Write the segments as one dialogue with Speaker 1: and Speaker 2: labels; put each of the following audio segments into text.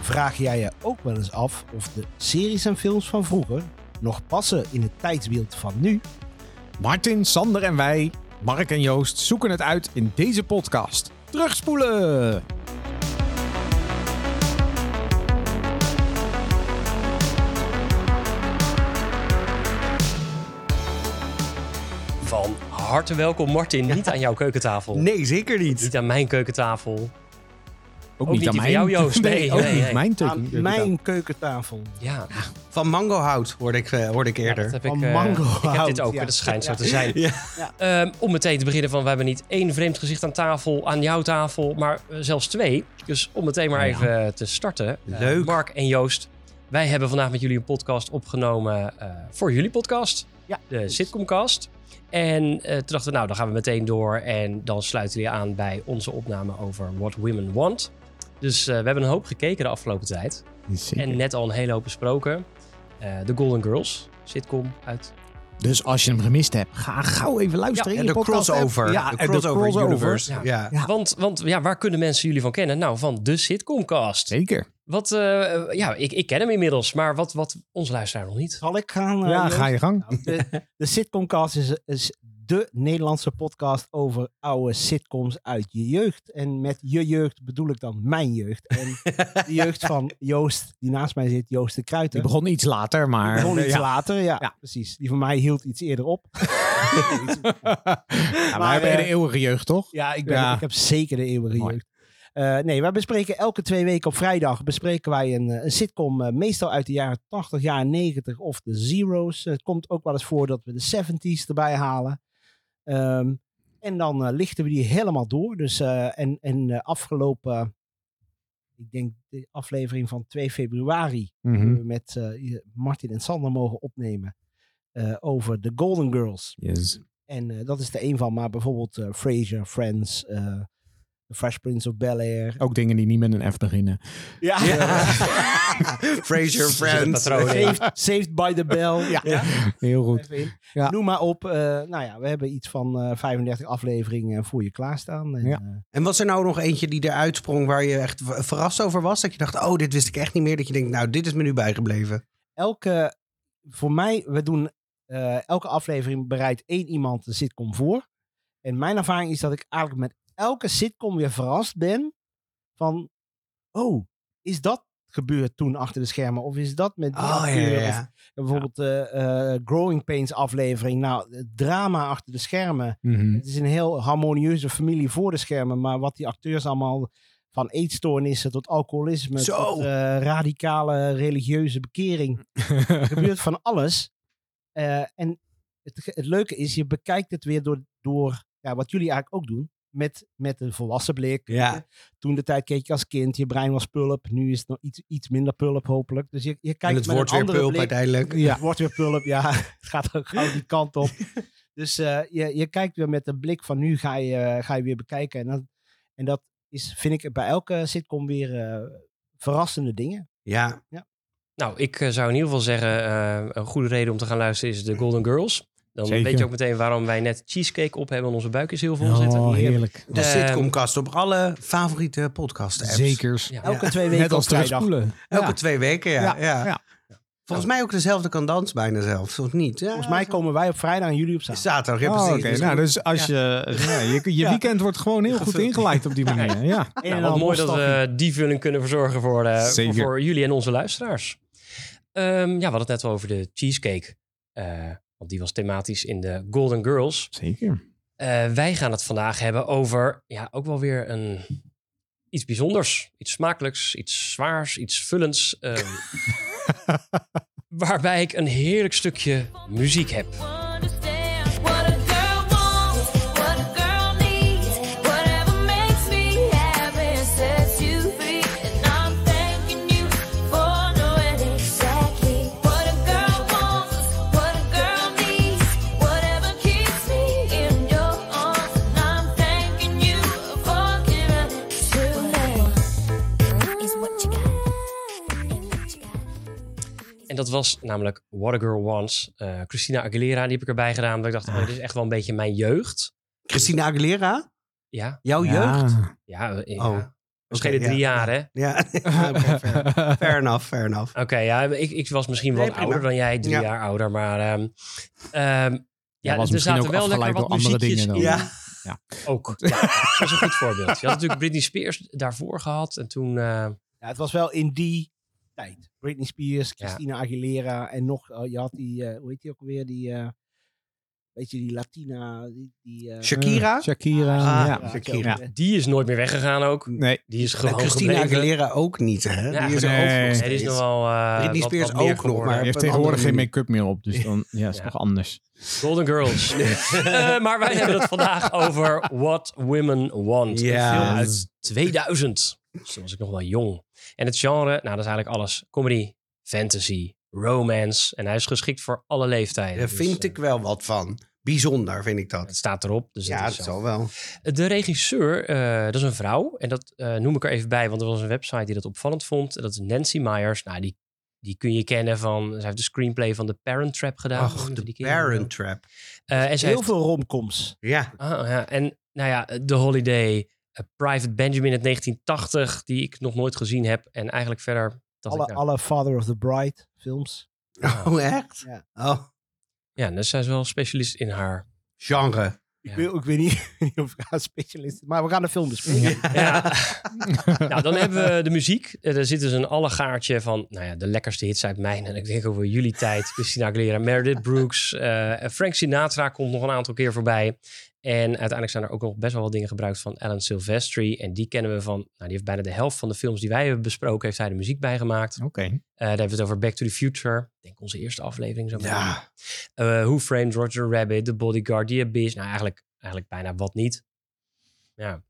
Speaker 1: Vraag jij je ook wel eens af of de series en films van vroeger nog passen in het tijdsbeeld van nu?
Speaker 2: Martin, Sander en wij, Mark en Joost, zoeken het uit in deze podcast. Terugspoelen!
Speaker 3: Van harte welkom, Martin. Niet aan jouw keukentafel.
Speaker 4: Oh.
Speaker 2: Nee, zeker
Speaker 3: Niet aan mijn keukentafel.
Speaker 2: Ook,
Speaker 3: niet die van jou, Joost.
Speaker 2: Nee,
Speaker 3: Nee,
Speaker 2: ook
Speaker 3: nee,
Speaker 2: niet
Speaker 3: nee.
Speaker 2: mijn
Speaker 1: Aan
Speaker 2: tekening.
Speaker 1: mijn keukentafel.
Speaker 3: Ja,
Speaker 4: Van mangohout hoorde ik, eh, hoorde ik
Speaker 3: ja,
Speaker 4: eerder.
Speaker 3: dat heb ik.
Speaker 1: Van
Speaker 3: eh,
Speaker 1: mangohout,
Speaker 3: ik heb dit ook,
Speaker 1: ja.
Speaker 3: dat schijnt
Speaker 1: Ja.
Speaker 3: zo te zijn.
Speaker 4: Ja.
Speaker 3: Ehm, om meteen te beginnen van, we hebben niet één vreemd gezicht aan tafel, aan jouw tafel, maar eh, zelfs twee. Dus om meteen maar even eh, te starten. Eh,
Speaker 4: Leuk.
Speaker 3: Mark en Joost, wij hebben vandaag met jullie een podcast opgenomen eh, voor jullie podcast,
Speaker 1: Ja,
Speaker 3: de Sitcomcast. En eh, toen dachten we, nou, dan gaan we meteen door en dan sluiten jullie aan bij onze opname over What Women Want. Dus eh, we hebben een hoop gekeken de afgelopen tijd. En net al een hele hoop besproken. Eh de Golden Girls, sitcom uit.
Speaker 2: Dus als je hem gemist hebt, ga gauw even luisteren.
Speaker 3: Ja,
Speaker 2: in
Speaker 4: En de
Speaker 2: je podcast app.
Speaker 4: crossover.
Speaker 2: Ja,
Speaker 4: de
Speaker 1: eh,
Speaker 2: en
Speaker 4: crossover, universe.
Speaker 3: Ja.
Speaker 4: Ja.
Speaker 2: Ja.
Speaker 3: Want, want ja, waar kunnen mensen jullie van kennen? Nou, van de sitcomcast.
Speaker 2: Zeker.
Speaker 3: Wat, eh, ja, ik, ik ken hem inmiddels, maar wat, wat onze luisteraar nog niet.
Speaker 1: Zal ik gaan? eh,
Speaker 2: ja,
Speaker 1: Joost?
Speaker 2: ga je gang.
Speaker 1: De, de Sitcomcast is, is de Nederlandse podcast over oude sitcoms uit je jeugd. En met je jeugd bedoel ik dan mijn jeugd. En de jeugd van Joost, die naast mij zit, Joost de
Speaker 2: Die
Speaker 1: Kruiter.
Speaker 2: begon iets later, maar...
Speaker 1: begon iets later, ja,
Speaker 2: Ja.
Speaker 1: precies. Die van mij hield iets eerder op. Maar,
Speaker 2: Ja, wij hebben
Speaker 1: eh,
Speaker 2: de eeuwige jeugd, toch?
Speaker 1: Ja, ik, ben,
Speaker 2: Ja.
Speaker 1: ik heb zeker de eeuwige
Speaker 2: Mooi.
Speaker 1: jeugd. Eh, nee, wij bespreken elke twee weken op vrijdag bespreken wij een, eh, een sitcom, eh, meestal uit de jaren 80, jaren 90 of de Zero's. Eh, het komt ook wel eens voor dat we de 70s erbij halen. Ehm, en dan eh, lichten we die helemaal door. Dus, eh, en en eh, afgelopen, ik denk de aflevering van 2 februari,
Speaker 2: Mhm.
Speaker 1: hebben we met eh, Martin en Sander mogen opnemen eh, over de Golden Girls.
Speaker 2: Yes.
Speaker 1: En eh, dat is er één van, maar bijvoorbeeld eh Frasier, Friends, eh, The Fresh Prince of Eh, Bel-Air.
Speaker 2: Ook dingen die niet met een F beginnen.
Speaker 1: Ja.
Speaker 4: Fraser
Speaker 3: Zit het
Speaker 4: Friends.
Speaker 3: patroon in.
Speaker 1: saved, Saved by the Bell. Ja.
Speaker 2: Heel goed.
Speaker 1: Even in.
Speaker 2: Ja.
Speaker 1: Noem maar op. eh, nou ja, we hebben iets van eh, 35 afleveringen voor je klaarstaan. En,
Speaker 2: Ja.
Speaker 1: eh,
Speaker 4: En was er nou nog eentje die eruit sprong waar je echt ver- verrast over was? Dat je dacht, oh, dit wist ik echt niet meer. Dat je denkt, nou, dit is me nu bijgebleven.
Speaker 1: elke, voor mij, we doen eh, elke aflevering bereidt één iemand een sitcom voor. En mijn ervaring is dat ik eigenlijk met elke sitcom weer verrast ben van, oh, is dat gebeurd toen achter de schermen? Of is dat met die
Speaker 4: Oh,
Speaker 1: acteur? Of En Bijvoorbeeld eh, eh, Growing Pains aflevering. Nou, het drama achter de schermen.
Speaker 2: Mhm.
Speaker 1: Het is een heel harmonieuze familie voor de schermen. Maar wat die acteurs allemaal van eetstoornissen tot alcoholisme...
Speaker 4: Zo!
Speaker 1: tot eh, radicale religieuze bekering. Er gebeurt van alles. Eh, en het, het leuke is, je bekijkt het weer door, door ja, wat jullie eigenlijk ook doen. Met, met een volwassen blik.
Speaker 4: Ja.
Speaker 1: Toen de tijd keek je als kind, je brein was pulp. Nu is het nog iets, iets minder pulp hopelijk. Dus je, je kijkt
Speaker 4: En het
Speaker 1: met
Speaker 4: wordt
Speaker 1: een
Speaker 4: weer
Speaker 1: andere
Speaker 4: pulp
Speaker 1: blik.
Speaker 4: uiteindelijk.
Speaker 1: Het wordt weer pulp, ja. Het gaat ook gauw die kant op. Dus eh, je, je kijkt weer met de blik van nu ga je, eh, ga je weer bekijken. En dat, en dat is, vind ik bij elke sitcom weer eh, verrassende dingen.
Speaker 4: Ja.
Speaker 3: Nou, ik eh, zou in ieder geval zeggen, eh, een goede reden om te gaan luisteren is de Golden Girls. Dan
Speaker 2: Zeker.
Speaker 3: weet je ook meteen waarom wij net cheesecake op hebben en onze buik is heel vol zitten.
Speaker 2: Oh, heerlijk.
Speaker 4: De
Speaker 3: Ehm,
Speaker 4: sitcomcast op alle favoriete podcast apps.
Speaker 2: Zekers.
Speaker 3: Ja.
Speaker 1: Elke
Speaker 4: Ja.
Speaker 1: twee weken
Speaker 2: Net als
Speaker 1: op vrijdag.
Speaker 2: terugspoelen.
Speaker 4: Elke
Speaker 2: Ja.
Speaker 4: twee weken, ja.
Speaker 2: Ja,
Speaker 4: ja,
Speaker 2: ja.
Speaker 4: Volgens mij ook dezelfde kandans bijna zelfs, of niet? Ja,
Speaker 1: Volgens mij komen wij op vrijdag en jullie op zaterdag.
Speaker 4: Zaterdag, ja,
Speaker 2: Oh,
Speaker 4: precies.
Speaker 2: Oké,
Speaker 4: Dus
Speaker 2: nou, dus als je, ja, je, je weekend wordt gewoon heel goed ingeleid op die manier. Ja.
Speaker 1: Een en
Speaker 3: Nou, wat
Speaker 1: ander
Speaker 3: mooi dat
Speaker 1: opstappen.
Speaker 3: we die vulling kunnen verzorgen voor, eh, voor,
Speaker 2: Zeker.
Speaker 3: voor jullie en onze luisteraars. Ehm, ja, we hadden het net al over de cheesecake. eh, want die was thematisch in de Golden Girls.
Speaker 2: Zeker.
Speaker 3: Eh, wij gaan het vandaag hebben over ja, ook wel weer een, iets bijzonders. Iets smakelijks, iets zwaars, iets vullends. ehm, waarbij ik een heerlijk stukje muziek heb.
Speaker 5: Understand what a girl wants, what a girl needs, whatever makes me happy sets you free. And I'm thanking you for knowing exactly what a girl wants, what a girl needs, whatever keeps me in your arms. And I'm thanking you for giving it to me. Is what you got.
Speaker 3: En dat dat was namelijk What a Girl Wants. eh, Christina Aguilera, die heb ik erbij gedaan. Omdat ik
Speaker 1: Ah.
Speaker 3: dacht, oh, dit is echt wel een beetje mijn jeugd.
Speaker 4: Christina Aguilera?
Speaker 3: Ja,
Speaker 4: Jouw
Speaker 2: Ja.
Speaker 4: jeugd?
Speaker 3: ja. eh, ja.
Speaker 4: Oh,
Speaker 3: Verschillende
Speaker 4: oké,
Speaker 3: drie
Speaker 4: ja.
Speaker 3: jaar, hè? Oké,
Speaker 4: Ja,
Speaker 2: Ah,
Speaker 4: Oké, fair. fair enough, fair enough.
Speaker 3: ja, ik, ik was misschien wat
Speaker 4: Nee, prima.
Speaker 3: ouder dan jij. Drie
Speaker 4: Ja.
Speaker 3: jaar ouder, maar... ehm, ehm, ja,
Speaker 2: was misschien
Speaker 3: er zaten
Speaker 2: ook
Speaker 3: wel lekker
Speaker 2: afgeleid
Speaker 3: wat
Speaker 2: door andere
Speaker 3: muziekjes
Speaker 2: dingen dan.
Speaker 3: in.
Speaker 4: Ja.
Speaker 3: Ook. Ja, dat is een goed voorbeeld. Je had natuurlijk Britney Spears daarvoor gehad. En toen... eh,
Speaker 1: Ja, het was wel in die tijd. Britney Spears, Christina Aguilera en nog, eh, je had die, eh, hoe heet die ook weer, die, eh, weet je, die Latina, die... die eh,
Speaker 4: Shakira?
Speaker 2: Hmm, Shakira,
Speaker 4: Ah,
Speaker 2: ja.
Speaker 1: Shakira. zo.
Speaker 3: die is nooit meer weggegaan ook.
Speaker 2: Nee.
Speaker 3: Die is
Speaker 4: En
Speaker 3: gewoon
Speaker 4: Christina
Speaker 3: gebleven.
Speaker 4: Aguilera ook niet, hè?
Speaker 3: Ja,
Speaker 4: die is er
Speaker 2: nee.
Speaker 4: ook
Speaker 2: Nee,
Speaker 4: nog
Speaker 3: Nee, die is nog
Speaker 4: steeds.
Speaker 3: wel... eh,
Speaker 4: Britney
Speaker 3: wat-
Speaker 4: Spears
Speaker 3: wat meer
Speaker 4: ook nog,
Speaker 3: geworden.
Speaker 2: Hij
Speaker 4: maar-
Speaker 2: heeft
Speaker 4: Op een andere
Speaker 2: tegenwoordig geen
Speaker 4: manier.
Speaker 2: make-up meer op, dus dan ja, is
Speaker 3: Ja.
Speaker 2: toch anders.
Speaker 3: Golden Girls. Eh, maar wij hebben het vandaag over What Women Want.
Speaker 4: Ja.
Speaker 3: Een film uit 2000. Dus toen was ik nog wel jong. En het genre, nou dat is eigenlijk alles. Comedy, fantasy, romance. En hij is geschikt voor alle leeftijden.
Speaker 4: Daar
Speaker 3: Dus,
Speaker 4: vind
Speaker 3: eh,
Speaker 4: ik wel wat van. Bijzonder vind ik
Speaker 3: Het
Speaker 4: dat.
Speaker 3: staat erop. Dus
Speaker 4: Ja,
Speaker 3: dat
Speaker 4: dat
Speaker 3: is zo.
Speaker 4: zal wel.
Speaker 3: De regisseur, eh, dat is een vrouw. En dat eh, noem ik er even bij, want er was een website die dat opvallend vond. En dat is Nancy Myers. Nou, die, die kun je kennen van... Zij heeft de screenplay van The Parent Trap gedaan.
Speaker 4: Ach,
Speaker 3: Moeten we
Speaker 4: de
Speaker 3: die kennen?
Speaker 4: Parent Trap.
Speaker 3: Eh, en ze
Speaker 1: Heel
Speaker 3: heeft
Speaker 1: veel romcoms.
Speaker 4: Ja.
Speaker 3: Ah, ja. En nou ja, The Holiday, eh, Private Benjamin uit 1980, die ik nog nooit gezien heb. En eigenlijk verder... dacht
Speaker 1: Alle,
Speaker 3: ik, nou,
Speaker 1: alle Father of the Bride films.
Speaker 4: Oh, echt?
Speaker 1: Ja.
Speaker 4: Oh,
Speaker 3: Ja, dus zij is wel specialist in haar...
Speaker 4: genre.
Speaker 3: Ja.
Speaker 1: Ik, wil, ik weet niet of ik haar specialist maar we gaan de film bespreken.
Speaker 3: Ja. nou, dan hebben we de muziek. Eh, Er zit dus een allegaartje van nou ja, de lekkerste hits uit mijn en ik denk over jullie tijd. Christina Aguilera, Meredith Brooks, eh, Frank Sinatra komt nog een aantal keer voorbij. En uiteindelijk zijn er ook nog best wel wat dingen gebruikt van Alan Silvestri. En die kennen we van, nou, die heeft bijna de helft van de films die wij hebben besproken, heeft hij de muziek bijgemaakt.
Speaker 2: Oké.
Speaker 3: Eh, daar hebben we het over Back to the Future. Ik denk onze eerste aflevering zo. meteen.
Speaker 4: Ja.
Speaker 3: Eh, Who Framed Roger Rabbit, The Bodyguard, The Abyss. Nou, eigenlijk, eigenlijk bijna wat niet. Ja.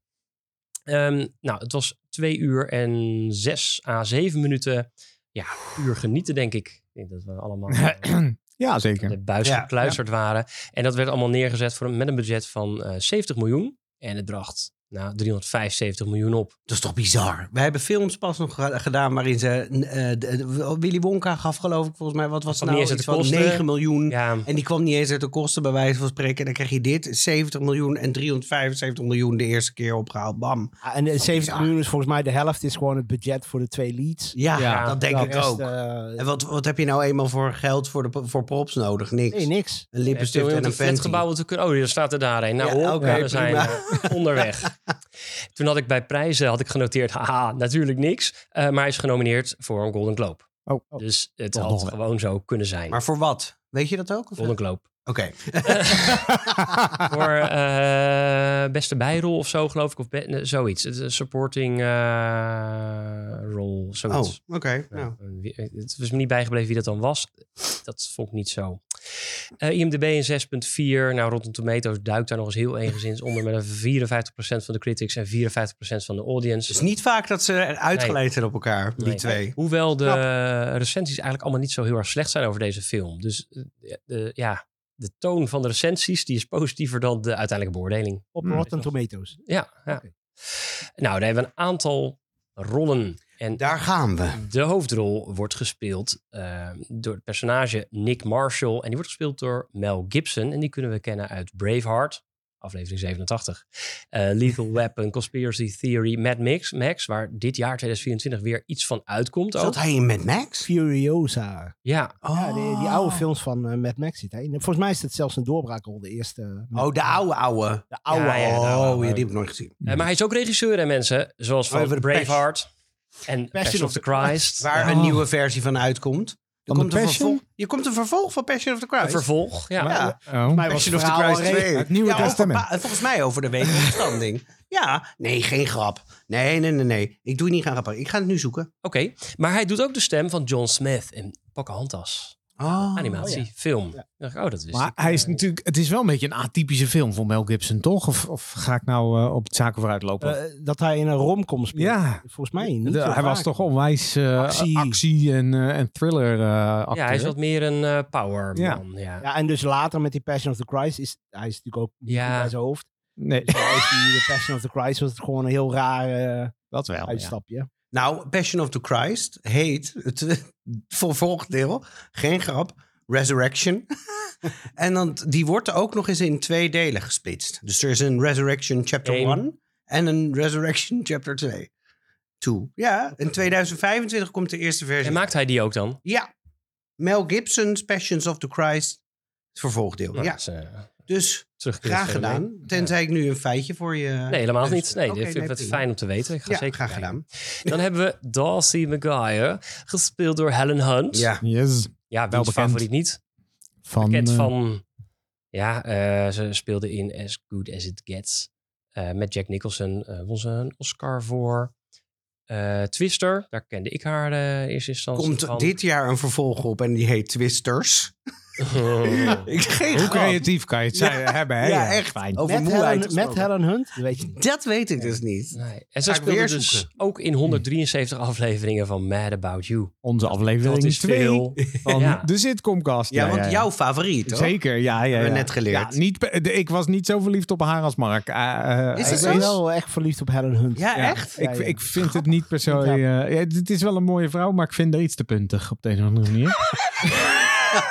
Speaker 3: Ehm, nou, het was twee uur en zes à zeven minuten. Ja, uur genieten, denk ik. Ik denk dat we allemaal eh,
Speaker 2: ja,
Speaker 3: in de
Speaker 2: zeker.
Speaker 3: buis
Speaker 4: Ja,
Speaker 3: gekluisterd waren. En dat werd allemaal neergezet voor, een- met een budget van eh 70 miljoen. En het bracht nou, 375 miljoen op.
Speaker 4: Dat is toch bizar? We hebben films pas nog ge- gedaan waarin ze... eh, de- de- Willy Wonka gaf geloof ik volgens mij... Wat was
Speaker 3: kwam
Speaker 4: het
Speaker 3: niet
Speaker 4: nou?
Speaker 3: eens
Speaker 4: Iets
Speaker 3: uit de
Speaker 4: van
Speaker 3: kosten.
Speaker 4: 9 miljoen.
Speaker 3: Ja,
Speaker 4: En die kwam niet eens uit de kosten bij wijze van spreken. En dan krijg je dit, 70 miljoen en 375 miljoen de eerste keer opgehaald. Bam.
Speaker 1: Ah, en eh, 70 miljoen is volgens mij de helft is gewoon het budget voor de twee leads.
Speaker 4: Ja,
Speaker 3: Ja,
Speaker 4: dat denk
Speaker 1: De
Speaker 4: ik
Speaker 1: rest,
Speaker 4: ook.
Speaker 1: eh,
Speaker 4: En wat, wat heb je nou eenmaal voor geld voor, de, voor props nodig? Niks.
Speaker 1: nee, niks.
Speaker 4: Een
Speaker 3: Even
Speaker 4: lippenstift
Speaker 3: om
Speaker 4: en
Speaker 3: in
Speaker 4: een
Speaker 3: het
Speaker 4: pen.
Speaker 3: flatgebouw te kunnen. Oh, daar staat er daarheen. Nou,
Speaker 4: Ja,
Speaker 3: hoor,
Speaker 4: oké,
Speaker 3: we zijn
Speaker 4: prima.
Speaker 3: eh, onderweg. Toen had ik bij prijzen had ik genoteerd, haha, natuurlijk niks. Eh, maar hij is genomineerd voor een Golden Globe.
Speaker 2: Oh.
Speaker 3: Dus het
Speaker 2: Toch nog
Speaker 3: had
Speaker 2: wel.
Speaker 3: gewoon zo kunnen zijn.
Speaker 4: Maar voor wat? Weet je dat ook? of-
Speaker 3: Golden Globe.
Speaker 4: Oké.
Speaker 3: voor eh, beste bijrol of zo, geloof ik. Of be- nee, zoiets. Het is een supporting eh rol,
Speaker 4: Oh,
Speaker 3: zoiets.
Speaker 4: oké. nou.
Speaker 3: Ja, en eh, wie- Het was me niet bijgebleven wie dat dan was. Dat vond ik niet zo. Eh, IMDb een 6.4. Nou, Rotten Tomatoes duikt daar nog eens heel enigszins onder... met een 54% van de critics en 54% van de
Speaker 4: Het
Speaker 3: audience.
Speaker 4: is niet vaak dat ze uitgeleid zijn op elkaar, die
Speaker 3: Nee.
Speaker 4: twee.
Speaker 3: Hoewel de recensies eigenlijk allemaal niet zo heel erg slecht zijn over deze film. Dus eh, de, ja, de toon van de recensies die is positiever dan de uiteindelijke beoordeling.
Speaker 1: Op
Speaker 2: Hmm.
Speaker 1: Rotten Tomatoes.
Speaker 3: Ja, ja. Nou, daar hebben we een aantal rollen. En
Speaker 4: Daar gaan we.
Speaker 3: de hoofdrol wordt gespeeld eh, door het personage Nick Marshall. En die wordt gespeeld door Mel Gibson. En die kunnen we kennen uit Braveheart, aflevering 87. eh, Lethal Weapon, Conspiracy Theory, Mad Max, Max, waar dit jaar 2024 weer iets van uitkomt ook.
Speaker 4: Zat hij in Mad Max?
Speaker 1: Furiosa.
Speaker 3: Ja, eh,
Speaker 4: Oh.
Speaker 1: Ja, die,
Speaker 2: Ah.
Speaker 1: die oude films van eh, Mad Max zit hij. in. Volgens mij is dat zelfs een doorbraak al de eerste. eh, Mad
Speaker 4: Oh, de
Speaker 1: Max.
Speaker 4: oude oude.
Speaker 1: De oude.
Speaker 3: Ja, ja, de oude,
Speaker 4: oh,
Speaker 3: oude.
Speaker 4: ja, die heb ik nooit gezien.
Speaker 3: eh, maar hij is ook regisseur en mensen, zoals van
Speaker 4: Over de
Speaker 3: Braveheart en Passion of the Christ.
Speaker 4: Waar
Speaker 3: Ja.
Speaker 4: een nieuwe versie van uitkomt. Er
Speaker 2: Van de
Speaker 4: komt een
Speaker 2: Passion?
Speaker 4: vervolg- je komt een vervolg van Passion of the Christ.
Speaker 3: Een vervolg, ja.
Speaker 4: Ja.
Speaker 2: Oh.
Speaker 1: Mij was het
Speaker 4: Passion of the
Speaker 1: verhaal
Speaker 4: Christ
Speaker 1: al
Speaker 4: 2.
Speaker 2: Het Nieuwe
Speaker 4: Ja, over
Speaker 2: Testament.
Speaker 4: pa- volgens mij over de wederopstanding. ja, nee, geen grap. Nee, nee, nee, nee. Ik doe je niet gaan grappen. Ik ga het nu zoeken.
Speaker 3: Oké, maar hij doet ook de stem van John Smith in Pocahontas.
Speaker 4: Oh.
Speaker 3: Animatie, film. Dan dacht ik, oh, dat wist
Speaker 2: Maar
Speaker 3: ik.
Speaker 2: hij is natuurlijk, het eh, is wel een beetje een atypische film voor Mel Gibson, toch? Of, of ga ik nou eh, op het zaken vooruit lopen?
Speaker 1: Eh, dat hij in een romcom speelt.
Speaker 2: ja.
Speaker 1: Volgens mij niet.
Speaker 2: De-
Speaker 1: zo
Speaker 2: hij
Speaker 1: vaak.
Speaker 2: was toch onwijs eh, actie.
Speaker 1: Actie.
Speaker 2: en, eh, en thriller eh acteur.
Speaker 3: ja, hij is wat meer een eh, powerman. Ja. Ja.
Speaker 1: Ja, en dus later met die Passion of the Christ is hij is natuurlijk ook niet
Speaker 3: Ja.
Speaker 1: goed bij zijn hoofd.
Speaker 2: Nee,
Speaker 4: Oh,
Speaker 1: Dus bij die Passion of the Christ was het gewoon een heel raar eh,
Speaker 2: dat wel. ja.
Speaker 1: uitstapje.
Speaker 4: Nou, Passion of the Christ heet het vervolgdeel, geen grap, Resurrection. en dan, die wordt ook nog eens in twee delen gesplitst. Dus er is een Resurrection Chapter
Speaker 3: Eén.
Speaker 4: 1 en een Resurrection Chapter 2. Two. Ja, in 2025 komt de eerste versie.
Speaker 3: En maakt hij die ook dan?
Speaker 4: Ja, Mel Gibson's Passions of the Christ, het vervolgdeel.
Speaker 3: Nou,
Speaker 4: ja,
Speaker 3: dat is, eh,
Speaker 4: dus
Speaker 3: terugkeer
Speaker 4: graag
Speaker 3: is er
Speaker 4: gedaan.
Speaker 3: mee.
Speaker 4: Tenzij ik nu een feitje voor je...
Speaker 3: Nee, helemaal niet. Nee,
Speaker 4: Oké,
Speaker 3: dat vind ik wat
Speaker 4: prima.
Speaker 3: fijn om te weten. Ik ga
Speaker 4: Ja,
Speaker 3: zeker
Speaker 4: graag
Speaker 3: kijken.
Speaker 4: gedaan.
Speaker 3: Dan hebben we Darcy Maguire, gespeeld door Helen Hunt.
Speaker 4: Ja.
Speaker 2: Yes.
Speaker 3: ja
Speaker 2: Wel
Speaker 3: wiens
Speaker 2: bekend.
Speaker 3: favoriet niet.
Speaker 2: Van,
Speaker 3: Bekend
Speaker 2: eh,
Speaker 3: van... Ja, eh, ze speelde in As Good As It Gets. eh, met Jack Nicholson eh, won ze een Oscar voor. Eh, Twister, daar kende ik haar eh, in eerste instantie
Speaker 4: Komt
Speaker 3: van.
Speaker 4: dit jaar een vervolg op en die heet Twisters.
Speaker 3: Oh.
Speaker 4: Ik geen
Speaker 2: Hoe
Speaker 4: grap.
Speaker 2: creatief kan je het zijn, hebben, hè?
Speaker 4: Ja, echt.
Speaker 2: Fijn.
Speaker 4: Over
Speaker 1: Met
Speaker 4: moeheid
Speaker 1: Helen,
Speaker 4: gesproken.
Speaker 1: met Helen Hunt? Dat weet je niet.
Speaker 4: Dat weet ik dus niet.
Speaker 3: Nee. En
Speaker 4: Ga
Speaker 3: ze
Speaker 4: ik weer
Speaker 3: speelde dus
Speaker 4: zoeken.
Speaker 3: ook in 173 afleveringen van Mad About You.
Speaker 2: Onze
Speaker 3: Dat
Speaker 2: aflevering
Speaker 3: is
Speaker 2: 2
Speaker 3: veel.
Speaker 2: van
Speaker 3: Ja.
Speaker 2: de sitcomcast.
Speaker 4: Ja, want jouw favoriet, toch?
Speaker 2: Zeker, ja, ja. ja.
Speaker 4: Hebben we net geleerd.
Speaker 2: Ja, niet, be- de- ik was niet zo verliefd op haar als Mark. Eh, eh,
Speaker 4: Is
Speaker 2: ik
Speaker 4: het
Speaker 1: Ik
Speaker 4: zo?
Speaker 2: weet-
Speaker 1: ben wel echt verliefd op Helen Hunt.
Speaker 4: Ja,
Speaker 2: ja,
Speaker 4: echt?
Speaker 2: Ik,
Speaker 1: Ja, ja.
Speaker 2: ik vind het niet per se... eh, ja, het is wel een mooie vrouw, maar ik vind haar iets te puntig op de een of andere manier.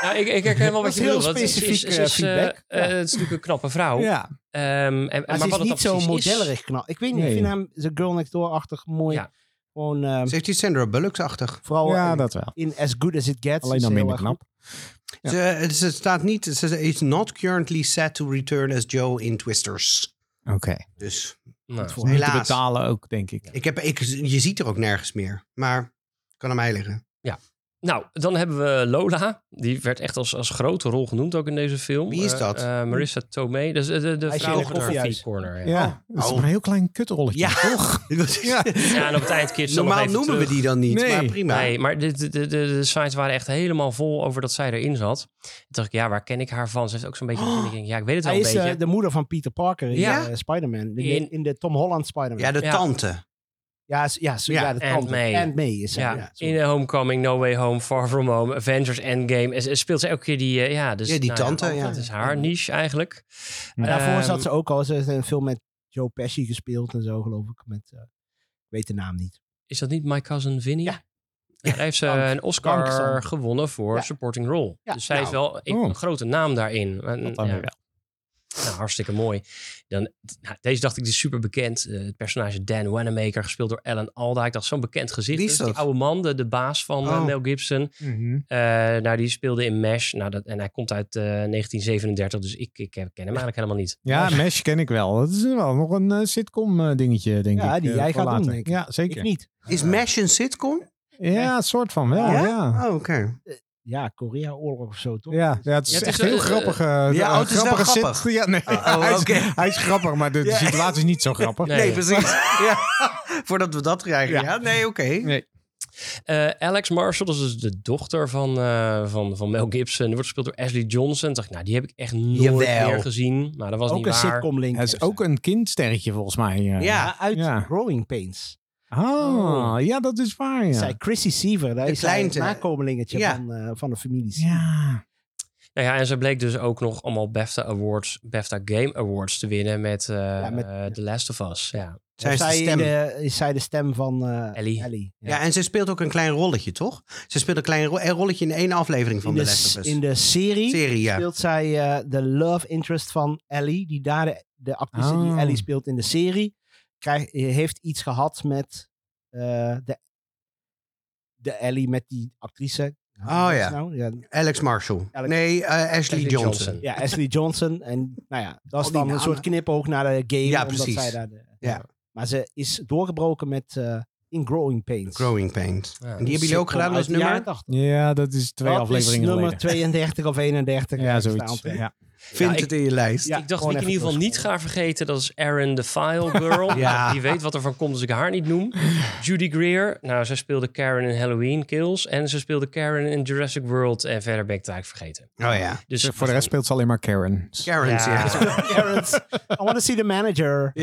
Speaker 3: Nou, ik, ik herken wel wat
Speaker 1: Dat
Speaker 3: je
Speaker 1: is heel
Speaker 3: bedoelt. want het is-
Speaker 1: specifiek,
Speaker 3: het is,
Speaker 1: eh,
Speaker 3: eh,
Speaker 1: feedback.
Speaker 3: eh,
Speaker 1: Ja.
Speaker 3: het is natuurlijk een knappe vrouw.
Speaker 4: Oh.
Speaker 2: Ja,
Speaker 3: Ehm, en, en-
Speaker 1: Maar,
Speaker 3: maar
Speaker 1: ze
Speaker 3: wat
Speaker 1: is
Speaker 3: het
Speaker 1: niet
Speaker 3: dan
Speaker 1: zo
Speaker 3: precies is-
Speaker 1: modellerig knap. Ik weet niet, ik
Speaker 2: Nee.
Speaker 1: vind haar zo'n girl next door-achtig mooi.
Speaker 3: Ja.
Speaker 1: Gewoon, ehm,
Speaker 4: Ze heeft die Sandra Bullocks-achtig.
Speaker 1: vooral
Speaker 2: ja
Speaker 1: in,
Speaker 2: dat wel.
Speaker 1: in As Good As It Gets.
Speaker 2: Alleen
Speaker 1: is
Speaker 2: dan
Speaker 1: heel
Speaker 2: minder
Speaker 1: erg
Speaker 2: knap. Ja.
Speaker 4: Ze, eh, ze staat niet... Ze is not currently set to return as Joe in Twisters.
Speaker 2: Oké.
Speaker 4: Dus
Speaker 3: Nou,
Speaker 1: goed voor haar.
Speaker 2: Niet te
Speaker 4: helaas.
Speaker 2: betalen ook, denk ik.
Speaker 4: Ik heb, ik, je ziet er ook nergens meer. Maar kan aan mij liggen.
Speaker 3: nou, dan hebben we Lola. Die werd echt als, als grote rol genoemd ook in deze film.
Speaker 4: Wie is
Speaker 3: Eh,
Speaker 4: dat?
Speaker 3: eh, Marissa Tomei. Dus eh, de, de
Speaker 1: Hij is
Speaker 3: vrouw
Speaker 1: in
Speaker 3: in
Speaker 1: de
Speaker 3: de
Speaker 1: koffie
Speaker 3: koffie
Speaker 1: juist.
Speaker 3: corner. Ja.
Speaker 2: Ja, dat is
Speaker 4: Oh.
Speaker 2: maar een heel klein kutrolletje.
Speaker 4: Ja.
Speaker 2: Ja.
Speaker 3: Ja, en op het eind keert ze dan nog
Speaker 4: Normaal
Speaker 3: even
Speaker 4: noemen we
Speaker 3: terug.
Speaker 4: die dan niet,
Speaker 2: Nee.
Speaker 4: maar prima.
Speaker 3: Nee, maar de, de, de, de sites waren echt helemaal vol over dat zij erin zat. Toen dacht ik, ja, waar ken ik haar van? Ze heeft ook zo'n beetje... een ding. Ja, ik weet het Oh,
Speaker 1: Hij
Speaker 3: wel een
Speaker 1: is eh,
Speaker 3: beetje.
Speaker 1: de moeder van Peter Parker in
Speaker 3: Ja.
Speaker 1: eh, Spider-Man. In, de-
Speaker 3: In-
Speaker 1: in de Tom Holland Spider-Man.
Speaker 4: Ja,
Speaker 1: Ja,
Speaker 4: de
Speaker 3: Ja.
Speaker 4: tante.
Speaker 1: ja, s- ja, zo-
Speaker 4: Ja,
Speaker 1: ja, dat
Speaker 3: Aunt
Speaker 1: kan.
Speaker 3: May.
Speaker 1: En May is ze,
Speaker 3: Ja,
Speaker 1: ja, sorry.
Speaker 3: in eh, Homecoming, No Way Home, Far From Home, Avengers Endgame. En ze- speelt ze elke keer die... eh, ja, dus,
Speaker 4: Ja, die tante, ja.
Speaker 3: Dat is haar niche eigenlijk.
Speaker 1: Maar daarvoor
Speaker 3: Ehm,
Speaker 1: zat ze ook al. Ze heeft een film met Joe Pesci gespeeld en zo, geloof ik. Met, eh, ik weet de naam niet.
Speaker 3: Is dat niet My Cousin Vinny?
Speaker 1: Ja.
Speaker 3: daar heeft ze
Speaker 1: Dank.
Speaker 3: een Oscar
Speaker 1: Dank, Sander.
Speaker 3: gewonnen voor
Speaker 1: Ja.
Speaker 3: supporting role.
Speaker 1: Ja,
Speaker 3: dus zij
Speaker 4: nou.
Speaker 3: is wel een,
Speaker 2: Oh.
Speaker 3: een grote naam daarin. En,
Speaker 2: Dat dan
Speaker 3: ja,
Speaker 2: weer wel.
Speaker 3: nou, hartstikke mooi. Dan, nou, deze dacht ik, die is super bekend. Eh, het personage Dan Wanamaker, gespeeld door Alan Alda. Ik dacht, zo'n bekend gezicht.
Speaker 4: Wie
Speaker 3: Dus
Speaker 4: is
Speaker 3: die
Speaker 4: dat?
Speaker 3: oude man, de, de baas van eh,
Speaker 4: Oh.
Speaker 3: Mel Gibson.
Speaker 1: Mhm.
Speaker 3: Eh, nou, die speelde in MASH. Nou, dat, en hij komt uit eh, 1937, dus ik, ik ken hem eigenlijk helemaal niet.
Speaker 2: Ja, Mesh ken ik wel. Dat is wel nog een eh, sitcom eh, dingetje, denk ik.
Speaker 1: Ja, die
Speaker 2: eh,
Speaker 1: jij
Speaker 2: voor
Speaker 1: gaat doen,
Speaker 2: later.
Speaker 1: denk ik.
Speaker 2: Ja, zeker.
Speaker 1: Ik niet.
Speaker 4: Is MASH een sitcom?
Speaker 2: Ja, soort van wel,
Speaker 4: Ja?
Speaker 2: ja. Ja,
Speaker 4: Oh, oké.
Speaker 1: Ja, Korea-oorlog of zo, toch?
Speaker 2: ja, het is
Speaker 3: Ja, het
Speaker 2: echt
Speaker 3: is,
Speaker 2: heel
Speaker 3: eh,
Speaker 2: grappig. eh,
Speaker 4: ja,
Speaker 2: eh,
Speaker 4: oh, het is wel
Speaker 2: grappige
Speaker 4: grappig.
Speaker 2: Zit, ja, nee.
Speaker 4: Oh, oh,
Speaker 2: hij, is,
Speaker 4: oké.
Speaker 2: hij is grappig, maar de, de
Speaker 4: Ja.
Speaker 2: situatie is niet zo grappig.
Speaker 3: Nee.
Speaker 4: Nee, precies. ja. Voordat we dat krijgen. Ja,
Speaker 2: Ja.
Speaker 4: nee, oké.
Speaker 3: Eh, Alex Marshall, dat is dus de dochter van, eh, van, van Mel Gibson. Die wordt gespeeld door Ashley Johnson. Toen dacht ik, nou, die heb ik echt nooit
Speaker 4: Jawel.
Speaker 3: meer gezien. Maar dat was
Speaker 1: ook
Speaker 3: niet
Speaker 1: een
Speaker 3: waar.
Speaker 1: sitcom-link.
Speaker 2: Hij is ook een kindsterretje volgens mij. eh.
Speaker 4: Ja,
Speaker 1: Ja, uit
Speaker 2: Ja.
Speaker 1: Growing Pains.
Speaker 2: Ah, ja, dat is waar, ja.
Speaker 1: Zij Chrissy Siever, daar
Speaker 4: De
Speaker 1: is zij het
Speaker 4: kleintje.
Speaker 1: nakomelingetje
Speaker 4: Ja.
Speaker 1: van, eh, van de familie. Siever.
Speaker 2: Ja.
Speaker 3: Nou ja, en ze bleek dus ook nog allemaal BAFTA Awards, BAFTA Game Awards te winnen met, eh,
Speaker 1: met-
Speaker 3: eh, The Last of Us. Ja.
Speaker 4: zij is de
Speaker 1: Zij in
Speaker 4: stem.
Speaker 1: de- is zij de stem van eh,
Speaker 3: Ellie.
Speaker 1: Ja.
Speaker 4: Ja, en ze speelt ook een klein rolletje, toch? Ze speelt een klein ro- een rolletje in één aflevering van
Speaker 1: in,
Speaker 4: de
Speaker 1: de,
Speaker 4: Last of Us.
Speaker 1: in de serie,
Speaker 4: serie, ja.
Speaker 1: speelt zij eh, de love interest van Ellie. Die daar de, de actrice die
Speaker 2: Oh.
Speaker 1: Ellie speelt in de serie, krijg, eh, heeft iets gehad met eh, de, de Ellie, met die actrice. Hoe
Speaker 4: Oh,
Speaker 1: heet
Speaker 4: ja.
Speaker 1: ze nou? ja.
Speaker 4: Alex Marshall.
Speaker 1: Alex-
Speaker 4: Nee, eh, Ashley
Speaker 3: Ashley
Speaker 4: Johnson.
Speaker 3: Johnson.
Speaker 1: Ja, Ashley Johnson. En nou ja, dat is
Speaker 4: Al die
Speaker 1: dan een
Speaker 4: namen.
Speaker 1: soort knipoog naar de game.
Speaker 4: Ja,
Speaker 1: omdat
Speaker 4: precies.
Speaker 1: Zij daar de,
Speaker 4: Ja.
Speaker 1: Maar ze is doorgebroken met eh, In Growing Pains.
Speaker 4: Growing Pains.
Speaker 3: Ja.
Speaker 4: En die hebben jullie ook gedaan als nummer?
Speaker 2: ja, dat is twee afleveringen
Speaker 1: nummer
Speaker 2: geleden.
Speaker 1: 32 of 31.
Speaker 2: Ja,
Speaker 1: ergens daar
Speaker 2: zoiets.
Speaker 1: omtrent.
Speaker 2: Ja.
Speaker 4: Vind
Speaker 3: Ja, ik-
Speaker 4: het in je lijst.
Speaker 1: Ja,
Speaker 3: ik dacht,
Speaker 1: gewoon
Speaker 3: wie ik in
Speaker 1: even
Speaker 3: ieder geval niet ga vergeten, dat is Erin the File Girl.
Speaker 4: Ja.
Speaker 3: Die weet wat er van komt als ik haar niet noem. Judy Greer, nou, zij speelde Karen in Halloween Kills. En ze speelde Karen in Jurassic World. En verder ben ik het eigenlijk vergeten.
Speaker 4: Oh ja.
Speaker 3: Dus
Speaker 2: Voor de rest speelt ze alleen maar Karen.
Speaker 4: Karen's, ja. Ja.
Speaker 1: Terrence, I want to see the manager.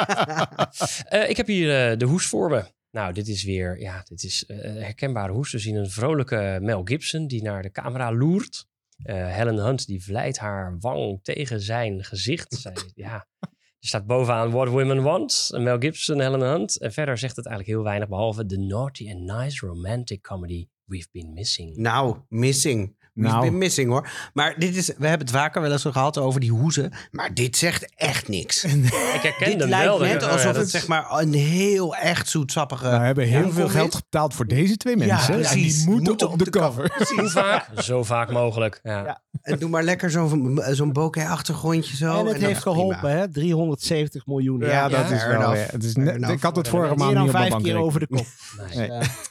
Speaker 3: Eh, ik heb hier eh, de hoes voor me. Nou, dit is weer, ja, dit is eh, een herkenbare hoes. We zien een vrolijke Mel Gibson die naar de camera loert. Eh, Helen Hunt die vlijt haar wang tegen zijn gezicht. Zij, ja, Er staat bovenaan What Women Want, en Mel Gibson, Helen Hunt. En verder zegt het eigenlijk heel weinig, behalve de naughty and nice romantic comedy We've Been Missing.
Speaker 4: Nou, missing. We've
Speaker 2: Nou.
Speaker 4: been missing hoor. Maar dit is, we hebben het vaker wel eens gehad over die hoezen. Maar dit zegt echt niks.
Speaker 3: Ik herken
Speaker 4: dit
Speaker 3: hem
Speaker 4: lijkt
Speaker 3: wel.
Speaker 4: net
Speaker 3: Ja,
Speaker 4: alsof
Speaker 3: ja, dat
Speaker 4: het
Speaker 3: is-
Speaker 4: zeg maar een heel echt zoetsappige...
Speaker 2: We hebben heel
Speaker 4: Ja,
Speaker 2: veel
Speaker 4: is-
Speaker 2: geld betaald voor deze twee mensen.
Speaker 4: Ja,
Speaker 2: en
Speaker 4: precies.
Speaker 2: die moeten, op de, cover.
Speaker 3: Hoe vaak? Zo vaak mogelijk. Ja.
Speaker 1: Ja.
Speaker 4: En doe maar lekker zo'n zo'n bokeh-achtergrondje zo.
Speaker 1: en het
Speaker 4: dan-
Speaker 1: heeft geholpen, hè? 370 miljoen.
Speaker 2: Ja,
Speaker 1: Ja,
Speaker 2: dat
Speaker 4: fair
Speaker 2: is wel.
Speaker 4: enough.
Speaker 2: ja, het is
Speaker 4: Fair
Speaker 2: net-
Speaker 4: enough.
Speaker 2: ik had het
Speaker 4: Ja,
Speaker 2: vorige maand
Speaker 1: meer
Speaker 2: niet
Speaker 1: dan
Speaker 2: op mijn
Speaker 1: vijf keer
Speaker 2: bankrekening.
Speaker 1: over de kop.
Speaker 3: Nice.
Speaker 2: Nee.
Speaker 1: Eh,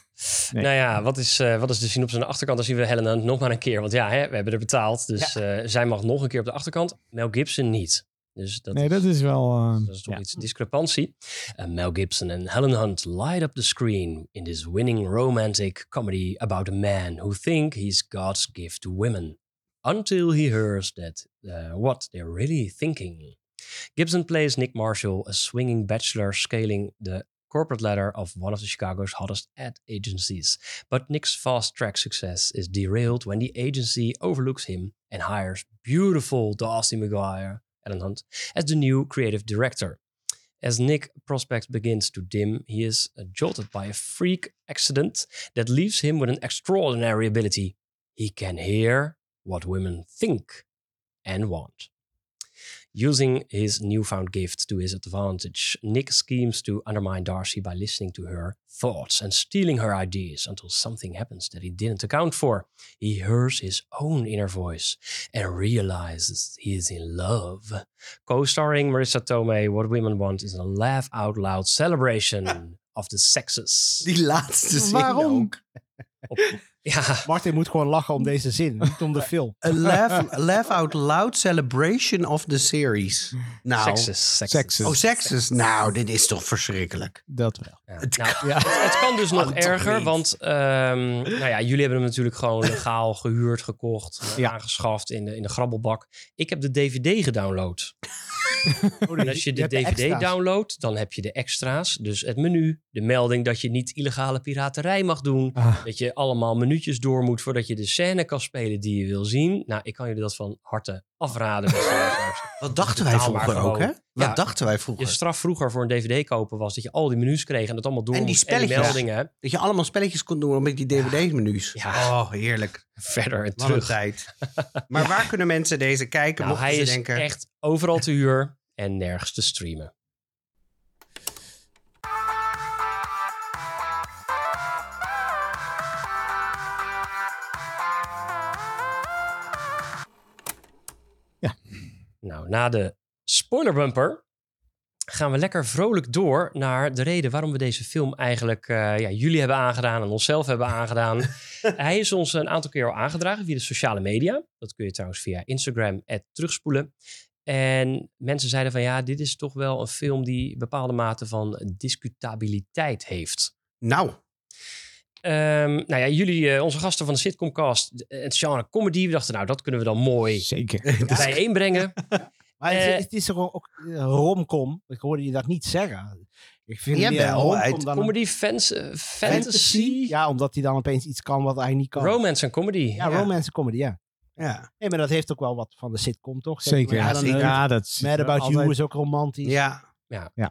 Speaker 2: Nee.
Speaker 3: Nou ja, wat is, eh, wat is de synopsis aan de achterkant? Dan zien we Helen Hunt nog maar een keer. Want ja, hè, we hebben er betaald. Dus eh, zij mag nog een keer op de achterkant. Mel Gibson niet. Dus dat,
Speaker 2: Nee, dat is wel. eh,
Speaker 3: dat is toch iets discrepantie. Eh, Mel Gibson en Helen Hunt light up the screen in this winning romantic comedy about a man who think he's God's gift to women. Until he hears that eh, what they're really thinking. Gibson plays Nick Marshall, a swinging bachelor scaling the corporate ladder of one of the Chicago's hottest ad agencies. But Nick's fast track success is derailed when the agency overlooks him and hires beautiful Darcy McGuire, Ellen Hunt, as the new creative director. As Nick prospects begins to dim, he is uh, jolted by a freak accident that leaves him with an extraordinary ability. He can hear what women think and want. Using his newfound gift to his advantage, Nick schemes to undermine Darcy by listening to her thoughts and stealing her ideas until something happens that he didn't account for. He hears his own inner voice and realizes he is in love. Co starring Marissa Tomei, What Women Want is a laugh out loud celebration of the sexes.
Speaker 4: Die laatste zin
Speaker 2: Waarom?
Speaker 4: ook.
Speaker 3: Ja,
Speaker 1: Martin moet gewoon lachen om deze zin, niet om de film.
Speaker 4: A laugh, a laugh out loud celebration of the series. Nou,
Speaker 3: sexes. sexes.
Speaker 2: Sexes.
Speaker 4: Oh, sexist. Nou, dit is toch verschrikkelijk.
Speaker 2: Dat wel.
Speaker 3: Ja.
Speaker 4: Het
Speaker 3: Nou,
Speaker 4: kan-
Speaker 3: het, het kan dus nog
Speaker 4: Kan toch
Speaker 3: erger,
Speaker 4: niet?
Speaker 3: want ehm, nou ja, jullie hebben hem natuurlijk gewoon legaal gehuurd, gekocht, eh,
Speaker 2: Ja.
Speaker 3: aangeschaft in de, in de grabbelbak. Ik heb de DVD gedownload. En als je de
Speaker 1: hebt de
Speaker 3: DVD
Speaker 1: extra's.
Speaker 3: downloadt, dan heb je de extra's. Dus het menu, de melding dat je niet illegale piraterij mag doen.
Speaker 2: Ah.
Speaker 3: Dat je allemaal minuutjes door moet voordat je de scène kan spelen die je wil zien. Nou, ik kan jullie dat van harte afraden. beste luisteraars.
Speaker 4: Wat dachten wij
Speaker 3: Betaal maar
Speaker 4: vroeger ook, hè?
Speaker 3: gewoon.
Speaker 4: Wat
Speaker 3: Ja.
Speaker 4: dachten wij
Speaker 3: je
Speaker 4: vroeger?
Speaker 3: straf vroeger voor een DVD kopen was dat je al die menus kreeg en dat allemaal door
Speaker 4: En die
Speaker 3: moest.
Speaker 4: spelletjes.
Speaker 3: meldingen.
Speaker 4: Dat je allemaal spelletjes kon doen met die DVD-menus.
Speaker 3: Ja.
Speaker 4: Oh, heerlijk.
Speaker 3: Verder en
Speaker 4: Wat een
Speaker 3: terug.
Speaker 4: tijd. Maar waar kunnen mensen deze kijken?
Speaker 3: Nou,
Speaker 4: mochten
Speaker 3: hij
Speaker 4: ze
Speaker 3: is
Speaker 4: denken...
Speaker 3: echt overal te huur en nergens te streamen.
Speaker 2: Ja.
Speaker 3: Nou, na de spoilerbumper gaan we lekker vrolijk door naar de reden waarom we deze film eigenlijk eh, ja, jullie hebben aangedaan en onszelf hebben aangedaan. Hij is ons een aantal keer al aangedragen via de sociale media. Dat kun je trouwens via Instagram terugspoelen. En mensen zeiden van ja, dit is toch wel een film die bepaalde mate van discutabiliteit heeft.
Speaker 4: Nou,
Speaker 3: Ehm, nou ja, jullie, eh, onze gasten van de sitcomcast, eh, het genre comedy, we dachten nou, dat kunnen we dan mooi
Speaker 2: Zeker.
Speaker 3: bijeenbrengen.
Speaker 1: Maar het,
Speaker 3: Eh,
Speaker 1: is- het is toch ook eh, romcom. Ik hoorde je dat niet zeggen. Ik vind
Speaker 4: Jawel,
Speaker 1: meer een romcom
Speaker 4: uit
Speaker 1: dan een
Speaker 3: Comedy, fans, eh, fantasy,
Speaker 1: Ja, omdat hij dan opeens iets kan wat hij niet kan.
Speaker 3: romance en comedy.
Speaker 1: ja,
Speaker 4: ja.
Speaker 1: romance comedy, ja.
Speaker 4: ja.
Speaker 1: Nee, maar dat heeft ook wel wat van de sitcom, toch?
Speaker 2: Zeker.
Speaker 1: Ja,
Speaker 4: Ja, zeker.
Speaker 2: Ja, dat is
Speaker 1: Mad About You
Speaker 2: altijd-
Speaker 1: is ook romantisch.
Speaker 4: ja.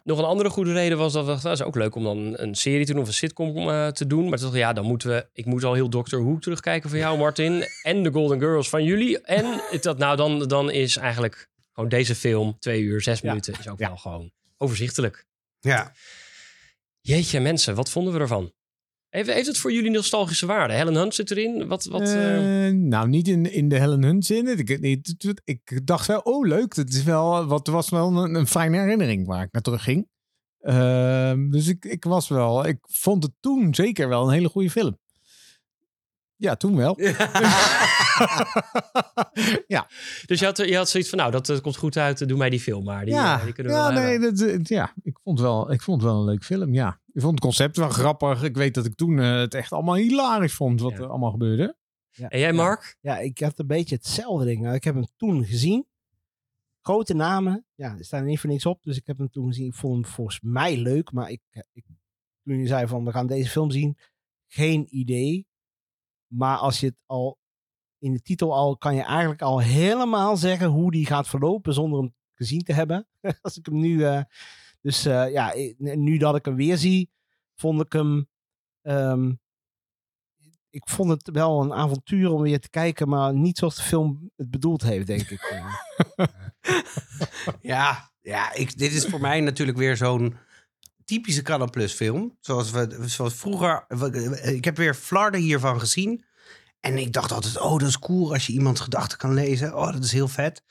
Speaker 3: Nog een andere goede reden was dat we dachten, dat is ook leuk om dan een serie te doen of een sitcom eh, te doen. Maar toen dacht ik, ja, dan moeten we, ik moet al heel Doctor Who terugkijken van jou, Martin. En de Golden Girls van jullie. En het- dat nou, dan, dan is eigenlijk gewoon deze film, twee uur, zes
Speaker 1: Ja.
Speaker 3: minuten, is ook
Speaker 1: Ja.
Speaker 3: wel gewoon overzichtelijk.
Speaker 4: ja.
Speaker 3: Jeetje mensen, wat vonden we ervan? Heeft, heeft het voor jullie nostalgische waarde? Helen Hunt zit erin. Wat, wat, eh,
Speaker 2: Eh, nou, niet in, in de Helen Hunt zin. Ik, ik, ik dacht wel, oh leuk, dat is wel, wat was wel een, een fijne herinnering waar ik naar terug ging. Ehm, dus ik, ik was wel, ik vond het toen zeker wel een hele goede film. Ja, toen wel. ja,
Speaker 3: Dus je had, je had zoiets van, nou, dat, eh, komt goed uit, eh, doe mij die film maar. Die,
Speaker 2: ja,
Speaker 3: eh, die kunnen we
Speaker 2: ja,
Speaker 3: wel
Speaker 2: nee,
Speaker 3: hebben.
Speaker 2: dat, eh, ja ik, vond wel, ik vond wel een leuk film, ja. Ik vond het concept wel grappig. Ik weet dat ik toen eh, het echt allemaal hilarisch vond wat
Speaker 3: Ja.
Speaker 2: er allemaal gebeurde.
Speaker 3: En jij, Mark?
Speaker 1: Ja, ik had een beetje hetzelfde ding. Nou, Ik heb hem toen gezien. Grote namen. Ja, er staan er niet voor niks op. Dus ik heb hem toen gezien. Ik vond hem volgens mij leuk. Maar ik, eh, ik, toen je zei van we gaan deze film zien. Geen idee. Maar als je het al in de titel al. kan je eigenlijk al helemaal zeggen hoe die gaat verlopen. zonder hem gezien te hebben. Als ik hem nu. eh, dus eh, ja, i- nu dat ik hem weer zie, vond ik hem. ehm, ik vond het wel een avontuur om weer te kijken, maar niet zoals de film het bedoeld heeft, denk ik. Eh,
Speaker 4: Ja, ja ik, dit is voor mij natuurlijk weer zo'n typische Canal Plus film. Zoals, we, zoals vroeger. we- Ik heb weer Flarden hiervan gezien. En ik dacht altijd, oh, dat is cool als je iemands gedachten kan lezen. Oh, dat is heel vet.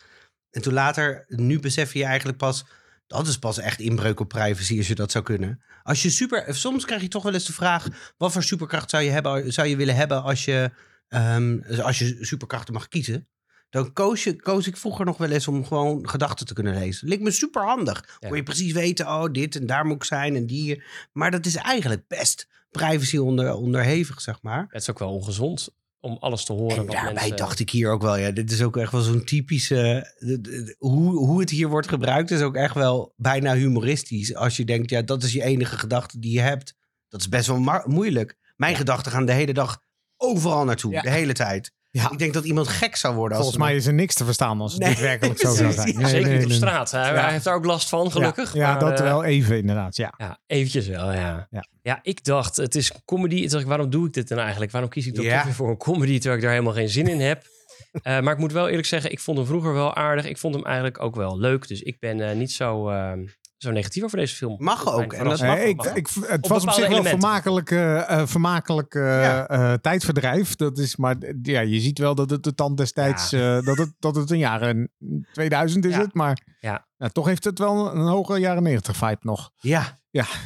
Speaker 4: En toen later, nu besef je eigenlijk pas... Dat is pas echt inbreuk op privacy als je dat zou kunnen. Als je super, soms krijg je toch wel eens de vraag... wat voor superkracht zou je, hebben, zou je willen hebben als je, ehm, als je superkrachten mag kiezen? Dan koos, je, koos ik vroeger nog wel eens om gewoon gedachten te kunnen lezen. Leek me super handig.
Speaker 3: Ja.
Speaker 4: Kon je precies weten, oh, dit en daar moet ik zijn en die. Maar dat is eigenlijk best privacy onder, onderhevig, zeg maar.
Speaker 3: Het is ook wel ongezond om alles te horen.
Speaker 4: En
Speaker 3: wat
Speaker 4: daarbij
Speaker 3: mensen-
Speaker 4: dacht ik hier ook wel, ja, dit is ook echt wel zo'n typische. de- de- de- hoe, hoe het hier wordt gebruikt is ook echt wel bijna humoristisch. Als je denkt, ja, dat is je enige gedachte die je hebt. Dat is best wel ma- moeilijk. Mijn gedachten gaan de hele dag overal naartoe,
Speaker 1: Ja.
Speaker 4: de hele tijd.
Speaker 2: Ja.
Speaker 4: Ik denk dat iemand gek zou worden.
Speaker 2: Volgens
Speaker 4: als ze-
Speaker 2: mij is er niks te verstaan als het
Speaker 4: Nee,
Speaker 2: dit werkelijk zo zou
Speaker 4: precies,
Speaker 2: zijn.
Speaker 4: ja.
Speaker 2: Nee,
Speaker 3: Zeker
Speaker 2: nee,
Speaker 3: niet op
Speaker 2: nee.
Speaker 3: straat. Hij,
Speaker 2: Ja.
Speaker 3: hij heeft daar ook last van, gelukkig.
Speaker 2: Ja,
Speaker 3: maar,
Speaker 2: ja, dat
Speaker 3: eh,
Speaker 2: wel even inderdaad, ja.
Speaker 3: Ja, eventjes wel, ja. ja.
Speaker 2: Ja.
Speaker 3: ik dacht, het is comedy. Ik dacht, waarom doe ik dit dan eigenlijk? Waarom kies ik dan
Speaker 4: Ja.
Speaker 3: toch weer voor een comedy terwijl ik daar helemaal geen zin in heb? Eh, maar ik moet wel eerlijk zeggen, ik vond hem vroeger wel aardig. Ik vond hem eigenlijk ook wel leuk. Dus ik ben eh, niet zo, eh, zo negatief over deze film.
Speaker 4: Mag ook. En dat
Speaker 3: Mag
Speaker 2: Nee, Eh, ik,
Speaker 3: wel, mag
Speaker 2: ik, het
Speaker 3: Op
Speaker 2: was op
Speaker 3: bepaalde
Speaker 2: zich wel
Speaker 3: elementen.
Speaker 2: vermakelijk, eh, eh, vermakelijk eh,
Speaker 4: Ja.
Speaker 2: eh, tijdverdrijf. Dat is, maar eh, ja, je ziet wel dat het de tand destijds, eh, dat, het, dat het een jaren 2000 is
Speaker 3: Ja.
Speaker 2: het. Maar
Speaker 3: Ja.
Speaker 2: nou, toch heeft het wel een, een hoge jaren 90 vibe nog.
Speaker 4: Ja.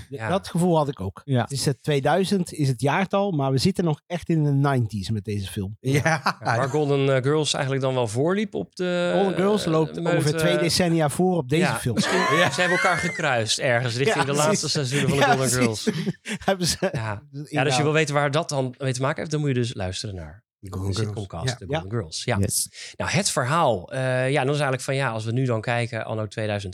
Speaker 3: Ja.
Speaker 1: Dat gevoel had ik ook.
Speaker 2: Ja.
Speaker 1: Het is het 2000 is het jaartal, maar we zitten nog echt in de 90s met deze film.
Speaker 4: Ah, Ja,
Speaker 3: Waar Golden eh, Girls eigenlijk dan wel voorliep op de...
Speaker 1: Golden Girls
Speaker 3: eh,
Speaker 1: loopt
Speaker 3: de meute-
Speaker 1: ongeveer twee decennia voor op deze
Speaker 3: ja,
Speaker 1: film.
Speaker 3: misschien- Ze hebben elkaar gekruist ergens
Speaker 1: Ja,
Speaker 3: richting de
Speaker 1: precies.
Speaker 3: laatste seizoenen van de
Speaker 1: Ja,
Speaker 3: Golden
Speaker 1: precies.
Speaker 3: Girls.
Speaker 1: Hebben ze-
Speaker 3: Ja. ja,
Speaker 1: inderdaad.
Speaker 3: dus je wil weten waar dat dan mee te maken heeft, dan moet je dus luisteren naar de sitcomcast,
Speaker 4: Ja.
Speaker 3: de
Speaker 1: Ja.
Speaker 3: Golden Girls. Ja.
Speaker 2: Yes.
Speaker 3: Nou, het verhaal. eh, ja, dan is eigenlijk van ja, als we nu dan kijken, anno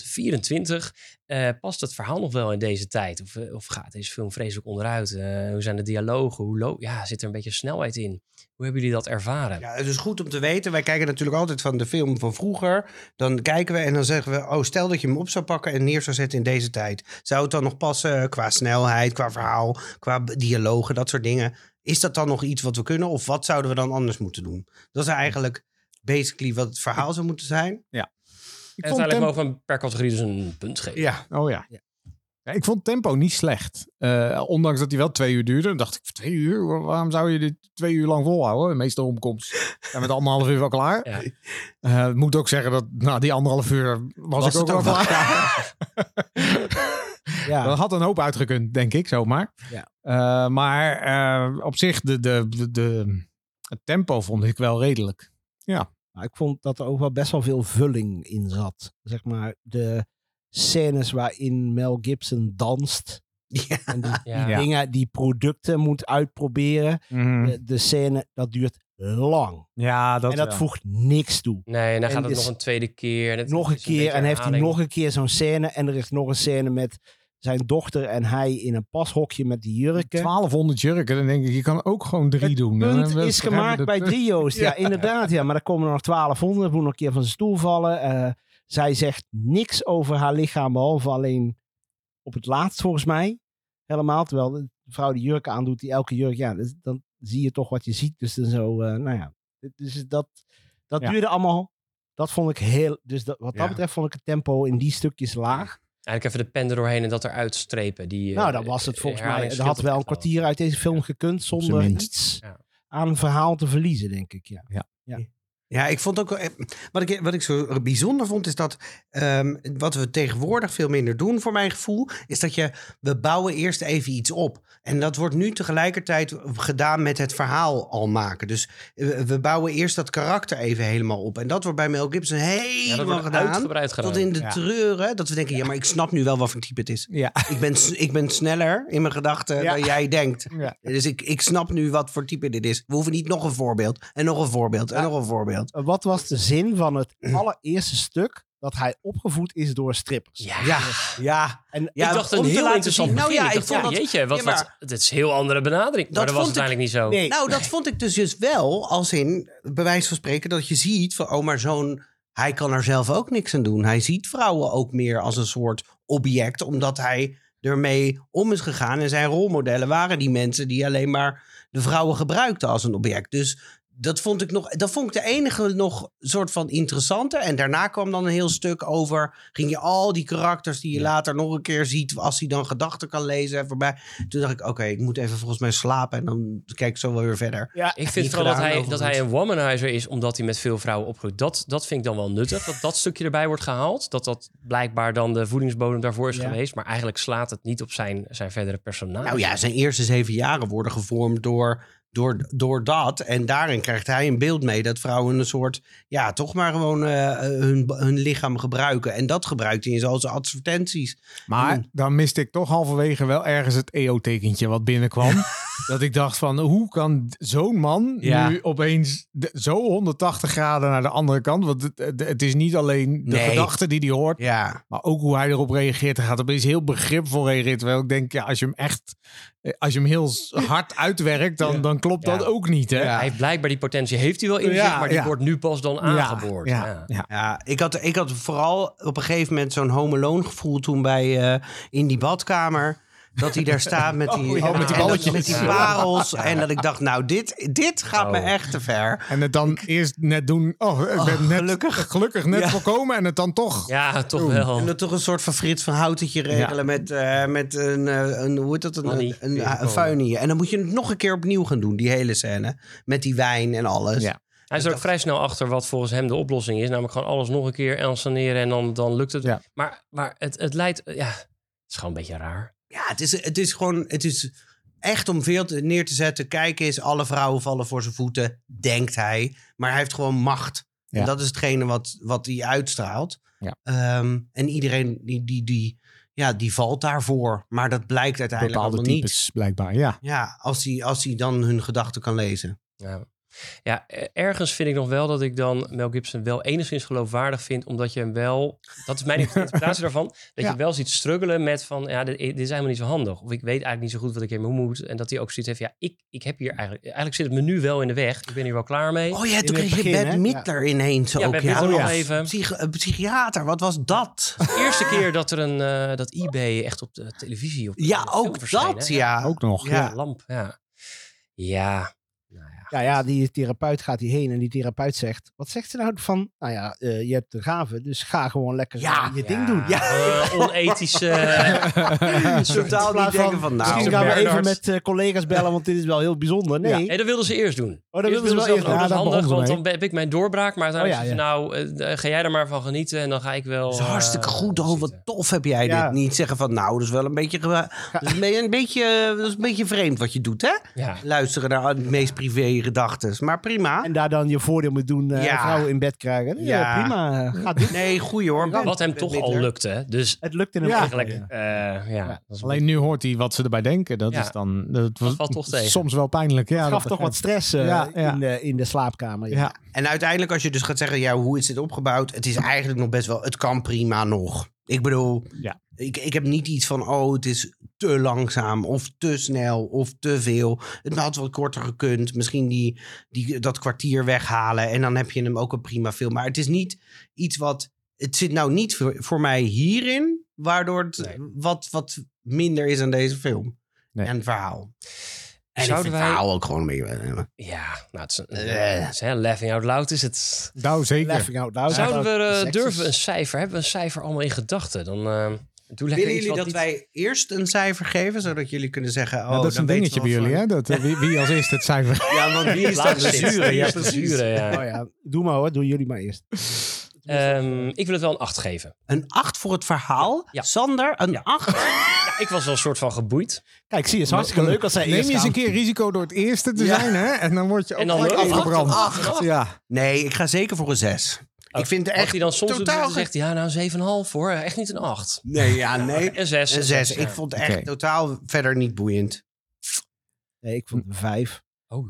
Speaker 3: 2024, eh, past het verhaal nog wel in deze tijd? Of, eh, of gaat deze film vreselijk onderuit? Eh, hoe zijn de dialogen? Hoe lo- ja, zit er een beetje snelheid in? Hoe hebben jullie dat ervaren?
Speaker 4: Ja, het is goed om te weten. Wij kijken natuurlijk altijd van de film van vroeger. Dan kijken we en dan zeggen we... oh, stel dat je hem op zou pakken en neer zou zetten in deze tijd. Zou het dan nog passen qua snelheid, qua verhaal, qua b- dialogen, dat soort dingen? Is dat dan nog iets wat we kunnen? Of wat zouden we dan anders moeten doen? Dat is eigenlijk basically wat het verhaal zou moeten zijn.
Speaker 2: Ik
Speaker 3: en
Speaker 2: vond
Speaker 3: uiteindelijk
Speaker 2: tempo,
Speaker 3: mogen we hem per categorie dus een punt geven.
Speaker 4: Ja.
Speaker 2: oh ja.
Speaker 1: Ja.
Speaker 2: Ja, ik vond tempo niet slecht. Eh, ondanks dat hij wel twee uur duurde. Dan dacht ik, twee uur? Waar- Waarom zou je dit twee uur lang volhouden? De meeste omkomst zijn met anderhalf uur wel klaar.
Speaker 3: Ja.
Speaker 2: Eh, ik moet ook zeggen dat na die anderhalf uur was,
Speaker 4: Was
Speaker 2: ik ook
Speaker 4: het
Speaker 2: wel
Speaker 4: ook wel
Speaker 2: klaar.
Speaker 1: ja.
Speaker 2: Dat had een hoop uitgekund, denk ik, zomaar.
Speaker 1: Ja.
Speaker 2: Eh, maar eh, op zich, de, de, de, de- het tempo vond ik wel redelijk.
Speaker 1: Maar ik vond dat er ook wel best wel veel vulling in zat. Zeg maar de scènes waarin Mel Gibson danst.
Speaker 4: Ja.
Speaker 1: En die, die
Speaker 3: Ja.
Speaker 1: dingen, die producten moet uitproberen.
Speaker 3: Hm?
Speaker 1: De, de scène, dat duurt lang.
Speaker 2: Mhm. Ja, dat
Speaker 1: en dat voegt niks toe.
Speaker 3: Nee, en dan
Speaker 1: En
Speaker 3: gaat het
Speaker 1: dus
Speaker 3: nog een tweede keer. en het
Speaker 1: nog een
Speaker 3: is beetje
Speaker 1: keer en heeft hij
Speaker 3: herhaling.
Speaker 1: nog een keer zo'n scène. En er is nog een scène met zijn dochter en hij in een pashokje met die jurken.
Speaker 2: 1200 jurken, dan denk ik, je kan ook gewoon drie
Speaker 1: Het
Speaker 2: doen. Dan
Speaker 1: punt
Speaker 2: hebben Nou, we-
Speaker 1: is
Speaker 2: hebben we
Speaker 1: gemaakt
Speaker 2: de
Speaker 1: bij
Speaker 2: punt.
Speaker 1: drie Joost. Ja,
Speaker 2: Ja.
Speaker 1: inderdaad. Ja. Maar dan komen er nog 1200. Moet nog een keer van zijn stoel vallen. Eh, zij zegt niks over haar lichaam. Behalve alleen op het laatst volgens mij. Helemaal. Terwijl de vrouw die jurken aandoet. Die elke jurk. Ja, dus dan zie je toch wat je ziet. Dus dan zo. eh, nou ja. Dus dat, dat
Speaker 2: Ja.
Speaker 1: duurde allemaal. Dat vond ik heel. Dus dat, wat dat
Speaker 4: Ja.
Speaker 1: betreft vond ik het tempo in die stukjes laag.
Speaker 3: Eigenlijk even de pen er doorheen en dat eruit strepen. Die, eh,
Speaker 1: nou, dat was het volgens mij.
Speaker 3: herhaling
Speaker 1: Er
Speaker 3: scheelt
Speaker 1: had wel een
Speaker 3: echt
Speaker 1: kwartier uit deze film gekund. Zonder
Speaker 2: minst.
Speaker 1: iets
Speaker 3: Ja.
Speaker 1: aan verhaal te verliezen, denk ik. Ja.
Speaker 4: Ja, ik vond ook. eh, Wat ik, wat ik zo bijzonder vond, is dat. ehm, wat we tegenwoordig veel minder doen, voor mijn gevoel. Is dat je. We bouwen eerst even iets op. En dat wordt nu tegelijkertijd gedaan met het verhaal al maken. Dus eh, we, we bouwen eerst dat karakter even helemaal op. En dat wordt bij Mel Gibson
Speaker 3: Ja, dat
Speaker 4: helemaal
Speaker 3: wordt
Speaker 4: gedaan.
Speaker 3: uitgebreid gedaan.
Speaker 4: Tot in de
Speaker 2: Ja.
Speaker 4: treuren. Dat we denken, ja, maar ik snap nu wel wat voor type het is.
Speaker 2: Ja.
Speaker 4: Ik ben, s- ik ben sneller in mijn gedachten
Speaker 2: Ja.
Speaker 4: dan jij denkt.
Speaker 2: Ja.
Speaker 4: Dus ik, ik snap nu wat voor type dit is. We hoeven niet nog een voorbeeld. En nog een voorbeeld. En nog een voorbeeld.
Speaker 1: Uh, wat was de zin van het allereerste stuk dat hij opgevoed is door strippers?
Speaker 3: Ja.
Speaker 4: Ja, ja.
Speaker 1: En
Speaker 4: Ja,
Speaker 3: ik dacht
Speaker 4: om
Speaker 3: een
Speaker 4: te
Speaker 3: heel
Speaker 4: laten
Speaker 3: interessant
Speaker 4: zien. Nou
Speaker 3: begin.
Speaker 4: ja,
Speaker 3: ik dacht,
Speaker 4: ik vond
Speaker 3: ja,
Speaker 4: dat-
Speaker 3: jeetje, wat,
Speaker 4: Ja, maar-
Speaker 3: wat, dit is een heel andere benadering. maar
Speaker 4: Dat
Speaker 3: dat was
Speaker 4: vond ik-
Speaker 3: uiteindelijk niet zo.
Speaker 1: nee,
Speaker 4: Nou, dat vond ik dus, dus wel als in, bij wijze van spreken, dat je ziet van, oh, maar zo'n Hij kan er zelf ook niks aan doen. Hij ziet vrouwen ook meer als een soort object, omdat hij ermee om is gegaan. En zijn rolmodellen waren die mensen die alleen maar de vrouwen gebruikten als een object. Dus dat vond ik nog, dat vond ik de enige nog soort van interessante. En daarna kwam dan een heel stuk over, ging je al die karakters die je later nog een keer ziet, als hij dan gedachten kan lezen, voorbij. Toen dacht ik, oké, ik moet even volgens mij slapen en dan kijk ik zo wel weer verder.
Speaker 1: Ja,
Speaker 3: Ik vind
Speaker 4: Niet
Speaker 3: vooral dat
Speaker 4: gedaan,
Speaker 3: hij, dat hij een
Speaker 4: overigens.
Speaker 3: womanizer is omdat hij met veel vrouwen opgroeit. Dat, dat vind ik dan wel nuttig, dat dat stukje erbij wordt gehaald. Dat dat blijkbaar dan de voedingsbodem daarvoor is
Speaker 1: Ja.
Speaker 3: geweest. Maar eigenlijk slaat het niet op zijn, zijn verdere personage.
Speaker 4: Nou ja, zijn eerste zeven jaren worden gevormd door, door, door dat. En daarin krijgt hij een beeld mee dat vrouwen een soort, ja, toch maar gewoon eh, hun, hun lichaam gebruiken. En dat gebruikt hij in al zijn advertenties.
Speaker 2: Maar
Speaker 4: Mm.
Speaker 2: dan miste ik toch halverwege wel ergens het EO-tekentje wat binnenkwam. dat ik dacht van, hoe kan zo'n man
Speaker 3: Ja.
Speaker 2: nu opeens de- zo 180 graden naar de andere kant? Want het, het- het is niet alleen de
Speaker 4: Nee.
Speaker 2: gedachte die hij hoort,
Speaker 4: Ja,
Speaker 2: maar ook hoe hij erop reageert. Hij gaat opeens heel begripvol reageren. Terwijl ik denk, ja, als je hem echt, eh, als je hem heel s- hard uitwerkt, dan, dan klopt
Speaker 3: Ja.
Speaker 2: dat ook niet, hè?
Speaker 3: Hij heeft blijkbaar die potentie, heeft hij wel in zich,
Speaker 2: Ja,
Speaker 3: maar die
Speaker 2: ja.
Speaker 3: wordt nu pas dan aangeboord.
Speaker 2: Ja, ja,
Speaker 3: Ja.
Speaker 2: ja.
Speaker 4: ja ik, had, ik had vooral op een gegeven moment zo'n home alone gevoel toen bij, eh, in die badkamer. Dat hij daar staat met die,
Speaker 2: Oh, ja.
Speaker 4: en
Speaker 2: Met die
Speaker 4: dat-
Speaker 2: balletjes.
Speaker 4: met die
Speaker 2: Ja.
Speaker 4: parels. En dat ik dacht, nou, dit, dit gaat me
Speaker 3: Oh.
Speaker 4: echt te ver.
Speaker 2: En het dan eerst net doen, oh, ik ben net, gelukkig. net voorkomen en het dan toch.
Speaker 3: Ja, toch
Speaker 2: Oeh.
Speaker 3: wel.
Speaker 4: En dat toch een soort van Frits van Houtetje regelen met, eh, met een, eh, een, hoe heet dat, een,
Speaker 3: Annie,
Speaker 4: een, een,
Speaker 3: tegenkomen.
Speaker 4: een vuilnie. En dan moet je het nog een keer opnieuw gaan doen, die hele scène. Met die wijn en alles.
Speaker 2: Ja.
Speaker 3: Hij is er ook vrij snel achter wat volgens hem de oplossing is. Namelijk gewoon alles nog een keer ensaneren en dan, dan lukt het.
Speaker 2: Ja.
Speaker 3: Maar, maar het, het leidt... Ja, het is gewoon een beetje raar.
Speaker 4: Ja, het is, het is gewoon, het is echt om veel te- neer te zetten. Kijk eens, alle vrouwen vallen voor zijn voeten, denkt hij. Maar hij heeft gewoon macht.
Speaker 2: Ja.
Speaker 4: En dat is hetgene wat, wat hij uitstraalt.
Speaker 2: Ja.
Speaker 4: Ehm, en iedereen die, die, die, ja, die valt daarvoor. Maar dat blijkt uiteindelijk
Speaker 2: Bepaalde
Speaker 4: allemaal
Speaker 2: types, blijkbaar, ja.
Speaker 4: niet. Ja, als hij, als hij dan hun gedachten kan lezen.
Speaker 3: Ja. ja, eh, ergens vind ik nog wel dat ik dan Mel Gibson wel enigszins geloofwaardig vind. Omdat je hem wel... Dat is mijn interpretatie daarvan. Dat je
Speaker 2: Ja.
Speaker 3: hem wel ziet struggelen met van... Ja, dit, dit is helemaal niet zo handig. Of ik weet eigenlijk niet zo goed wat ik hiermee moet. En dat hij ook zoiets heeft. Ja, ik, ik heb hier eigenlijk... Eigenlijk zit het me nu wel in de weg. Ik ben hier wel klaar mee.
Speaker 4: Oh ja,
Speaker 1: In
Speaker 4: toen
Speaker 1: het
Speaker 4: kreeg je
Speaker 1: begin,
Speaker 4: Bad
Speaker 1: hè?
Speaker 4: Midler ineens
Speaker 3: ja,
Speaker 4: ook.
Speaker 3: ben
Speaker 4: ja. Oh,
Speaker 3: er nog
Speaker 2: ja.
Speaker 3: even.
Speaker 4: Psych- een psychiater, wat was dat?
Speaker 3: De eerste keer dat er een eh, dat eBay echt op de televisie op
Speaker 4: Ja,
Speaker 3: op de film
Speaker 4: ook
Speaker 3: verscheen,
Speaker 4: dat,
Speaker 3: hè?
Speaker 4: ja.
Speaker 2: Ook nog.
Speaker 4: Ja.
Speaker 3: Ja, lamp, ja. Ja, nou ja.
Speaker 1: Ja, ja, die therapeut gaat hierheen en die therapeut zegt... Wat zegt ze nou van... Nou ja, eh, je hebt de gave, dus ga gewoon lekker zo
Speaker 4: Ja,
Speaker 1: je ding doen.
Speaker 4: Ja.
Speaker 3: eh, onethische. eh,
Speaker 4: Totaal niet
Speaker 1: plaats van-
Speaker 4: denken van, nou...
Speaker 1: Misschien gaan we even
Speaker 3: Bernard.
Speaker 1: met eh, collega's bellen, want dit is wel heel bijzonder. Nee,
Speaker 3: nee, dat wilden ze eerst doen.
Speaker 1: oh, dat
Speaker 3: Eerst
Speaker 1: wilden ze wel
Speaker 3: wilden
Speaker 1: eerst.
Speaker 3: ze dat-
Speaker 1: Ja, daar
Speaker 3: oh, dat is handig,
Speaker 1: begonnen
Speaker 3: want
Speaker 1: we
Speaker 3: dan heb ik mijn doorbraak. Maar uiteindelijk
Speaker 1: Oh, ja,
Speaker 3: zeggen ze, nou, eh, ga jij er maar van genieten. En dan ga ik wel...
Speaker 4: Het is hartstikke
Speaker 3: eh,
Speaker 4: goed. Oh, wat
Speaker 3: zitten.
Speaker 4: tof heb jij
Speaker 1: Ja.
Speaker 4: dit. Niet zeggen van, nou, dat is wel een beetje, gewa- dat is een be- een beetje, dat is een beetje vreemd wat je doet, hè?
Speaker 3: Ja.
Speaker 4: Luisteren naar de meest privé gedachten. Maar prima.
Speaker 1: En daar dan je voordeel moet doen, eh,
Speaker 4: Ja.
Speaker 1: vrouwen in bed krijgen. Ja,
Speaker 4: Ja.
Speaker 1: prima. eh, Gaat doen.
Speaker 4: Nee, goeie hoor.
Speaker 3: Wat hem
Speaker 4: Bad
Speaker 3: toch
Speaker 4: Midler.
Speaker 3: al lukte. Dus
Speaker 1: Het lukt in hem
Speaker 2: Ja.
Speaker 1: eigenlijk.
Speaker 3: eigenlijk... eh, ja,
Speaker 1: Ja,
Speaker 3: dat is
Speaker 2: Alleen nu hoort hij wat ze erbij denken. Dat
Speaker 3: Ja.
Speaker 2: is dan dat was
Speaker 3: valt toch tegen.
Speaker 2: soms wel pijnlijk. Ja,
Speaker 1: Het gaf
Speaker 2: dat
Speaker 1: toch wat
Speaker 2: begrijp
Speaker 1: stress eh,
Speaker 2: Ja, ja.
Speaker 1: In, de, in de slaapkamer.
Speaker 2: ik. Ja,
Speaker 4: En uiteindelijk als je dus gaat zeggen, ja, hoe is dit opgebouwd? Het is eigenlijk nog best wel, het kan prima nog. Ik bedoel,
Speaker 2: Ja.
Speaker 4: ik, ik heb niet iets van, oh, het is te langzaam of te snel of te veel. Het had wel korter gekund. Misschien die, die, dat kwartier weghalen en dan heb je hem ook een prima film. Maar het is niet iets wat, het zit nou niet voor, voor mij hierin, waardoor het
Speaker 3: Nee.
Speaker 4: wat, wat minder is aan deze film.
Speaker 2: Nee.
Speaker 4: En het verhaal. En
Speaker 3: Zouden
Speaker 4: het
Speaker 3: wij-
Speaker 4: verhaal ook gewoon eh, mee.
Speaker 3: Ja, nou, het is een...
Speaker 4: Eh.
Speaker 3: het is, hè, laughing out loud is het...
Speaker 2: nou zeker.
Speaker 1: Laughing out loud.
Speaker 3: Zouden we eh,
Speaker 1: Sexist.
Speaker 3: durven een cijfer? Hebben we een cijfer allemaal in gedachten? Dan eh, doe lekker
Speaker 4: Willen
Speaker 3: iets
Speaker 4: jullie
Speaker 3: wat
Speaker 4: dat
Speaker 3: niet-
Speaker 4: wij eerst een cijfer geven, zodat jullie kunnen zeggen... Oh,
Speaker 2: Nou, dat is
Speaker 4: dan
Speaker 2: een dingetje bij
Speaker 4: weten we
Speaker 2: jullie,
Speaker 4: wat
Speaker 2: hè? Dat, eh, wie, wie als eerst het cijfer.
Speaker 4: voor- Ja, want wie is dan
Speaker 3: Laat
Speaker 4: de
Speaker 3: zitten.
Speaker 4: zure?
Speaker 3: Wie
Speaker 4: Ja,
Speaker 3: is de
Speaker 4: precies.
Speaker 3: zure, ja.
Speaker 1: Oh ja, doe maar hoor, doen jullie maar eerst.
Speaker 3: Ehm, ik wil het wel een 8 geven.
Speaker 4: Een 8 voor het verhaal.
Speaker 3: Ja.
Speaker 4: Sander, een
Speaker 3: Ja.
Speaker 4: 8.
Speaker 3: Ja, ik was wel een soort van geboeid.
Speaker 1: Kijk, zie je, het is hartstikke leuk als zij
Speaker 2: Neem
Speaker 1: eerst
Speaker 2: je eens
Speaker 1: gaan.
Speaker 2: een keer risico door het eerste te
Speaker 4: Ja.
Speaker 2: zijn, hè? En dan word je ook
Speaker 3: En dan
Speaker 2: gelijk
Speaker 3: ook nog
Speaker 2: afgebrand.
Speaker 4: achter- achter-
Speaker 2: Ja.
Speaker 4: Nee, ik ga zeker voor een 6. ik vind het
Speaker 3: Echt
Speaker 4: echt...
Speaker 3: hij dan soms doet,
Speaker 4: totaal
Speaker 3: dan
Speaker 4: geen-
Speaker 3: zegt hij, ja, nou 7,5 hoor. Echt niet een 8.
Speaker 4: Nee, ja, nee.
Speaker 3: Een 6.
Speaker 4: Een 6. Ik vond het echt
Speaker 2: Oké.
Speaker 4: totaal verder niet boeiend.
Speaker 1: Nee, ik vond het een vijf.
Speaker 3: Oh.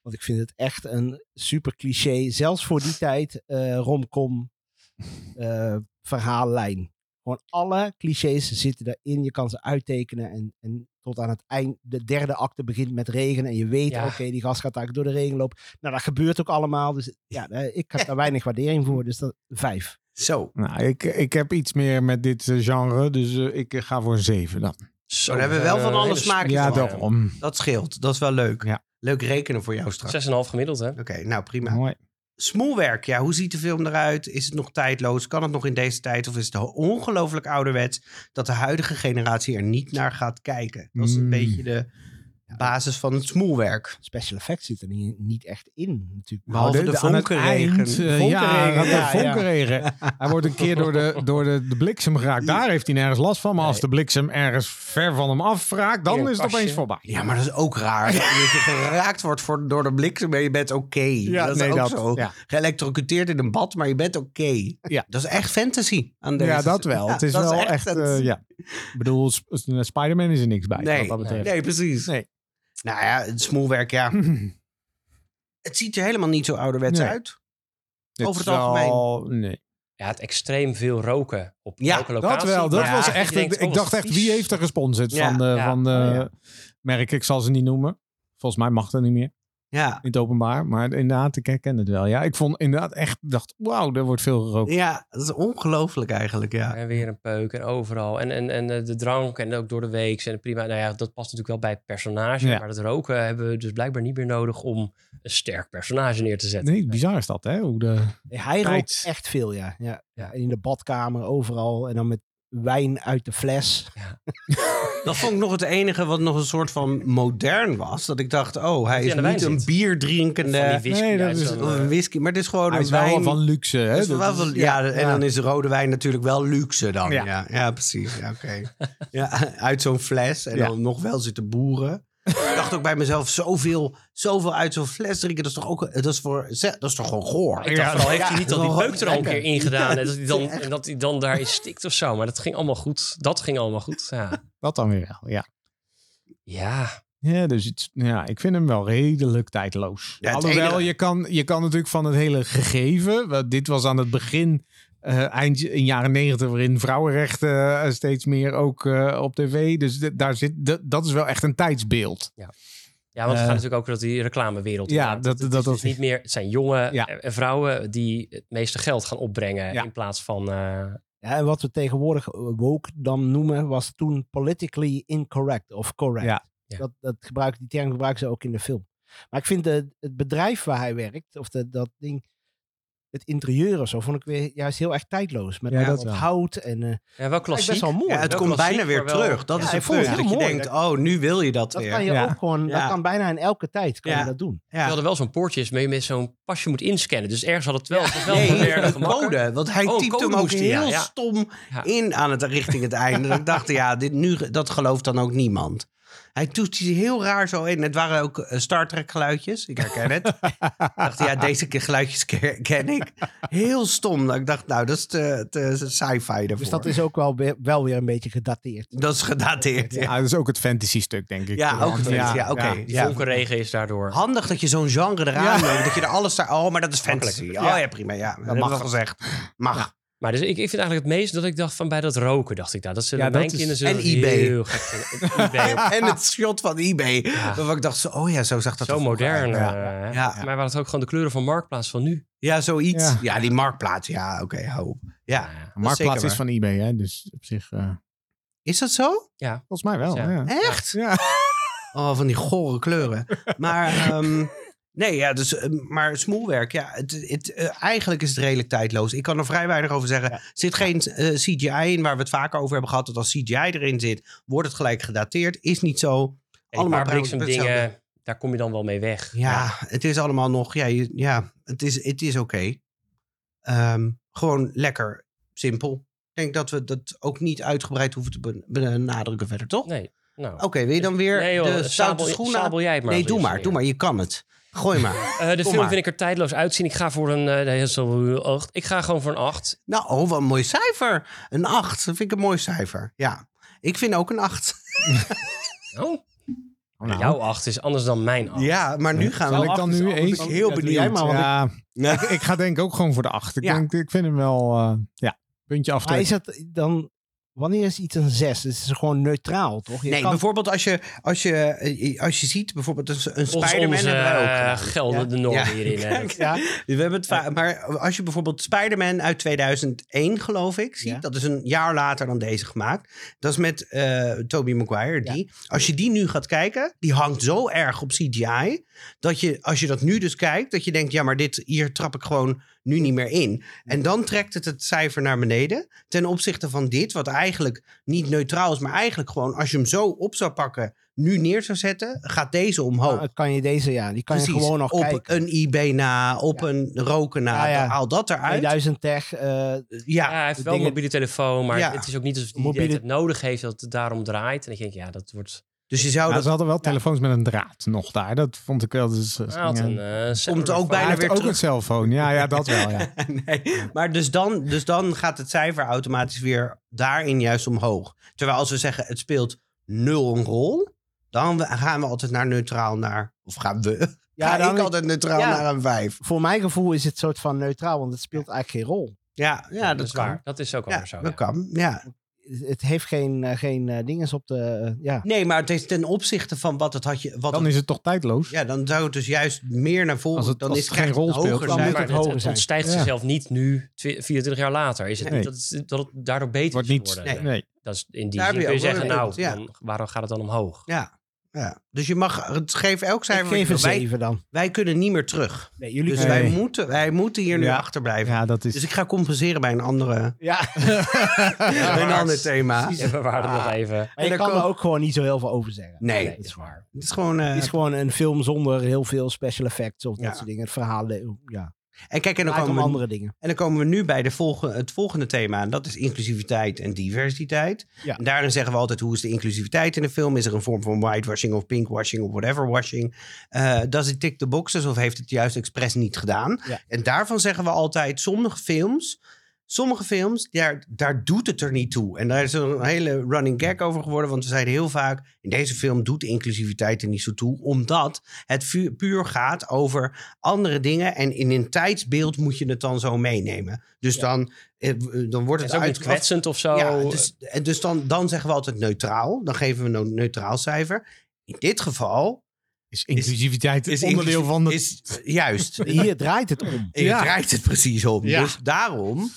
Speaker 1: Want ik vind het echt een super cliché, zelfs voor die tijd, eh romcom eh, verhaallijn. Gewoon alle clichés zitten daarin. Je kan ze uittekenen en, en tot aan het eind, de derde acte begint met regen. En je weet,
Speaker 3: Ja.
Speaker 1: oké, die gast gaat daar door de regen lopen. Nou, dat gebeurt ook allemaal. Dus ja, eh, ik heb daar weinig waardering voor. Dus dat, vijf.
Speaker 4: Zo.
Speaker 2: Nou, ik, ik heb iets meer met dit eh, genre, dus eh, ik ga voor een 7 dan.
Speaker 3: Zo,
Speaker 4: Maar dan hebben we wel
Speaker 3: zijn,
Speaker 4: van
Speaker 3: eh,
Speaker 4: alle
Speaker 3: hele
Speaker 4: smaken.
Speaker 2: Ja,
Speaker 4: toch?
Speaker 2: daarom.
Speaker 4: Dat scheelt. Dat is wel leuk.
Speaker 2: Ja.
Speaker 4: Leuk rekenen voor jou straks.
Speaker 3: 6,5 gemiddeld, hè?
Speaker 4: Oké, nou prima.
Speaker 2: Mooi.
Speaker 4: Smoelwerk, ja, hoe ziet de film eruit? Is het nog tijdloos? Kan het nog in deze tijd? Of is het ongelooflijk ouderwets dat de huidige generatie er niet naar gaat kijken? Dat is een
Speaker 2: Mm.
Speaker 4: beetje de basis van het smoelwerk.
Speaker 1: Special effects zitten er niet, niet echt in, natuurlijk.
Speaker 4: Behalve Oh, de,
Speaker 2: aan het
Speaker 4: vonkenregen.
Speaker 2: eind, eh, ja,
Speaker 1: Vonkenregen,
Speaker 2: dat
Speaker 1: ja,
Speaker 2: de
Speaker 1: ja.
Speaker 2: vonkenregen. Hij wordt een keer door, de, door de, de bliksem geraakt. Daar heeft hij nergens last van. Maar als de bliksem ergens ver van hem af raakt,
Speaker 3: In
Speaker 2: dan
Speaker 3: een
Speaker 2: is het
Speaker 3: kastje.
Speaker 2: opeens voorbij.
Speaker 4: Ja, maar dat is ook raar. Dat je geraakt wordt voor, door de bliksem, maar je bent oké. dat is
Speaker 2: nee,
Speaker 4: ook
Speaker 2: dat-
Speaker 4: zo.
Speaker 2: ja.
Speaker 4: Geëlectrocuteerd in een bad, maar je bent oké.
Speaker 2: Ja.
Speaker 4: Dat is echt fantasy aan deze.
Speaker 2: Ja, dat wel.
Speaker 4: Ja,
Speaker 2: het is
Speaker 4: dat
Speaker 2: wel echt.
Speaker 4: het-
Speaker 2: eh, ja. Ik bedoel, Sp- eh, Spider-Man is er niks bij.
Speaker 4: Nee,
Speaker 2: wat dat betreft.
Speaker 4: nee, precies.
Speaker 2: Nee.
Speaker 4: Nou ja, het smoelwerk, ja. Het ziet er helemaal niet zo ouderwets
Speaker 2: Nee.
Speaker 4: uit.
Speaker 2: Dit
Speaker 4: Over het
Speaker 2: is
Speaker 4: algemeen.
Speaker 2: wel- Nee.
Speaker 3: Ja, het extreem veel roken op
Speaker 4: Ja,
Speaker 3: elke locatie.
Speaker 2: Dat wel. Dat
Speaker 3: Ja,
Speaker 2: was
Speaker 3: je
Speaker 2: echt.
Speaker 3: denkt, oh,
Speaker 2: ik
Speaker 3: wat
Speaker 2: dacht echt, wie
Speaker 3: vies.
Speaker 2: heeft er gesponsord
Speaker 4: Ja,
Speaker 2: van de,
Speaker 3: ja.
Speaker 2: van de
Speaker 1: Oh, ja.
Speaker 2: merk? Ik zal ze niet noemen. Volgens mij mag dat niet meer.
Speaker 4: Ja.
Speaker 2: In het openbaar. Maar inderdaad, ik herken het wel. Ja, ik vond inderdaad echt, dacht, wauw, er wordt veel gerookt.
Speaker 4: Ja, dat is ongelooflijk eigenlijk, ja.
Speaker 3: En weer een peuk en overal. En, en, en eh, de drank en ook door de week. En prima. Nou ja, dat past natuurlijk wel bij het personage.
Speaker 2: Ja.
Speaker 3: Maar dat roken hebben we dus blijkbaar niet meer nodig om een sterk personage neer te zetten.
Speaker 2: Nee, bizar is dat, hè? Hoe de...
Speaker 1: Hij rookt
Speaker 2: Tijd.
Speaker 1: echt veel, ja. ja.
Speaker 3: Ja.
Speaker 1: En in de badkamer, overal. En dan met wijn uit de fles.
Speaker 4: Dat vond ik nog het enige wat nog een soort van modern was. Dat ik dacht, oh, hij
Speaker 3: hij
Speaker 4: is
Speaker 3: aan de wijn
Speaker 4: niet een
Speaker 3: zit. Van die
Speaker 4: bierdrinkende
Speaker 3: whisky
Speaker 2: nee, dat
Speaker 3: uit
Speaker 2: is-
Speaker 3: zo'n,
Speaker 4: of
Speaker 3: eh,
Speaker 4: een whisky. Maar het is gewoon
Speaker 2: Hij
Speaker 4: een
Speaker 2: is wel
Speaker 4: wijn.
Speaker 2: van luxe, hè?
Speaker 4: het is
Speaker 2: Dat
Speaker 4: wel
Speaker 2: is-
Speaker 4: van- Dus ja, en dan is rode wijn natuurlijk wel luxe dan. Ja,
Speaker 2: Ja.
Speaker 4: ja, precies. Ja, oké. ja, uit zo'n fles en
Speaker 2: Ja.
Speaker 4: dan nog wel zitten boeren. ik dacht ook bij mezelf, zoveel, zoveel uit zo'n fles drinken, dat is toch, ook, dat is voor, dat is toch gewoon goor?
Speaker 3: Ik dacht
Speaker 2: Ja.
Speaker 3: vooral, heeft hij niet al die
Speaker 4: Ja.
Speaker 3: peuk er al een keer in gedaan? En dat hij dan,
Speaker 4: Echt.
Speaker 3: en dat hij dan daarin stikt of zo. Maar dat ging allemaal goed. Dat ging allemaal goed. Ja,
Speaker 2: Dat dan weer wel, ja.
Speaker 3: ja.
Speaker 2: Ja, dus het, ja, ik vind hem wel redelijk tijdloos.
Speaker 4: Ja, het
Speaker 2: Alhoewel,
Speaker 4: enige-
Speaker 2: je, kan, je kan natuurlijk van het hele gegeven... want Dit was aan het begin, eh, eind in jaren negentig... waarin vrouwenrechten eh, steeds meer ook eh, op tv... Dus d- daar zit, d- dat is wel echt een tijdsbeeld.
Speaker 3: ja want het
Speaker 2: Eh.
Speaker 3: gaat natuurlijk ook dat die reclamewereld.
Speaker 2: Ja,
Speaker 3: inderdaad,
Speaker 2: dat-
Speaker 3: het
Speaker 2: dat-
Speaker 3: is dus
Speaker 2: dat-
Speaker 3: niet meer. Het zijn jonge
Speaker 2: Ja.
Speaker 3: en vrouwen die het meeste geld gaan opbrengen.
Speaker 2: Ja.
Speaker 3: In plaats van. eh,
Speaker 1: Ja, en wat we tegenwoordig eh, woke dan noemen, was toen politically incorrect of correct.
Speaker 2: Ja.
Speaker 3: Ja.
Speaker 1: Dat, dat gebruik, die term gebruiken ze ook in de film. Maar ik vind de, het bedrijf waar hij werkt, of de, dat ding, het interieur of zo, vond ik weer juist heel erg tijdloos. Met
Speaker 2: Ja,
Speaker 1: allemaal
Speaker 2: dat wel.
Speaker 1: hout en eh,
Speaker 3: ja, wel klassiek.
Speaker 1: best wel mooi.
Speaker 4: Ja, het
Speaker 3: Wel
Speaker 4: komt
Speaker 3: klassiek,
Speaker 4: bijna weer
Speaker 3: maar wel-
Speaker 4: terug. Dat
Speaker 1: Ja,
Speaker 4: is
Speaker 1: ik
Speaker 4: het
Speaker 1: vond
Speaker 4: punt.
Speaker 1: het
Speaker 4: Dat
Speaker 1: heel
Speaker 4: je
Speaker 1: mooi.
Speaker 4: denkt, oh, nu wil je dat,
Speaker 1: dat
Speaker 4: weer.
Speaker 1: kan je
Speaker 2: Ja.
Speaker 1: ook gewoon,
Speaker 4: Ja.
Speaker 1: dat kan bijna in elke tijd kan
Speaker 4: Ja.
Speaker 1: je dat doen.
Speaker 4: Ja.
Speaker 3: Terwijl er wel zo'n poortje is, maar je met zo'n pasje moet inscannen. Dus ergens had het wel, het was wel
Speaker 4: Nee,
Speaker 3: moderne
Speaker 4: een
Speaker 3: gemakken.
Speaker 4: code. Want hij
Speaker 3: Oh, een
Speaker 4: typte
Speaker 3: code
Speaker 4: hem ook
Speaker 3: moest hij, ja,
Speaker 4: heel
Speaker 3: ja.
Speaker 4: stom
Speaker 3: Ja.
Speaker 4: in aan het, richting het einde. Dat ik dacht, ja, dit nu, dat gelooft dan ook niemand. Hij toetste hij heel raar zo in. Het waren ook eh, Star Trek geluidjes. Ik herken het. ik dacht, ja, deze keer geluidjes ke- ken ik. Heel stom. Dat ik dacht, nou, dat is te, te sci-fi daarvoor.
Speaker 1: Dus dat is ook wel, weer- wel weer een beetje gedateerd.
Speaker 4: dat is gedateerd. Ja,
Speaker 2: Ja. dat is ook het fantasy stuk, denk ik.
Speaker 4: ja ook.
Speaker 2: Want-
Speaker 4: Ja, ja, oké.
Speaker 3: Die
Speaker 4: ja.
Speaker 3: vonkenregen is daardoor.
Speaker 4: Handig dat je zo'n genre eraan neemt. Dat je er alles daar... Oh, maar dat is fantasy. Oh ja, prima. Ja, dat,
Speaker 2: mag.
Speaker 4: mag gezegd. Mag.
Speaker 3: Maar dus ik, ik vind eigenlijk het meest dat ik dacht van bij dat roken, dacht ik daar. Dat zullen
Speaker 2: Ja, dat
Speaker 3: mijn
Speaker 2: is-
Speaker 3: kinderen zullen
Speaker 4: dus en
Speaker 3: dat
Speaker 4: eBay.
Speaker 3: heel gek vinden. En eBay.
Speaker 4: en het shot van eBay. Waarvan ik dacht, zo, oh ja, zo zag dat
Speaker 3: Zo
Speaker 4: er vroeger
Speaker 3: modern.
Speaker 4: uit. Ja.
Speaker 3: eh,
Speaker 4: Ja.
Speaker 3: Maar waren het ook gewoon de kleuren van Marktplaats van nu?
Speaker 4: ja, zoiets. Ja.
Speaker 2: Ja.
Speaker 4: die marktplaats. Ja, oké, hou op. Ja,
Speaker 2: De Marktplaats
Speaker 4: zeker
Speaker 2: is van eBay, hè? Dus op zich, eh,
Speaker 4: is dat zo?
Speaker 2: volgens mij wel.
Speaker 3: Ja.
Speaker 2: Ja.
Speaker 4: Echt?
Speaker 2: Ja.
Speaker 4: Oh, van die gore kleuren. Maar, ehm, nee, ja, dus, eh, maar smoelwerk, ja, het, het, eh, eigenlijk is het redelijk tijdloos. Ik kan er vrij weinig over zeggen. Er zit geen eh, CGI in, waar we het vaker over hebben gehad. Dat als CGI erin zit, wordt het gelijk gedateerd. Is niet zo.
Speaker 3: Allemaal
Speaker 4: bijna
Speaker 3: bliksem
Speaker 4: hetzelfde.
Speaker 3: dingen, daar kom je dan wel mee weg.
Speaker 4: Ja, het is allemaal nog. Ja, je- ja het is, het is oké. Ehm, gewoon lekker simpel. Ik denk dat we dat ook niet uitgebreid hoeven te ben- benadrukken verder, toch?
Speaker 3: Nee, nou.
Speaker 4: Oké, wil je dan weer
Speaker 3: Nee, joh, eh,
Speaker 4: de
Speaker 3: sabel-
Speaker 4: stoute schoenen?
Speaker 3: sabel jij het maar dus,
Speaker 4: nee,
Speaker 3: als eerste
Speaker 4: doe maar,
Speaker 3: neer.
Speaker 4: doe maar. Je kan het. Gooi maar.
Speaker 3: Eh, de
Speaker 4: Kom
Speaker 3: film
Speaker 4: maar.
Speaker 3: vind ik er tijdloos uitzien. Ik ga voor een... eh, nee, dat is wel acht. ik ga gewoon voor een 8.
Speaker 4: nou, oh, wat een mooi cijfer. Een 8, dat vind ik een mooi cijfer. Ja, ik vind ook een 8.
Speaker 3: Oh,
Speaker 2: Oh, nou.
Speaker 3: jouw 8 is anders dan mijn 8.
Speaker 4: Ja, maar nu gaan
Speaker 2: Zal
Speaker 4: we...
Speaker 2: ik dan nu eens...
Speaker 4: ik heel
Speaker 2: Ja, doe
Speaker 4: benieuwd.
Speaker 2: jij maar, want
Speaker 4: Ja.
Speaker 2: ik- ik, ik ga denk ik ook gewoon voor de acht. Ik,
Speaker 4: Ja.
Speaker 2: denk, ik vind hem wel... eh, ja, puntje
Speaker 1: Maar
Speaker 2: aftrekken.
Speaker 1: is dat dan Wanneer is iets een zes? Dus het is gewoon neutraal, toch? Je
Speaker 4: Nee,
Speaker 1: kan-
Speaker 4: bijvoorbeeld als je, als, je, eh, als je ziet, bijvoorbeeld een, een
Speaker 3: Volgens
Speaker 4: Spider-Man
Speaker 3: onze
Speaker 4: hebben wij ook.
Speaker 3: eh,
Speaker 4: gedaan.
Speaker 3: geldende norm
Speaker 4: Ja.
Speaker 3: hierin. hè.
Speaker 4: Kijk,
Speaker 1: Ja.
Speaker 4: We hebben het va- maar als je bijvoorbeeld Spider-Man uit 2001, geloof ik, ziet,
Speaker 1: Ja.
Speaker 4: dat is een jaar later dan deze gemaakt. Dat is met eh Tobey Maguire. Die. Als je die nu gaat kijken, die hangt zo erg op CGI. Dat je, als je dat nu dus kijkt, dat je denkt, ja, maar dit, hier trap ik gewoon nu niet meer in. En dan trekt het het cijfer naar beneden ten opzichte van dit, wat eigenlijk niet neutraal is, maar eigenlijk gewoon als je hem zo op zou pakken, nu neer zou zetten, gaat deze omhoog.
Speaker 1: Nou, kan je deze, ja, die kan je
Speaker 4: Precies.
Speaker 1: gewoon nog
Speaker 4: op
Speaker 1: kijken.
Speaker 4: een IB na, op
Speaker 1: Ja.
Speaker 4: een roken na.
Speaker 1: Ja, ja.
Speaker 4: Haal dat eruit.
Speaker 1: 2000 tech, eh,
Speaker 4: Ja,
Speaker 3: Ja, hij heeft wel
Speaker 1: dingen-
Speaker 3: een mobiele telefoon, maar
Speaker 4: Ja.
Speaker 3: het is ook niet alsof hij
Speaker 1: Mobiele-
Speaker 3: het nodig heeft dat het daarom draait. En ik denk, ja, dat wordt
Speaker 4: dus je zou
Speaker 2: Maar
Speaker 4: dat...
Speaker 2: ze hadden wel telefoons met een draad nog daar. Dat vond ik wel. Dus, eh,
Speaker 3: Hij had
Speaker 2: ja.
Speaker 3: een,
Speaker 2: Hij
Speaker 3: eh,
Speaker 4: Komt ook
Speaker 3: van-
Speaker 4: bijna
Speaker 2: heeft
Speaker 4: weer
Speaker 2: ook
Speaker 4: terug.
Speaker 2: een cellfoon. Ja, ja, dat wel. Ja.
Speaker 4: nee. Maar dus dan, dus dan gaat het cijfer automatisch weer daarin juist omhoog. Terwijl als we zeggen het speelt nul een rol, dan we- gaan we altijd naar neutraal naar... Of gaan we?
Speaker 1: ja,
Speaker 4: Ja,
Speaker 1: dan-
Speaker 4: ik altijd neutraal
Speaker 1: Ja.
Speaker 4: naar een vijf.
Speaker 1: voor mijn gevoel is het soort van neutraal, want het speelt eigenlijk geen rol.
Speaker 4: Ja, ja dat,
Speaker 3: dat is
Speaker 4: kan.
Speaker 3: waar. Dat is ook wel
Speaker 4: Ja,
Speaker 3: weer zo.
Speaker 4: dat
Speaker 3: ja.
Speaker 4: kan. Ja.
Speaker 1: Het heeft geen, eh, geen eh, dinges op de, eh, ja.
Speaker 4: Nee, maar het is ten opzichte van wat het had je... Wat
Speaker 2: Dan
Speaker 4: het-
Speaker 2: is het toch tijdloos.
Speaker 4: ja, dan zou het dus juist meer naar voren...
Speaker 2: Als het-
Speaker 4: dan
Speaker 2: als
Speaker 4: is
Speaker 2: het geen
Speaker 4: krijgt het
Speaker 2: rol speelt,
Speaker 4: hoger
Speaker 1: dan
Speaker 4: cijfer.
Speaker 1: moet het
Speaker 3: maar
Speaker 1: hoger
Speaker 3: het, het
Speaker 1: zijn.
Speaker 3: ontstijgt
Speaker 2: Ja.
Speaker 3: zichzelf niet nu, tw- 24 jaar later. Is het
Speaker 2: Nee.
Speaker 3: niet dat het, dat het daardoor beter
Speaker 2: Wordt
Speaker 3: is
Speaker 2: niet-
Speaker 3: geworden?
Speaker 4: nee.
Speaker 2: Nee.
Speaker 3: Dat is in die
Speaker 4: Daar
Speaker 3: zin
Speaker 4: heb
Speaker 3: kun
Speaker 4: je
Speaker 3: je
Speaker 4: ook wel
Speaker 3: zeggen,
Speaker 4: een
Speaker 3: nou,
Speaker 4: punt, ja.
Speaker 3: dan, waarom gaat het dan omhoog?
Speaker 4: Ja, ja. Dus je mag, het geef elk
Speaker 1: Ik
Speaker 4: cijfer. wat
Speaker 1: geef
Speaker 4: je
Speaker 1: een
Speaker 4: wil. wij,
Speaker 1: 7 dan.
Speaker 4: wij kunnen niet meer terug.
Speaker 1: Nee, jullie
Speaker 4: Dus
Speaker 2: Nee.
Speaker 4: wij, moeten, wij moeten hier nu
Speaker 2: Ja.
Speaker 4: achterblijven.
Speaker 2: Ja, dat
Speaker 4: Dus
Speaker 2: is.
Speaker 4: ik ga compenseren bij een, andere,
Speaker 1: Ja,
Speaker 4: bij een
Speaker 3: hard.
Speaker 4: ander thema.
Speaker 3: Ja, we waren nog even.
Speaker 1: maar je
Speaker 4: dan
Speaker 1: kan
Speaker 4: komen-
Speaker 1: er ook gewoon niet zo heel veel over zeggen.
Speaker 4: Nee.
Speaker 3: dat is waar.
Speaker 4: Het is gewoon. eh,
Speaker 1: Het is gewoon een film zonder heel veel special effects of
Speaker 4: Ja.
Speaker 1: dat soort dingen. Het verhaal, eh, ja.
Speaker 4: en kijk, en
Speaker 1: Het
Speaker 4: dan,
Speaker 1: gaat om
Speaker 4: komen we,
Speaker 1: andere dingen.
Speaker 4: en dan komen we nu bij de volge, het volgende thema. En dat is inclusiviteit en diversiteit.
Speaker 1: Ja.
Speaker 4: En daarin zeggen we altijd: hoe is de inclusiviteit in een film? Is er een vorm van whitewashing of pinkwashing of whateverwashing? Eh does it tick the boxes of heeft het juist expres niet gedaan?
Speaker 1: Ja.
Speaker 4: En daarvan zeggen we altijd: sommige films. Sommige films, daar, daar doet het er niet toe. En daar is een hele running gag over geworden. Want we zeiden heel vaak, in deze film doet inclusiviteit er niet zo toe. Omdat het vu- puur gaat over andere dingen. En in een tijdsbeeld moet je het dan zo meenemen. Dus dan, eh, w- dan wordt
Speaker 3: Het
Speaker 4: het,
Speaker 3: is ook niet
Speaker 4: uit, af-
Speaker 3: kwetsend of zo.
Speaker 4: ja, dus, en dus dan, dan zeggen we altijd neutraal. Dan geven we een neutraal cijfer. In dit geval
Speaker 2: Dus Is inclusiviteit
Speaker 4: is
Speaker 2: onderdeel
Speaker 4: inclusie-
Speaker 2: van de.
Speaker 4: Is, juist.
Speaker 1: Hier draait het om.
Speaker 4: En je draait het precies om.
Speaker 2: Ja.
Speaker 4: Dus daarom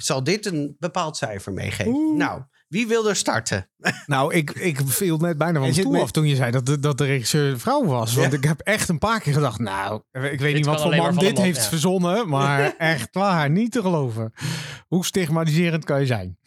Speaker 4: zal dit een bepaald cijfer meegeven. Nou, wie wil er starten?
Speaker 2: Nou, ik, ik viel net bijna van
Speaker 1: Er
Speaker 2: mijn
Speaker 1: zit
Speaker 2: stoel
Speaker 1: mee-
Speaker 2: af toen je zei dat de, dat de regisseur een vrouw was. Want
Speaker 4: Ja.
Speaker 2: ik heb echt een paar keer gedacht, nou, ik weet niet
Speaker 3: kan
Speaker 2: wat voor
Speaker 3: alleen
Speaker 2: man
Speaker 3: maar van
Speaker 2: dit
Speaker 3: een man,
Speaker 2: heeft
Speaker 3: ja.
Speaker 2: verzonnen. Maar echt waar, niet te geloven. Hoe stigmatiserend kan je zijn?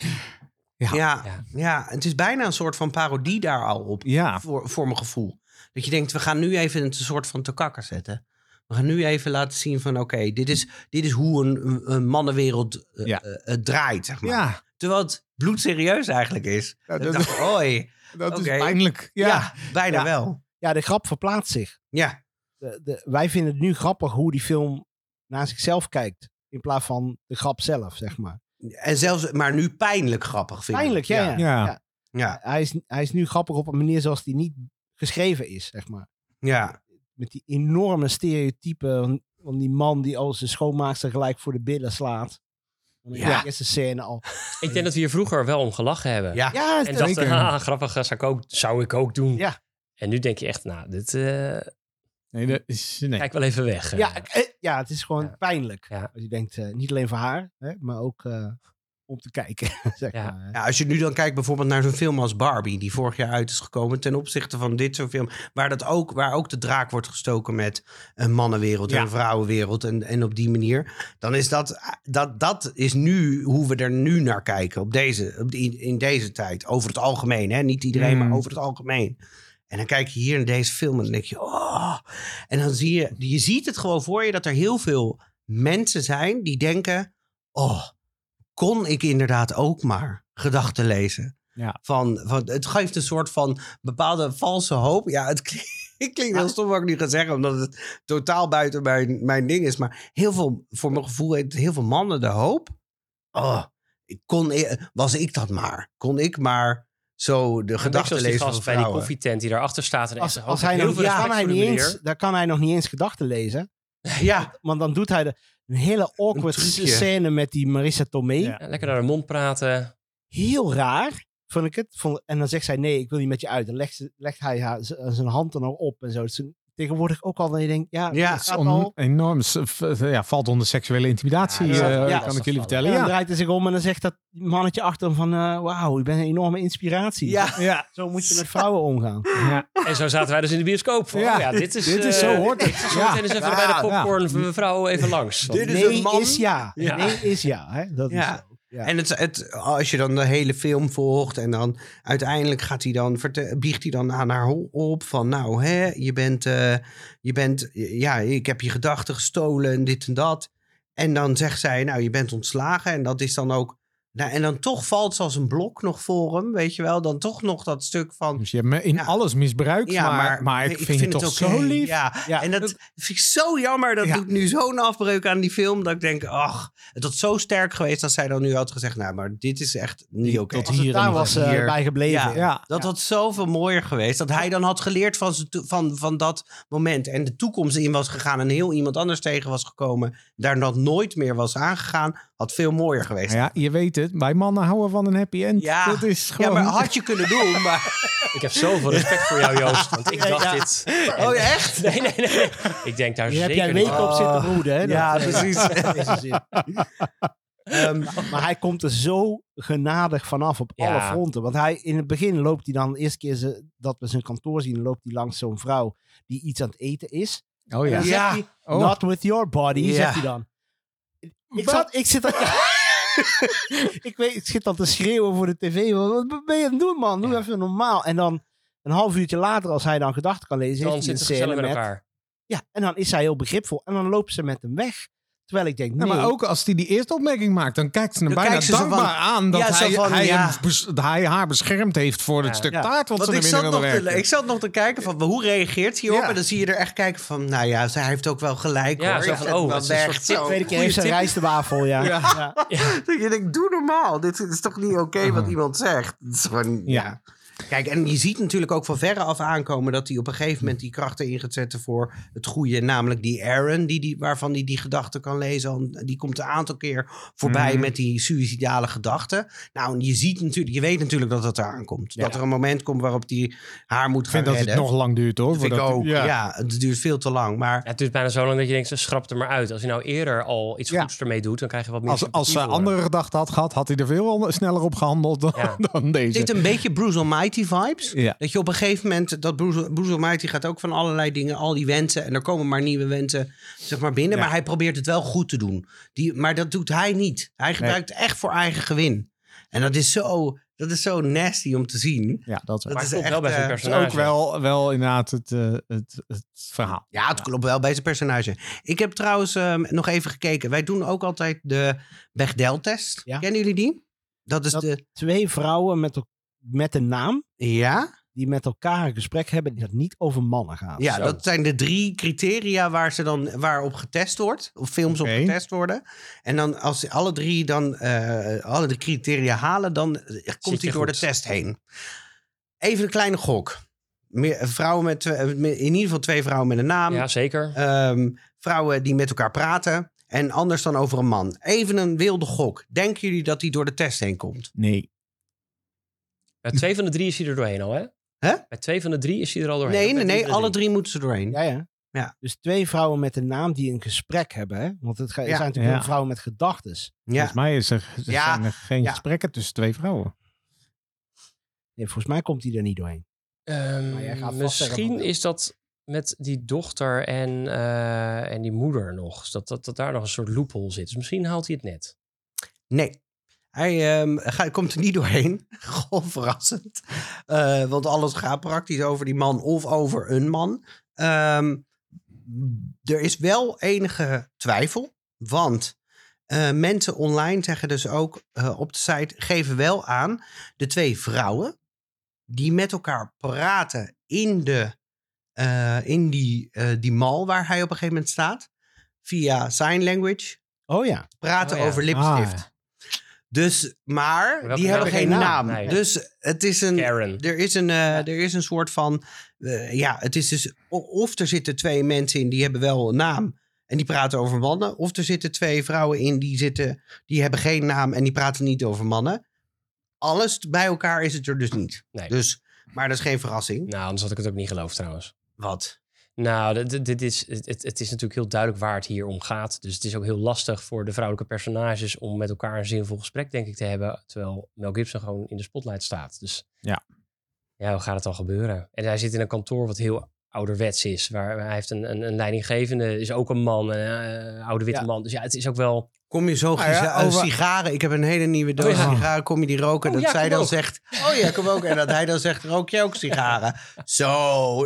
Speaker 2: Ja.
Speaker 4: Ja, Nou, ja.
Speaker 3: Ja.
Speaker 4: het is bijna een soort van parodie daar al op,
Speaker 2: Ja,
Speaker 4: voor, voor mijn gevoel. Dat je denkt, we gaan nu even een soort van te kakker zetten. We gaan nu even laten zien van, oké, dit, is, dit is hoe een, een- een mannenwereld eh,
Speaker 2: Ja.
Speaker 4: eh, eh, draait, zeg maar.
Speaker 2: ja.
Speaker 4: Terwijl het bloedserieus eigenlijk is.
Speaker 2: Ja,
Speaker 4: Ik
Speaker 2: dat
Speaker 4: dacht, oei,
Speaker 2: dat
Speaker 4: Oké.
Speaker 2: is pijnlijk. Ja.
Speaker 4: ja, bijna
Speaker 1: Ja.
Speaker 4: wel.
Speaker 1: Ja, de grap verplaatst zich.
Speaker 4: Ja,
Speaker 1: De, de, wij vinden het nu grappig hoe die film naar zichzelf kijkt. In plaats van de grap zelf, zeg maar.
Speaker 4: en zelfs, maar nu pijnlijk grappig vind ik.
Speaker 1: Pijnlijk, ja. ja.
Speaker 2: Ja.
Speaker 1: ja.
Speaker 4: Ja,
Speaker 1: Hij, is, hij is nu grappig op een manier zoals die niet geschreven is, zeg maar.
Speaker 4: ja.
Speaker 1: Met die enorme stereotypen van, van die man die als zijn schoonmaakster gelijk voor de billen slaat. Dan In
Speaker 4: Ja.
Speaker 1: de eerste scène al.
Speaker 3: ik denk dat we hier vroeger wel om gelachen hebben.
Speaker 4: ja.
Speaker 1: Ja,
Speaker 3: En
Speaker 1: het-
Speaker 3: dachten,
Speaker 2: Zeker.
Speaker 3: ah, grappig, eh, zou ik, ook, zou ik ook doen.
Speaker 1: Ja.
Speaker 3: En nu denk je echt, nou, dit eh,
Speaker 2: Nee, dat is, nee.
Speaker 3: kijk wel even weg. eh.
Speaker 1: ja, eh, ja, het is gewoon
Speaker 3: Ja.
Speaker 1: pijnlijk.
Speaker 3: Ja.
Speaker 1: Als je denkt, eh, niet alleen voor haar, hè, maar ook eh, om te kijken. zeg
Speaker 3: Ja.
Speaker 1: maar, hè.
Speaker 4: Ja, als je nu dan kijkt bijvoorbeeld naar zo'n film als Barbie, die vorig jaar uit is gekomen, ten opzichte van dit soort film, waar, dat ook, waar ook de draak wordt gestoken met een mannenwereld en
Speaker 2: Ja.
Speaker 4: een vrouwenwereld en, en op die manier, dan is dat, dat, dat is nu hoe we er nu naar kijken op deze, op die, in deze tijd. Over het algemeen, hè? niet iedereen,
Speaker 2: Mm.
Speaker 4: maar over het algemeen. En dan kijk je hier in deze film en dan denk je, oh. En dan zie je, je ziet het gewoon voor je dat er heel veel mensen zijn die denken, oh, kon ik inderdaad ook maar gedachten lezen.
Speaker 2: Ja.
Speaker 4: Van, van, het geeft een soort van bepaalde valse hoop. Ja, het klinkt, het klinkt heel stom wat ik nu ga zeggen, omdat het totaal buiten mijn, mijn ding is. Maar heel veel, voor mijn gevoel, heeft heel veel mannen de hoop. Oh, ik kon, eh, was ik dat maar? Kon ik maar zo de
Speaker 3: En ook
Speaker 4: gedachten
Speaker 3: zoals die
Speaker 4: lezen van
Speaker 3: gast bij die
Speaker 4: vrouwen?
Speaker 3: koffietent die daarachter staat. En
Speaker 1: Als,
Speaker 3: echt
Speaker 1: als
Speaker 3: heel
Speaker 1: hij nog,
Speaker 3: veel
Speaker 1: ja,
Speaker 3: respect
Speaker 1: kan hij
Speaker 3: voor de
Speaker 1: niet
Speaker 3: meneer.
Speaker 1: eens, daar kan hij nog niet eens gedachten lezen.
Speaker 4: Ja,
Speaker 1: Want dan doet hij de, een hele awkward
Speaker 4: trucje.
Speaker 1: scène met die Marissa Tomei.
Speaker 2: Ja.
Speaker 3: Ja, lekker naar de mond praten.
Speaker 1: Heel raar, vond ik het. Vond- en dan zegt zij, nee, ik wil niet met je uit. Dan legt, ze- legt hij haar, z- zijn hand dan ook op en zo. Het is een- tegenwoordig ook al dat je denkt, ja,
Speaker 4: Ja,
Speaker 1: het
Speaker 2: is
Speaker 1: gaat
Speaker 2: on-
Speaker 1: al.
Speaker 2: enorm. s- v- Ja, valt onder seksuele intimidatie,
Speaker 1: Ja, dat-
Speaker 2: eh,
Speaker 1: ja, dat
Speaker 2: kan
Speaker 3: is
Speaker 2: ik jullie
Speaker 3: toch
Speaker 2: vertellen.
Speaker 1: En dan
Speaker 2: Ja.
Speaker 1: draait hij zich om en dan zegt dat mannetje achter hem van, eh, wauw, je bent een enorme inspiratie.
Speaker 4: Ja.
Speaker 2: Ja.
Speaker 1: Zo moet je met vrouwen omgaan.
Speaker 3: En zo zaten wij dus in de bioscoop. Van, ja,
Speaker 2: Ja,
Speaker 3: dit is,
Speaker 2: dit is
Speaker 3: eh,
Speaker 2: zo hoort
Speaker 3: Ik
Speaker 2: het.
Speaker 3: ga zo
Speaker 2: Ja.
Speaker 3: meteen eens even
Speaker 4: Ja,
Speaker 3: bij de
Speaker 2: ja.
Speaker 3: popcornvrouw even langs. Want-
Speaker 4: Dit is
Speaker 1: nee
Speaker 4: een man.
Speaker 1: is ja. En
Speaker 3: Ja.
Speaker 1: Nee is ja. Hè? Dat
Speaker 4: Ja.
Speaker 1: is zo. Ja.
Speaker 4: En het, het, als je dan de hele film volgt en dan uiteindelijk gaat hij dan, verte- biegt hij dan aan haar ho- op van nou hè, je bent, eh, je bent, ja, ik heb je gedachten gestolen en dit en dat. En dan zegt zij nou je bent ontslagen en dat is dan ook, nou en dan toch valt ze als een blok nog voor hem, weet je wel. Dan toch nog dat stuk van,
Speaker 2: Dus je hebt me in
Speaker 4: Ja.
Speaker 2: alles misbruikt,
Speaker 4: ja
Speaker 2: maar, maar, ik, vind, het toch
Speaker 4: oké.
Speaker 2: zo lief.
Speaker 4: Ja.
Speaker 1: Ja.
Speaker 4: en dat vind ik zo jammer. Dat
Speaker 2: Ja.
Speaker 4: doet nu zo'n afbreuk aan die film. Dat ik denk, ach, het had zo sterk geweest dat zij dan nu had gezegd, nou, maar dit is echt niet oké.
Speaker 2: tot
Speaker 1: Als het
Speaker 2: hier
Speaker 1: daar
Speaker 2: en
Speaker 1: was eh,
Speaker 4: hier.
Speaker 1: bij gebleven.
Speaker 4: Ja.
Speaker 2: Ja.
Speaker 4: Dat had zoveel mooier geweest. Dat hij dan had geleerd van, z'n to- van, van dat moment. En de toekomst in was gegaan. En heel iemand anders tegen was gekomen. Daar dat nooit meer was aangegaan. Had veel mooier geweest.
Speaker 2: Nou ja, je weet het, wij mannen houden van een happy end.
Speaker 4: Ja.
Speaker 2: Dat is
Speaker 4: Ja,
Speaker 2: gewoon...
Speaker 4: maar had je kunnen doen. Maar...
Speaker 3: Ik heb zoveel respect voor jou, Joost. Want ik dacht dit.
Speaker 4: Oh, ja, echt?
Speaker 3: Nee, nee, nee. Ik denk daar
Speaker 1: Hier heb jij
Speaker 3: zeker niet
Speaker 1: weken
Speaker 3: aan.
Speaker 1: op zitten
Speaker 2: Oh.
Speaker 1: broeden. Hè?
Speaker 4: Ja,
Speaker 1: Dat-
Speaker 4: precies.
Speaker 1: dat is een zin.
Speaker 4: Ehm,
Speaker 1: Maar hij komt er zo genadig vanaf op
Speaker 3: Ja.
Speaker 1: alle fronten. Want hij, in het begin loopt hij dan, de eerste keer ze, dat we zijn kantoor zien, loopt hij langs zo'n vrouw die iets aan het eten is.
Speaker 2: Oh ja.
Speaker 1: En dan
Speaker 4: Ja.
Speaker 1: zegt hij,
Speaker 2: Oh.
Speaker 1: not with your body,
Speaker 4: Ja.
Speaker 1: zegt hij dan. Ik, zat, ik zit al, ik, weet, ik zit al te schreeuwen voor de tv. Wat wat ben je aan het doen, man? Doe even normaal. En dan een half uurtje later, als hij dan gedachten kan lezen,
Speaker 3: Dan
Speaker 1: heeft hij een
Speaker 3: zitten ze gezellig
Speaker 1: scène
Speaker 3: met
Speaker 1: met...
Speaker 3: elkaar.
Speaker 1: Ja, en dan is hij heel begripvol. En dan loopt ze met hem weg. Terwijl ik denk,
Speaker 2: Ja,
Speaker 1: nee.
Speaker 2: maar ook als hij die eerste opmerking maakt, dan kijkt ze hem
Speaker 4: Dan
Speaker 2: bijna
Speaker 4: kijkt ze zo
Speaker 2: dankbaar
Speaker 4: van-
Speaker 2: aan dat
Speaker 4: Ja, zo
Speaker 2: hij,
Speaker 4: van,
Speaker 2: hij,
Speaker 4: ja.
Speaker 2: hem bes- hij haar beschermd heeft voor
Speaker 3: Ja.
Speaker 2: het stuk
Speaker 1: Ja.
Speaker 2: taart wat ze
Speaker 4: Want
Speaker 2: er
Speaker 4: ik
Speaker 2: binnen
Speaker 4: zat,
Speaker 2: willen
Speaker 4: nog te,
Speaker 2: werken.
Speaker 4: ik zat nog te kijken van hoe reageert hij op?
Speaker 2: Ja.
Speaker 4: En dan zie je er echt kijken van, nou ja, zij heeft ook wel gelijk
Speaker 3: Ja,
Speaker 4: hoor.
Speaker 3: zo
Speaker 4: Ik
Speaker 3: van,
Speaker 4: zet
Speaker 3: oh, het
Speaker 4: hem wel
Speaker 3: is een
Speaker 4: weg.
Speaker 3: soort tip.
Speaker 4: Zo.
Speaker 1: Tweede keer heeft ze een rijstwafel, ja.
Speaker 2: Ja.
Speaker 1: ja.
Speaker 4: Dat je denkt, doe normaal. Dit is toch niet oké wat iemand zegt? Het is gewoon, ja.
Speaker 2: Mm. Ja.
Speaker 4: Kijk, en je ziet natuurlijk ook van verre af aankomen... dat hij op een gegeven moment die krachten in gaat zetten voor het goede. Namelijk die Aaron, die, die, waarvan hij die gedachten kan lezen. al- Die komt een aantal keer voorbij
Speaker 2: Mhm.
Speaker 4: met die suïcidale gedachten. Nou, en je, ziet natuurlijk, je weet natuurlijk dat dat eraan komt. Dat er een moment komt waarop hij haar moet
Speaker 2: Ik
Speaker 4: gaan
Speaker 2: vind dat het
Speaker 4: redden.
Speaker 2: nog lang duurt hoor.
Speaker 4: Dat vind ik
Speaker 2: voordat-
Speaker 4: ook. Ja. het duurt veel te lang. Maar
Speaker 3: Ja, het duurt bijna zo lang dat je denkt, ze schrapt er maar uit. Als je nou eerder al iets
Speaker 2: Ja.
Speaker 3: goeds ermee doet, dan krijg je wat meer
Speaker 2: Als, als ze
Speaker 3: sympathie voor
Speaker 2: andere gedachten had gehad, had hij er veel wel sneller op gehandeld dan,
Speaker 3: Ja.
Speaker 2: dan
Speaker 4: is
Speaker 2: deze.
Speaker 4: dit een beetje Bruce Almighty vibes?
Speaker 2: Ja.
Speaker 4: Dat je op een gegeven moment, dat Bruce, Bruce Almighty gaat ook van allerlei dingen, al die wensen. En er komen maar nieuwe wensen zeg maar, binnen.
Speaker 2: Ja.
Speaker 4: Maar hij probeert het wel goed te doen. Die, maar dat doet hij niet. Hij gebruikt echt voor eigen gewin. En dat is zo, dat is zo nasty om te zien.
Speaker 2: Ja, dat is
Speaker 4: Dat
Speaker 3: hem. Maar
Speaker 4: is
Speaker 3: het klopt
Speaker 4: echt,
Speaker 3: wel bij zijn
Speaker 4: eh, het
Speaker 2: Het is
Speaker 3: personage.
Speaker 2: ook wel, wel inderdaad het, eh, het, het verhaal.
Speaker 4: Ja, het klopt wel bij zijn personage. Ik heb trouwens ehm, nog even gekeken. Wij doen ook altijd de Bechdel-test.
Speaker 1: Ja.
Speaker 4: Kennen jullie die? Dat is
Speaker 1: Dat-
Speaker 4: de...
Speaker 1: twee vrouwen met, el- met een naam
Speaker 4: Ja?
Speaker 1: die met elkaar een gesprek hebben die dat niet over mannen gaat.
Speaker 4: Ja,
Speaker 3: Zo.
Speaker 4: dat zijn de drie criteria waar ze dan waarop getest wordt, of films
Speaker 2: Oké.
Speaker 4: op getest worden. En dan als ze alle drie dan eh, alle drie criteria halen, dan eh, komt
Speaker 3: je
Speaker 4: hij door
Speaker 3: goed.
Speaker 4: de test heen. Even een kleine gok. Meer, eh, vrouwen met, twee- eh, in ieder geval twee vrouwen met een naam.
Speaker 3: Ja, zeker.
Speaker 4: Ehm, vrouwen die met elkaar praten. En anders dan over een man. Even een wilde gok. Denken jullie dat die door de test heen komt?
Speaker 2: Nee.
Speaker 3: Bij twee van de drie is hij er doorheen al, hè?
Speaker 4: Hè?
Speaker 3: Bij twee van de drie is hij er al doorheen. Bij
Speaker 4: Nee, nee,
Speaker 3: van
Speaker 4: nee.
Speaker 3: de
Speaker 4: Alle drie moeten ze doorheen.
Speaker 1: Ja, ja.
Speaker 4: Ja.
Speaker 1: Dus twee vrouwen met een naam die een gesprek hebben. Hè? Want het ga-
Speaker 4: Ja.
Speaker 1: zijn natuurlijk
Speaker 2: Ja.
Speaker 1: ook vrouwen met gedachten.
Speaker 4: Ja.
Speaker 2: Volgens mij is er, er
Speaker 4: Ja.
Speaker 2: zijn er geen
Speaker 4: Ja.
Speaker 2: gesprekken tussen twee vrouwen.
Speaker 1: Nee, volgens mij komt die er niet doorheen.
Speaker 3: Ehm,
Speaker 1: Maar jij gaat vast zeggen
Speaker 3: misschien
Speaker 1: van-
Speaker 3: is dat met die dochter en, eh, en die moeder nog. Dus Dat, dat, dat daar nog een soort loophole zit. Dus misschien haalt hij het net.
Speaker 4: Nee. Hij ehm, ga- komt er niet doorheen. Gewoon verrassend. Eh, want alles gaat praktisch over die man of over een man. Ehm, er is wel enige twijfel. Want eh, mensen online zeggen dus ook eh, op de site... geven wel aan de twee vrouwen... die met elkaar praten in, de, eh, in die, eh, die mal waar hij op een gegeven moment staat... via sign language
Speaker 1: Oh ja.
Speaker 4: praten
Speaker 3: Oh ja.
Speaker 4: over lipstift.
Speaker 2: Ah.
Speaker 4: Dus, maar
Speaker 3: Welke
Speaker 4: die hebben
Speaker 3: naam?
Speaker 4: geen
Speaker 3: Geen
Speaker 4: naam.
Speaker 3: naam. Nee.
Speaker 4: Dus het is een.
Speaker 3: Karen.
Speaker 4: Er is een, eh, er is een soort van. eh, ja, het is dus. o- Of er zitten twee mensen in die hebben wel een naam. En die praten over mannen. Of er zitten twee vrouwen in die, zitten, die hebben geen naam en die praten niet over mannen. alles bij elkaar is het er dus niet.
Speaker 3: Nee.
Speaker 4: Dus, maar dat is geen verrassing.
Speaker 3: Nou, anders had ik het ook niet geloofd trouwens.
Speaker 4: Wat?
Speaker 3: Nou, dit- dit, dit is, het, het- het is natuurlijk heel duidelijk waar het hier om gaat. Dus het is ook heel lastig voor de vrouwelijke personages om met elkaar een zinvol gesprek, denk ik, te hebben. Terwijl Mel Gibson gewoon in de spotlight staat. Dus
Speaker 2: Ja.
Speaker 3: ja hoe gaat het dan gebeuren? En hij zit in een kantoor wat heel ouderwets is. Waar hij heeft een, een, een leidinggevende, is ook een man, een eh, oude witte
Speaker 1: Ja.
Speaker 3: man. Dus ja, het is ook wel...
Speaker 4: Kom je zo
Speaker 2: Nou ja,
Speaker 4: giza- eh,
Speaker 2: over-
Speaker 4: sigaren? Ik heb een hele nieuwe doos
Speaker 3: Oh ja.
Speaker 4: sigaren. Kom je die roken?
Speaker 3: Oh
Speaker 4: dat
Speaker 3: ja,
Speaker 4: zij
Speaker 3: kom
Speaker 4: dan
Speaker 3: ook.
Speaker 4: zegt, oh ja, kom ook. En dat hij dan zegt, rook jij ook sigaren? Zo,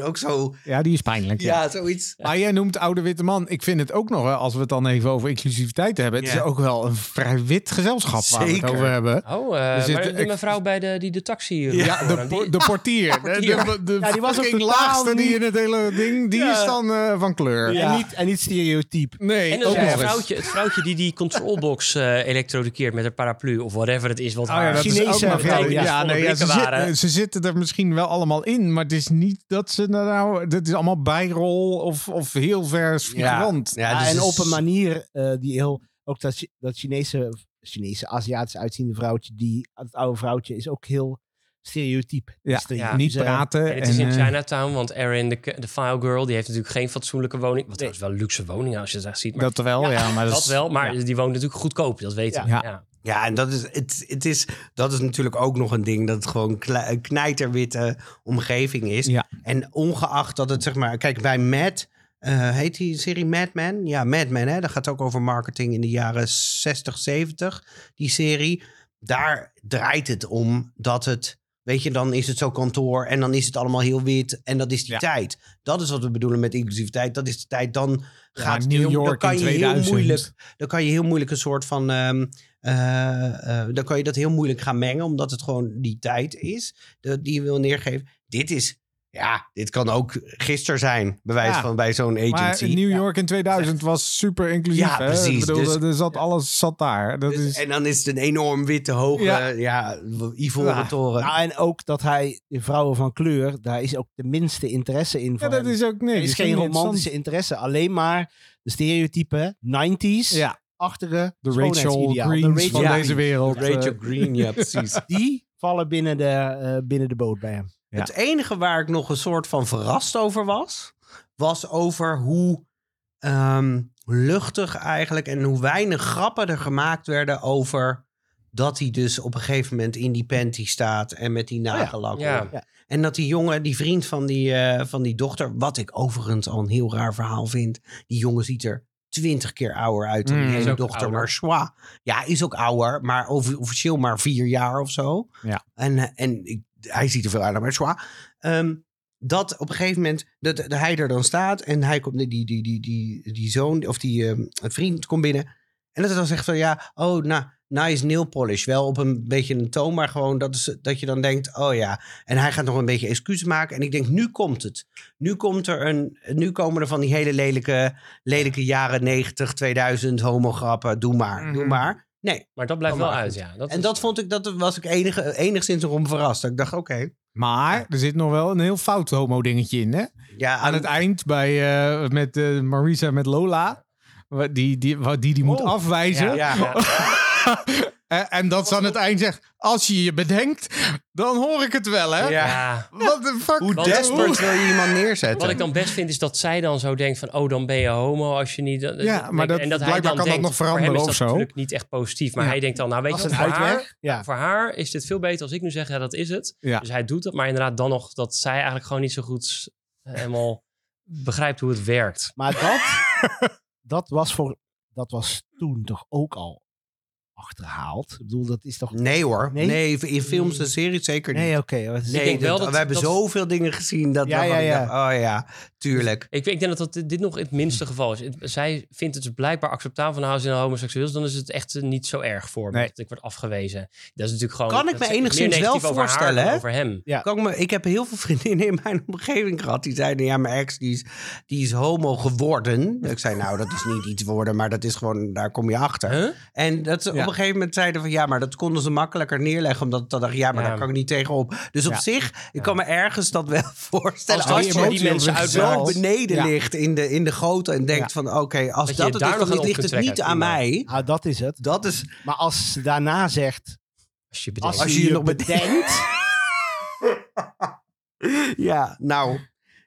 Speaker 4: ook zo.
Speaker 2: Ja, die is pijnlijk. Ja.
Speaker 4: Ja, zoiets.
Speaker 2: Maar jij noemt oude witte man. Ik vind het ook nog, hè, als we het dan even over inclusiviteit hebben. Het
Speaker 4: Ja.
Speaker 2: is ook wel een vrij wit gezelschap waar we
Speaker 4: Zeker.
Speaker 2: het over hebben.
Speaker 3: Oh,
Speaker 2: Er zit-
Speaker 3: maar
Speaker 2: maar de
Speaker 3: de
Speaker 2: ik-
Speaker 3: mevrouw bij de, die de taxi...
Speaker 2: Ja, de, po- de portier. De,
Speaker 3: portier.
Speaker 2: de, de
Speaker 1: Ja, die was ook
Speaker 2: fucking
Speaker 1: totaal
Speaker 2: laagste die
Speaker 1: niet-
Speaker 2: in het hele ding, die
Speaker 1: Ja.
Speaker 2: is dan eh, van kleur.
Speaker 1: En, niet, en niet stereotyp.
Speaker 2: Nee,
Speaker 3: En
Speaker 2: ook
Speaker 3: ook
Speaker 2: nog
Speaker 3: het
Speaker 2: eens.
Speaker 3: vrouwtje, het vrouwtje die die controlbox eh elektrodekeert met haar paraplu of whatever het is. Wat
Speaker 2: Oh ja,
Speaker 3: haar
Speaker 2: dat
Speaker 1: Chinese
Speaker 2: is ook nog wel-
Speaker 1: vrouwen,
Speaker 2: ja, eh,
Speaker 3: ja,
Speaker 2: nee, ja, ze,
Speaker 3: blikken waren.
Speaker 2: zitten, ze zitten er misschien wel allemaal in, maar het is niet dat ze nou... Dit is allemaal bijrol of, of heel vers figurant.
Speaker 4: Ja,
Speaker 1: Ja,
Speaker 4: dus
Speaker 1: en
Speaker 4: het
Speaker 1: op
Speaker 4: is-
Speaker 1: een manier eh, die heel... Ook dat, Chi- dat Chinese, Chinese, Aziatisch uitziende vrouwtje, die, het oude vrouwtje, is ook heel stereotyp.
Speaker 2: Ja,
Speaker 1: Stereotyp.
Speaker 2: Niet
Speaker 1: Dus, eh,
Speaker 2: praten.
Speaker 3: En het is in
Speaker 2: eh,
Speaker 3: Chinatown, want Erin, de, de file girl, die heeft natuurlijk geen fatsoenlijke woning. Wat trouwens wel luxe woningen als je het echt ziet. Maar dat,
Speaker 2: dat wel, ja. maar dat, is-
Speaker 3: wel, maar die woont natuurlijk goedkoop, dat weten we.
Speaker 2: Ja.
Speaker 3: Ja.
Speaker 4: Ja, en dat is, het, het is, dat is natuurlijk ook nog een ding. Dat het gewoon kle- een knijterwitte omgeving is.
Speaker 2: Ja.
Speaker 4: En ongeacht dat het, zeg maar... Kijk, bij Mad... eh, heet die serie Mad Men? Ja, Mad Men. Hè? Dat gaat ook over marketing in de jaren 60, 70. Die serie. Daar draait het om dat het... Weet je, dan is het zo kantoor en dan is het allemaal heel wit. En dat is die
Speaker 2: Ja.
Speaker 4: tijd. Dat is wat we bedoelen met inclusiviteit. Dat is de tijd. Dan
Speaker 2: ja,
Speaker 4: gaat het heel-
Speaker 2: New
Speaker 4: dan
Speaker 2: York
Speaker 4: kan
Speaker 2: in
Speaker 4: je heel
Speaker 2: 2000.
Speaker 4: moeilijk dan kan je heel moeilijk een soort van. ehm, eh, eh, dan kan je dat heel moeilijk gaan mengen, omdat het gewoon die tijd is de- die je wil neergeven. Dit is, ja, dit kan ook gisteren zijn, bij wijze
Speaker 2: Ja.
Speaker 4: van bij zo'n
Speaker 2: Maar
Speaker 4: agency.
Speaker 2: New York in 2000 was super inclusief.
Speaker 4: Ja,
Speaker 2: hè?
Speaker 4: precies,
Speaker 2: Ik bedoel,
Speaker 4: dus-
Speaker 2: er zat alles zat daar. Dat
Speaker 4: Dus-
Speaker 2: is,
Speaker 4: En dan is het een enorm witte, hoge,
Speaker 2: Ja.
Speaker 4: ja, ivoren
Speaker 2: Ja.
Speaker 4: toren.
Speaker 1: Nou, en ook dat hij de vrouwen van kleur, daar is ook de minste interesse in.
Speaker 2: ja,
Speaker 1: Van
Speaker 2: dat
Speaker 1: hem.
Speaker 2: is ook nee,
Speaker 1: er is
Speaker 2: dat is
Speaker 1: geen
Speaker 2: ook niet
Speaker 1: romantische interesse, alleen maar de stereotypen 90s,
Speaker 2: interessant. Ja,
Speaker 1: achtige
Speaker 2: de Rachel
Speaker 1: schoonheidsideaal. De
Speaker 2: Greens
Speaker 1: Rachel
Speaker 2: van
Speaker 4: Ja.
Speaker 1: Green.
Speaker 2: deze wereld.
Speaker 4: Rachel
Speaker 2: eh,
Speaker 4: Green, ja, precies.
Speaker 1: Die vallen binnen de, eh, binnen de boot bij hem.
Speaker 2: Ja.
Speaker 4: Het enige waar ik nog een soort van verrast over was, was over hoe ehm, luchtig eigenlijk en hoe weinig grappen er gemaakt werden over dat hij dus op een gegeven moment in die panty staat en met die nagellak. op.
Speaker 3: Oh Ja.
Speaker 1: Ja.
Speaker 4: En dat die jongen, die vriend van die, eh, van die dochter, wat ik overigens al een heel raar verhaal vind, die jongen ziet er twintig keer ouder uit dan
Speaker 2: Mm.
Speaker 4: die
Speaker 2: Is
Speaker 4: ene
Speaker 3: ook
Speaker 4: dochter,
Speaker 3: ouder.
Speaker 4: maar schwa. Ja, is ook ouder, maar of- officieel maar vier jaar of zo.
Speaker 2: Ja.
Speaker 4: En, eh, en ik, hij ziet er veel uit, maar schwa. Ehm, dat op een gegeven moment, dat, dat hij er dan staat en hij komt, die, die, die, die, die, die zoon of die ehm, vriend komt binnen. En dat hij dan zegt van ja, oh, nou, nice nail polish. Wel op een beetje een toon, maar gewoon dat, is, dat je dan denkt, oh ja. En hij gaat nog een beetje excuus maken. En ik denk, nu komt het. Nu, komt er een, nu komen er van die hele lelijke, lelijke jaren 90, 2000 homograppen. Doe maar, doe
Speaker 2: Mhm.
Speaker 4: maar.
Speaker 3: Maar dat blijft
Speaker 4: Oh, maar
Speaker 3: wel uit,
Speaker 4: goed.
Speaker 3: ja. Dat
Speaker 4: En
Speaker 3: is-
Speaker 4: dat vond ik, dat was ik enige, enigszins erom verrast. Dat Ik dacht, oké.
Speaker 2: Maar er zit nog wel een heel fout homo dingetje in. Hè?
Speaker 4: Ja,
Speaker 2: Aan het eind bij, eh, met eh, Marisa met Lola. wa- Die die, wa- die, die moet
Speaker 1: Oh.
Speaker 2: afwijzen.
Speaker 3: ja,
Speaker 4: ja.
Speaker 3: ja.
Speaker 2: en, en dat ze aan het eind zegt, als je je bedenkt, dan hoor ik het wel, hè?
Speaker 3: Ja.
Speaker 2: What the fuck?
Speaker 4: hoe
Speaker 3: Wat-
Speaker 4: desperate wil je iemand
Speaker 3: Wat
Speaker 4: neerzetten?
Speaker 3: ik dan best vind is dat zij dan zo denkt van, oh, dan ben je homo als je niet...
Speaker 2: Ja, maar dat- blijkbaar kan dat nog
Speaker 3: voor hem is
Speaker 2: veranderen
Speaker 3: dat
Speaker 2: of zo.
Speaker 3: natuurlijk niet echt positief. Maar
Speaker 2: Ja.
Speaker 3: hij denkt dan, nou weet je,
Speaker 2: Als
Speaker 3: wat,
Speaker 2: een
Speaker 3: voor haar,
Speaker 2: uitweg. Ja.
Speaker 3: voor haar is dit veel beter als ik nu zeg, ja, dat is het.
Speaker 2: Ja.
Speaker 3: Dus hij doet dat, maar inderdaad dan nog dat zij eigenlijk gewoon niet zo goed eh, helemaal begrijpt hoe het werkt.
Speaker 1: Maar dat, dat, was voor, dat was toen toch ook al achterhaald. Ik bedoel, dat is toch...
Speaker 4: Nee hoor.
Speaker 1: Nee?
Speaker 4: Nee? in films en series zeker niet.
Speaker 1: Nee, Dus oké. wat is-
Speaker 4: Nee,
Speaker 3: Ik denk
Speaker 4: dat-
Speaker 3: wel dat-
Speaker 4: we hebben
Speaker 3: dat-
Speaker 4: zoveel dingen gezien dat
Speaker 1: Ja,
Speaker 4: waarvan
Speaker 1: ja,
Speaker 4: ik
Speaker 1: ja.
Speaker 4: dacht, oh ja, tuurlijk.
Speaker 3: Ik, ik denk dat, dat dit nog het minste geval is. Het- Zij vindt het dus blijkbaar acceptabel van nou, als je nou homoseksueel is, dan is het echt eh, niet zo erg voor me.
Speaker 2: Nee.
Speaker 3: Dat ik word afgewezen. Dat is natuurlijk gewoon.
Speaker 4: Kan ik
Speaker 3: dat
Speaker 4: me
Speaker 3: is meer
Speaker 4: enigszins wel
Speaker 3: negatief over haar
Speaker 4: voorstellen,
Speaker 3: dan
Speaker 4: hè?
Speaker 3: Over hem.
Speaker 4: Kan ik, me, ik heb heel veel vriendinnen in mijn omgeving gehad die zeiden, ja, mijn ex die is, die is homo geworden. Ik zei, nou, dat is niet iets worden, maar dat is gewoon, daar kom je achter.
Speaker 3: Huh?
Speaker 4: En dat ze
Speaker 2: Ja.
Speaker 4: op een gegeven moment zeiden van ja, maar dat konden ze makkelijker neerleggen. Omdat dan dacht ik, ja, maar
Speaker 3: Ja.
Speaker 4: daar kan ik niet tegenop. Dus op
Speaker 2: Ja.
Speaker 4: zich, ik kan me ergens dat wel voorstellen.
Speaker 3: Als
Speaker 4: Als,
Speaker 3: die
Speaker 4: je
Speaker 3: emotie
Speaker 4: mensen
Speaker 3: op
Speaker 4: uit
Speaker 3: zichzelf-
Speaker 4: zo beneden
Speaker 2: Ja.
Speaker 4: ligt in de, in de goten en denkt van oké, als
Speaker 3: Dat je
Speaker 4: dat,
Speaker 3: je
Speaker 4: het
Speaker 3: daar
Speaker 4: is,
Speaker 3: nog
Speaker 4: dan
Speaker 3: aan op
Speaker 4: ligt het
Speaker 3: kunt
Speaker 4: niet
Speaker 3: trekken,
Speaker 4: aan mij.
Speaker 1: Nou, dat is het.
Speaker 4: Dat is,
Speaker 1: Maar als ze daarna zegt,
Speaker 3: Als je bedenkt.
Speaker 1: Als,
Speaker 4: Als
Speaker 1: je je,
Speaker 4: je nog bedenkt.
Speaker 1: bedenkt.
Speaker 4: ja, nou.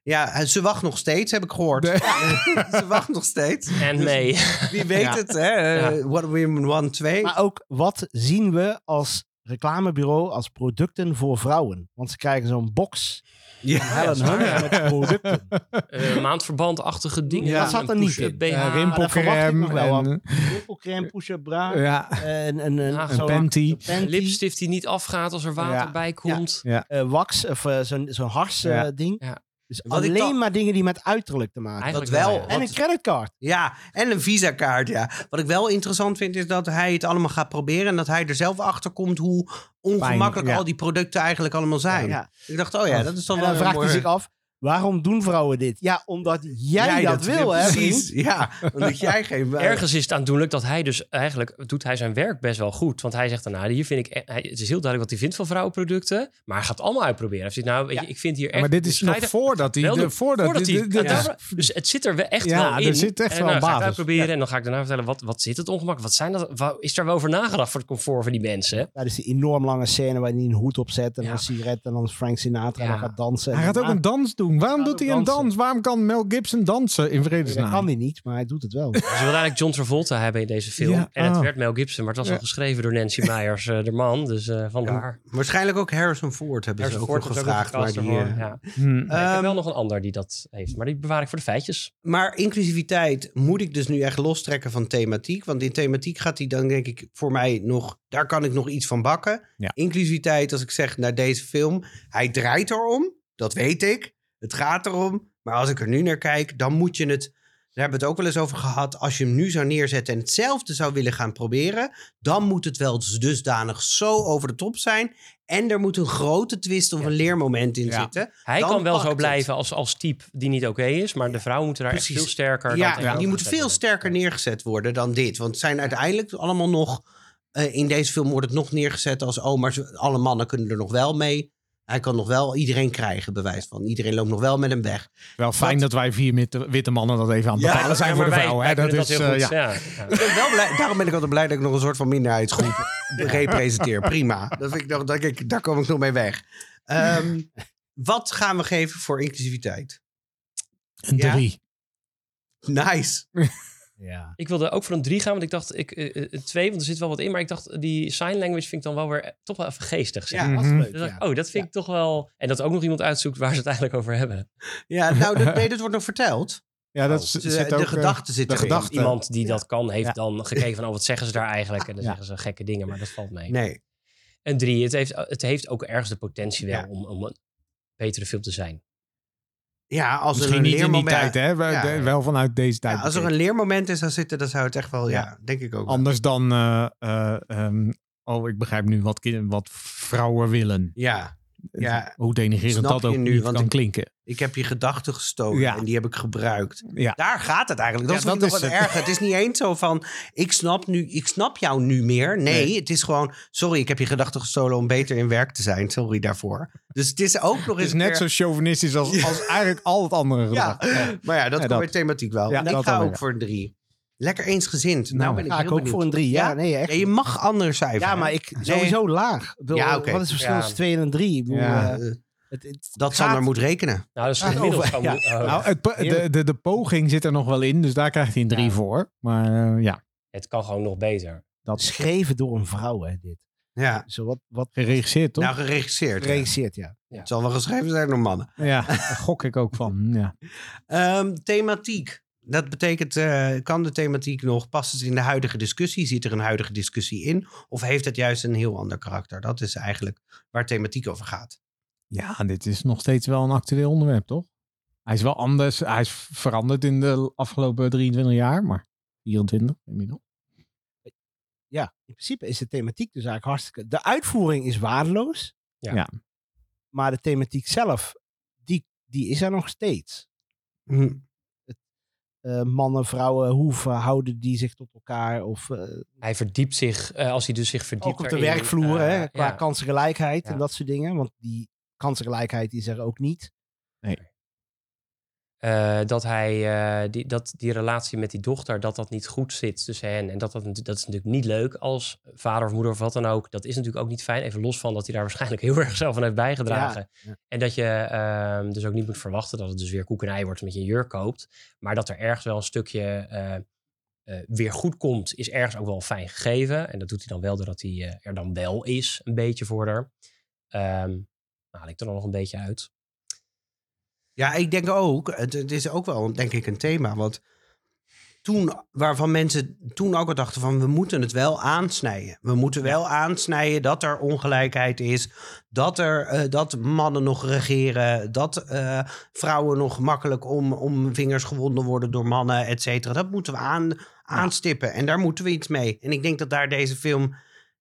Speaker 4: Ja, ze wacht nog steeds, heb ik gehoord.
Speaker 2: Nee.
Speaker 4: ze wacht nog steeds.
Speaker 3: En mee.
Speaker 4: Wie weet
Speaker 1: Ja.
Speaker 4: het, hè? Eh, What Women Want 2.
Speaker 1: Maar ook, wat zien we als reclamebureau, als producten voor vrouwen? Want ze krijgen zo'n box.
Speaker 4: Ja.
Speaker 1: Helen
Speaker 3: dat is waar,
Speaker 1: Hunt met producten.
Speaker 3: Eh, maandverbandachtige dingen.
Speaker 1: Ja, dat zat er
Speaker 3: Een
Speaker 1: niet
Speaker 3: push-up
Speaker 1: in.
Speaker 3: BH.
Speaker 2: Eh,
Speaker 1: verwacht ik
Speaker 2: rimpelcrème.
Speaker 1: nog wel Ah.
Speaker 2: en,
Speaker 1: Winkelcreme, push-up bra.
Speaker 2: eh, ja,
Speaker 1: En, en, en,
Speaker 3: Een
Speaker 1: zo'n-
Speaker 2: panty.
Speaker 1: een
Speaker 3: Een lipstift die niet afgaat als er water
Speaker 2: Ja.
Speaker 3: bij komt.
Speaker 1: eh, wax of eh, zo'n zo'n hars eh,
Speaker 2: Ja.
Speaker 1: ding.
Speaker 3: Ja.
Speaker 1: Dus
Speaker 4: Wat ik
Speaker 1: alleen
Speaker 4: dan-
Speaker 1: maar dingen die met uiterlijk te maken
Speaker 3: Eigenlijk
Speaker 4: wel,
Speaker 3: ja.
Speaker 1: hebben. En
Speaker 4: wat-
Speaker 1: een creditcard.
Speaker 4: ja, en een visakaart, ja. Wat ik wel interessant vind, is dat hij het allemaal gaat proberen... en dat hij er zelf achter komt hoe ongemakkelijk
Speaker 2: ja.
Speaker 4: al die producten eigenlijk allemaal zijn.
Speaker 1: Ja.
Speaker 4: Ik dacht, oh ja, dat is dan
Speaker 1: En
Speaker 4: wel
Speaker 1: dan
Speaker 4: een
Speaker 1: vraagt hij
Speaker 4: mooi-
Speaker 1: zich af, waarom doen vrouwen dit? Ja, omdat jij, dat, wil, hè?
Speaker 4: Precies,
Speaker 1: vriend?
Speaker 4: ja. Omdat jij geen...
Speaker 3: Ergens is het aandoenlijk dat hij dus eigenlijk doet hij zijn werk best wel goed. Want hij zegt daarna, hier vind ik, e- hij, het is heel duidelijk wat hij vindt van vrouwenproducten. Maar hij gaat het allemaal uitproberen. Hij zegt, nou, weet je, ik vind hier echt...
Speaker 2: maar dit is nog
Speaker 3: bescheiden-
Speaker 2: voordat hij...
Speaker 3: Wel
Speaker 2: de-
Speaker 3: doen.
Speaker 2: Voordat,
Speaker 3: Voordat
Speaker 2: dit-
Speaker 3: hij,
Speaker 2: dit-
Speaker 3: ja,
Speaker 2: dit is-
Speaker 3: daar- dus het zit er we- echt
Speaker 2: Ja,
Speaker 3: wel
Speaker 2: er
Speaker 3: in.
Speaker 2: zit echt
Speaker 3: en
Speaker 2: wel
Speaker 3: dan ga
Speaker 2: een
Speaker 3: ik het
Speaker 2: basis.
Speaker 3: uitproberen en dan ga ik daarna vertellen, wat, wat zit het ongemak? Wat zijn dat? wa- Is daar wel over nagedacht voor het comfort van die mensen?
Speaker 1: Daar is dus die enorm lange scène waar hij een hoed op zet en
Speaker 3: Ja.
Speaker 1: een sigaret en dan is Frank Sinatra en
Speaker 3: Ja.
Speaker 1: dan gaat dansen.
Speaker 2: Hij
Speaker 1: En
Speaker 2: gaat ook
Speaker 1: daarna-
Speaker 2: een dans doen. Waarom
Speaker 1: Hij gaat
Speaker 2: doet hij
Speaker 1: ook
Speaker 2: een
Speaker 1: dansen.
Speaker 2: dans? Waarom kan Mel Gibson dansen in
Speaker 1: Nee, Dat kan
Speaker 2: vredesnaam?
Speaker 1: Dus hij niet, maar hij doet het wel.
Speaker 3: Ze wilden Dus eigenlijk John Travolta hebben in deze film.
Speaker 2: Ja,
Speaker 3: En het
Speaker 2: ah.
Speaker 3: werd Mel Gibson, maar het was
Speaker 2: Ja.
Speaker 3: al geschreven door Nancy Meyers, eh, de man. Dus eh vandaar. Dus
Speaker 4: Waarschijnlijk ook Harrison Ford hebben
Speaker 2: dus
Speaker 3: Harrison
Speaker 4: ze ook
Speaker 3: Ford
Speaker 4: nog
Speaker 3: was ook nog
Speaker 4: gevraagd. Maar,
Speaker 3: gecast
Speaker 4: die,
Speaker 3: ervoor,
Speaker 4: eh,
Speaker 3: ja.
Speaker 2: Hmm.
Speaker 3: Nee, ik heb
Speaker 4: Ehm,
Speaker 3: wel nog een ander die dat heeft, maar die bewaar ik voor de feitjes.
Speaker 4: maar inclusiviteit moet ik dus nu echt lostrekken van thematiek. Want in thematiek gaat hij dan denk ik voor mij nog... Daar kan ik nog iets van bakken.
Speaker 2: Ja.
Speaker 4: Inclusiviteit, als ik zeg naar deze film... Hij draait erom, dat weet ik. Het gaat erom. Maar als ik er nu naar kijk, dan moet je het... Daar hebben we het ook wel eens over gehad. Als je hem nu zou neerzetten en hetzelfde zou willen gaan proberen... dan moet het wel dus dusdanig zo over de top zijn. En er moet een grote twist of een leermoment in
Speaker 2: Ja.
Speaker 4: zitten.
Speaker 3: Hij
Speaker 4: Dan
Speaker 3: kan wel
Speaker 4: pakt
Speaker 3: zo
Speaker 4: het.
Speaker 3: blijven als, als type die niet oké is, maar de vrouwen moeten daar echt
Speaker 4: Precies.
Speaker 3: veel sterker.
Speaker 4: Ja,
Speaker 3: dan tegenover
Speaker 4: die moeten
Speaker 3: gezet
Speaker 4: veel
Speaker 3: worden.
Speaker 4: sterker neergezet worden dan dit. Want het zijn uiteindelijk allemaal nog... eh, in deze film wordt het nog neergezet als... oh, maar ze- alle mannen kunnen er nog wel mee. Hij kan nog wel iedereen krijgen, bewijs van. Iedereen loopt nog wel met hem weg.
Speaker 2: Wel fijn dat wij vier witte, witte mannen dat even aan het
Speaker 4: Ja,
Speaker 2: bepalen zijn
Speaker 3: Ja,
Speaker 2: voor
Speaker 3: maar
Speaker 2: de
Speaker 3: wij-
Speaker 2: vrouwen. hè.
Speaker 3: wij
Speaker 2: Dat
Speaker 3: kunnen
Speaker 2: is,
Speaker 3: heel
Speaker 2: eh,
Speaker 3: goed,
Speaker 2: ja.
Speaker 3: ja. ja.
Speaker 4: Ik ben wel blij- daarom ben ik altijd blij dat ik nog een soort van minderheidsgroep representeer. Prima. Dat vind ik nog, dat ik, daar kom ik nog mee weg. Ehm, wat gaan we geven voor inclusiviteit?
Speaker 2: Een
Speaker 4: Ja.
Speaker 2: drie.
Speaker 4: Nice.
Speaker 1: ja.
Speaker 3: Ik wilde ook voor een 3 gaan, want ik dacht, ik, eh, eh, een 2, want er zit wel wat in. Maar ik dacht, die sign language vind ik dan wel weer eh, toch wel even geestig. Zeg.
Speaker 4: Ja,
Speaker 1: dat is
Speaker 2: Mhm.
Speaker 1: leuk.
Speaker 3: Dus dacht
Speaker 1: ja.
Speaker 3: ik, oh, dat vind ik toch wel... En dat ook nog iemand uitzoekt waar ze het eigenlijk over hebben.
Speaker 4: Ja, nou, dat, nee, dat wordt nog verteld.
Speaker 2: Ja, dat
Speaker 4: Oh,
Speaker 2: z-
Speaker 4: de,
Speaker 2: zit
Speaker 4: de
Speaker 2: ook, eh,
Speaker 4: gedachten zitten
Speaker 2: de
Speaker 4: erin.
Speaker 2: gedachte.
Speaker 3: Iemand die dat kan, heeft
Speaker 1: Ja.
Speaker 3: dan gekeken van, oh, wat zeggen ze daar eigenlijk? En dan
Speaker 1: Ja.
Speaker 3: zeggen ze gekke dingen, maar dat valt mee.
Speaker 4: Nee.
Speaker 3: En drie, het heeft, het heeft ook ergens de potentie wel
Speaker 4: Ja.
Speaker 3: om, om een betere film te zijn.
Speaker 4: Ja, als er
Speaker 2: Misschien
Speaker 4: een
Speaker 2: niet in die
Speaker 4: leermoment...
Speaker 2: tijd, hè? We-
Speaker 4: Ja.
Speaker 2: de- wel vanuit deze tijd.
Speaker 4: Ja, als er een leermoment in zou zitten, dan zou het echt wel, ja, denk ik ook. wel.
Speaker 2: Anders dan, eh, eh, ehm, oh, ik begrijp nu wat, kin- wat vrouwen willen.
Speaker 4: Ja, Ja.
Speaker 2: Hoe denigrerend
Speaker 4: Snap
Speaker 2: dat
Speaker 4: je
Speaker 2: ook
Speaker 4: nu,
Speaker 2: niet
Speaker 4: want
Speaker 2: kan
Speaker 4: ik-
Speaker 2: klinken.
Speaker 4: ik heb je gedachten gestolen
Speaker 2: Ja.
Speaker 4: en die heb ik gebruikt.
Speaker 2: Ja.
Speaker 4: Daar gaat het eigenlijk. Dat
Speaker 2: Ja,
Speaker 4: is
Speaker 2: dat
Speaker 4: nog
Speaker 2: is
Speaker 4: wat
Speaker 2: het.
Speaker 4: erger. Het is niet eens zo van, ik snap, nu, ik snap jou nu meer. Nee,
Speaker 2: Nee.
Speaker 4: het is gewoon, sorry, ik heb je gedachten gestolen om beter in werk te zijn. Sorry daarvoor. Dus het is ook nog
Speaker 2: Het
Speaker 4: eens
Speaker 2: is
Speaker 4: een
Speaker 2: net
Speaker 4: keer-
Speaker 2: zo chauvinistisch als, als eigenlijk al het andere
Speaker 4: Ja,
Speaker 2: gedrag.
Speaker 4: maar ja, dat
Speaker 2: Ja,
Speaker 4: komt
Speaker 2: dat.
Speaker 4: bij thematiek wel.
Speaker 2: Ja,
Speaker 4: en ik
Speaker 2: dat
Speaker 4: ga
Speaker 2: dan
Speaker 4: ook
Speaker 2: weer.
Speaker 4: voor een drie. Lekker eensgezind. Nou,
Speaker 2: Nou,
Speaker 4: ben ik,
Speaker 1: Ga
Speaker 4: heel
Speaker 1: ik ook
Speaker 4: benieuwd.
Speaker 1: voor een drie. Ja,
Speaker 4: Ja?
Speaker 1: nee, echt.
Speaker 4: Ja, je mag anders cijferen.
Speaker 1: Ja, maar ik sowieso laag. Ik bedoel,
Speaker 4: Ja, oké.
Speaker 1: Wat is het verschil
Speaker 3: Ja.
Speaker 1: tussen 2 en 3?
Speaker 2: Ja.
Speaker 1: eh,
Speaker 4: Eh, Dat Sander moet rekenen.
Speaker 3: Nou, dat is
Speaker 1: Gaat
Speaker 3: gemiddeld
Speaker 1: over-
Speaker 3: gewoon...
Speaker 1: Ah, ja.
Speaker 3: oh,
Speaker 2: Nou, het, po- de, de, de poging zit er nog wel in, dus daar krijgt hij een drie
Speaker 3: Ja.
Speaker 2: voor. Maar eh, ja,
Speaker 3: Het kan gewoon nog beter.
Speaker 2: dat
Speaker 1: Geschreven door een vrouw, hè, dit.
Speaker 4: Ja,
Speaker 1: Zo wat, wat
Speaker 2: geregisseerd, toch?
Speaker 4: nou geregisseerd. ja.
Speaker 1: geregisseerd, ja.
Speaker 4: Het zal wel geschreven zijn door mannen.
Speaker 2: ja, daar gok ik ook van. Ja.
Speaker 4: Ehm, thematiek. Dat betekent, eh, kan de thematiek nog, past het in de huidige discussie? Zit er een huidige discussie in? Of heeft het juist een heel ander karakter? Dat is eigenlijk waar thematiek over gaat.
Speaker 2: Ja, dit is nog steeds wel een actueel onderwerp, toch? Hij is wel anders. Hij is veranderd in de afgelopen 23 jaar, maar 24 inmiddels.
Speaker 1: Ja, in principe is de thematiek dus eigenlijk hartstikke... De uitvoering is waardeloos.
Speaker 3: Ja.
Speaker 2: Ja.
Speaker 1: Maar de thematiek zelf, die, die is er nog steeds.
Speaker 4: Hm.
Speaker 1: Eh, mannen, vrouwen, hoe verhouden die zich tot elkaar? Of eh,
Speaker 3: Hij verdiept zich, eh, als hij dus zich verdiept.
Speaker 1: ook op de
Speaker 3: erin,
Speaker 1: werkvloer,
Speaker 3: eh,
Speaker 1: hè, qua
Speaker 3: ja.
Speaker 1: kansengelijkheid en
Speaker 3: Ja.
Speaker 1: dat soort dingen. Want die kansengelijkheid is er ook niet.
Speaker 2: Nee.
Speaker 3: eh, dat, hij, eh, die, dat die relatie met die dochter, dat dat niet goed zit tussen hen. En dat, dat, natu- dat is natuurlijk niet leuk als vader of moeder of wat dan ook. Dat is natuurlijk ook niet fijn. Even los van dat hij daar waarschijnlijk heel erg zelf aan heeft bijgedragen.
Speaker 1: Ja, ja.
Speaker 3: En dat je ehm, dus ook niet moet verwachten dat het dus weer koek en ei wordt met je jurk koopt. Maar dat er ergens wel een stukje eh, eh, weer goed komt, is ergens ook wel fijn gegeven. En dat doet hij dan wel doordat hij eh, er dan wel is, een beetje voor haar. Ehm haal ik er dan nog een beetje uit.
Speaker 4: Ja, ik denk ook, het, het is ook wel denk ik een thema, want toen, waarvan mensen toen ook al dachten van we moeten het wel aansnijden. We moeten wel aansnijden dat er ongelijkheid is, dat, er, eh, dat mannen nog regeren, dat eh, vrouwen nog makkelijk om, om vingers gewonden worden door mannen, et cetera. Dat moeten we aan, aanstippen en daar moeten we iets mee. En ik denk dat daar deze film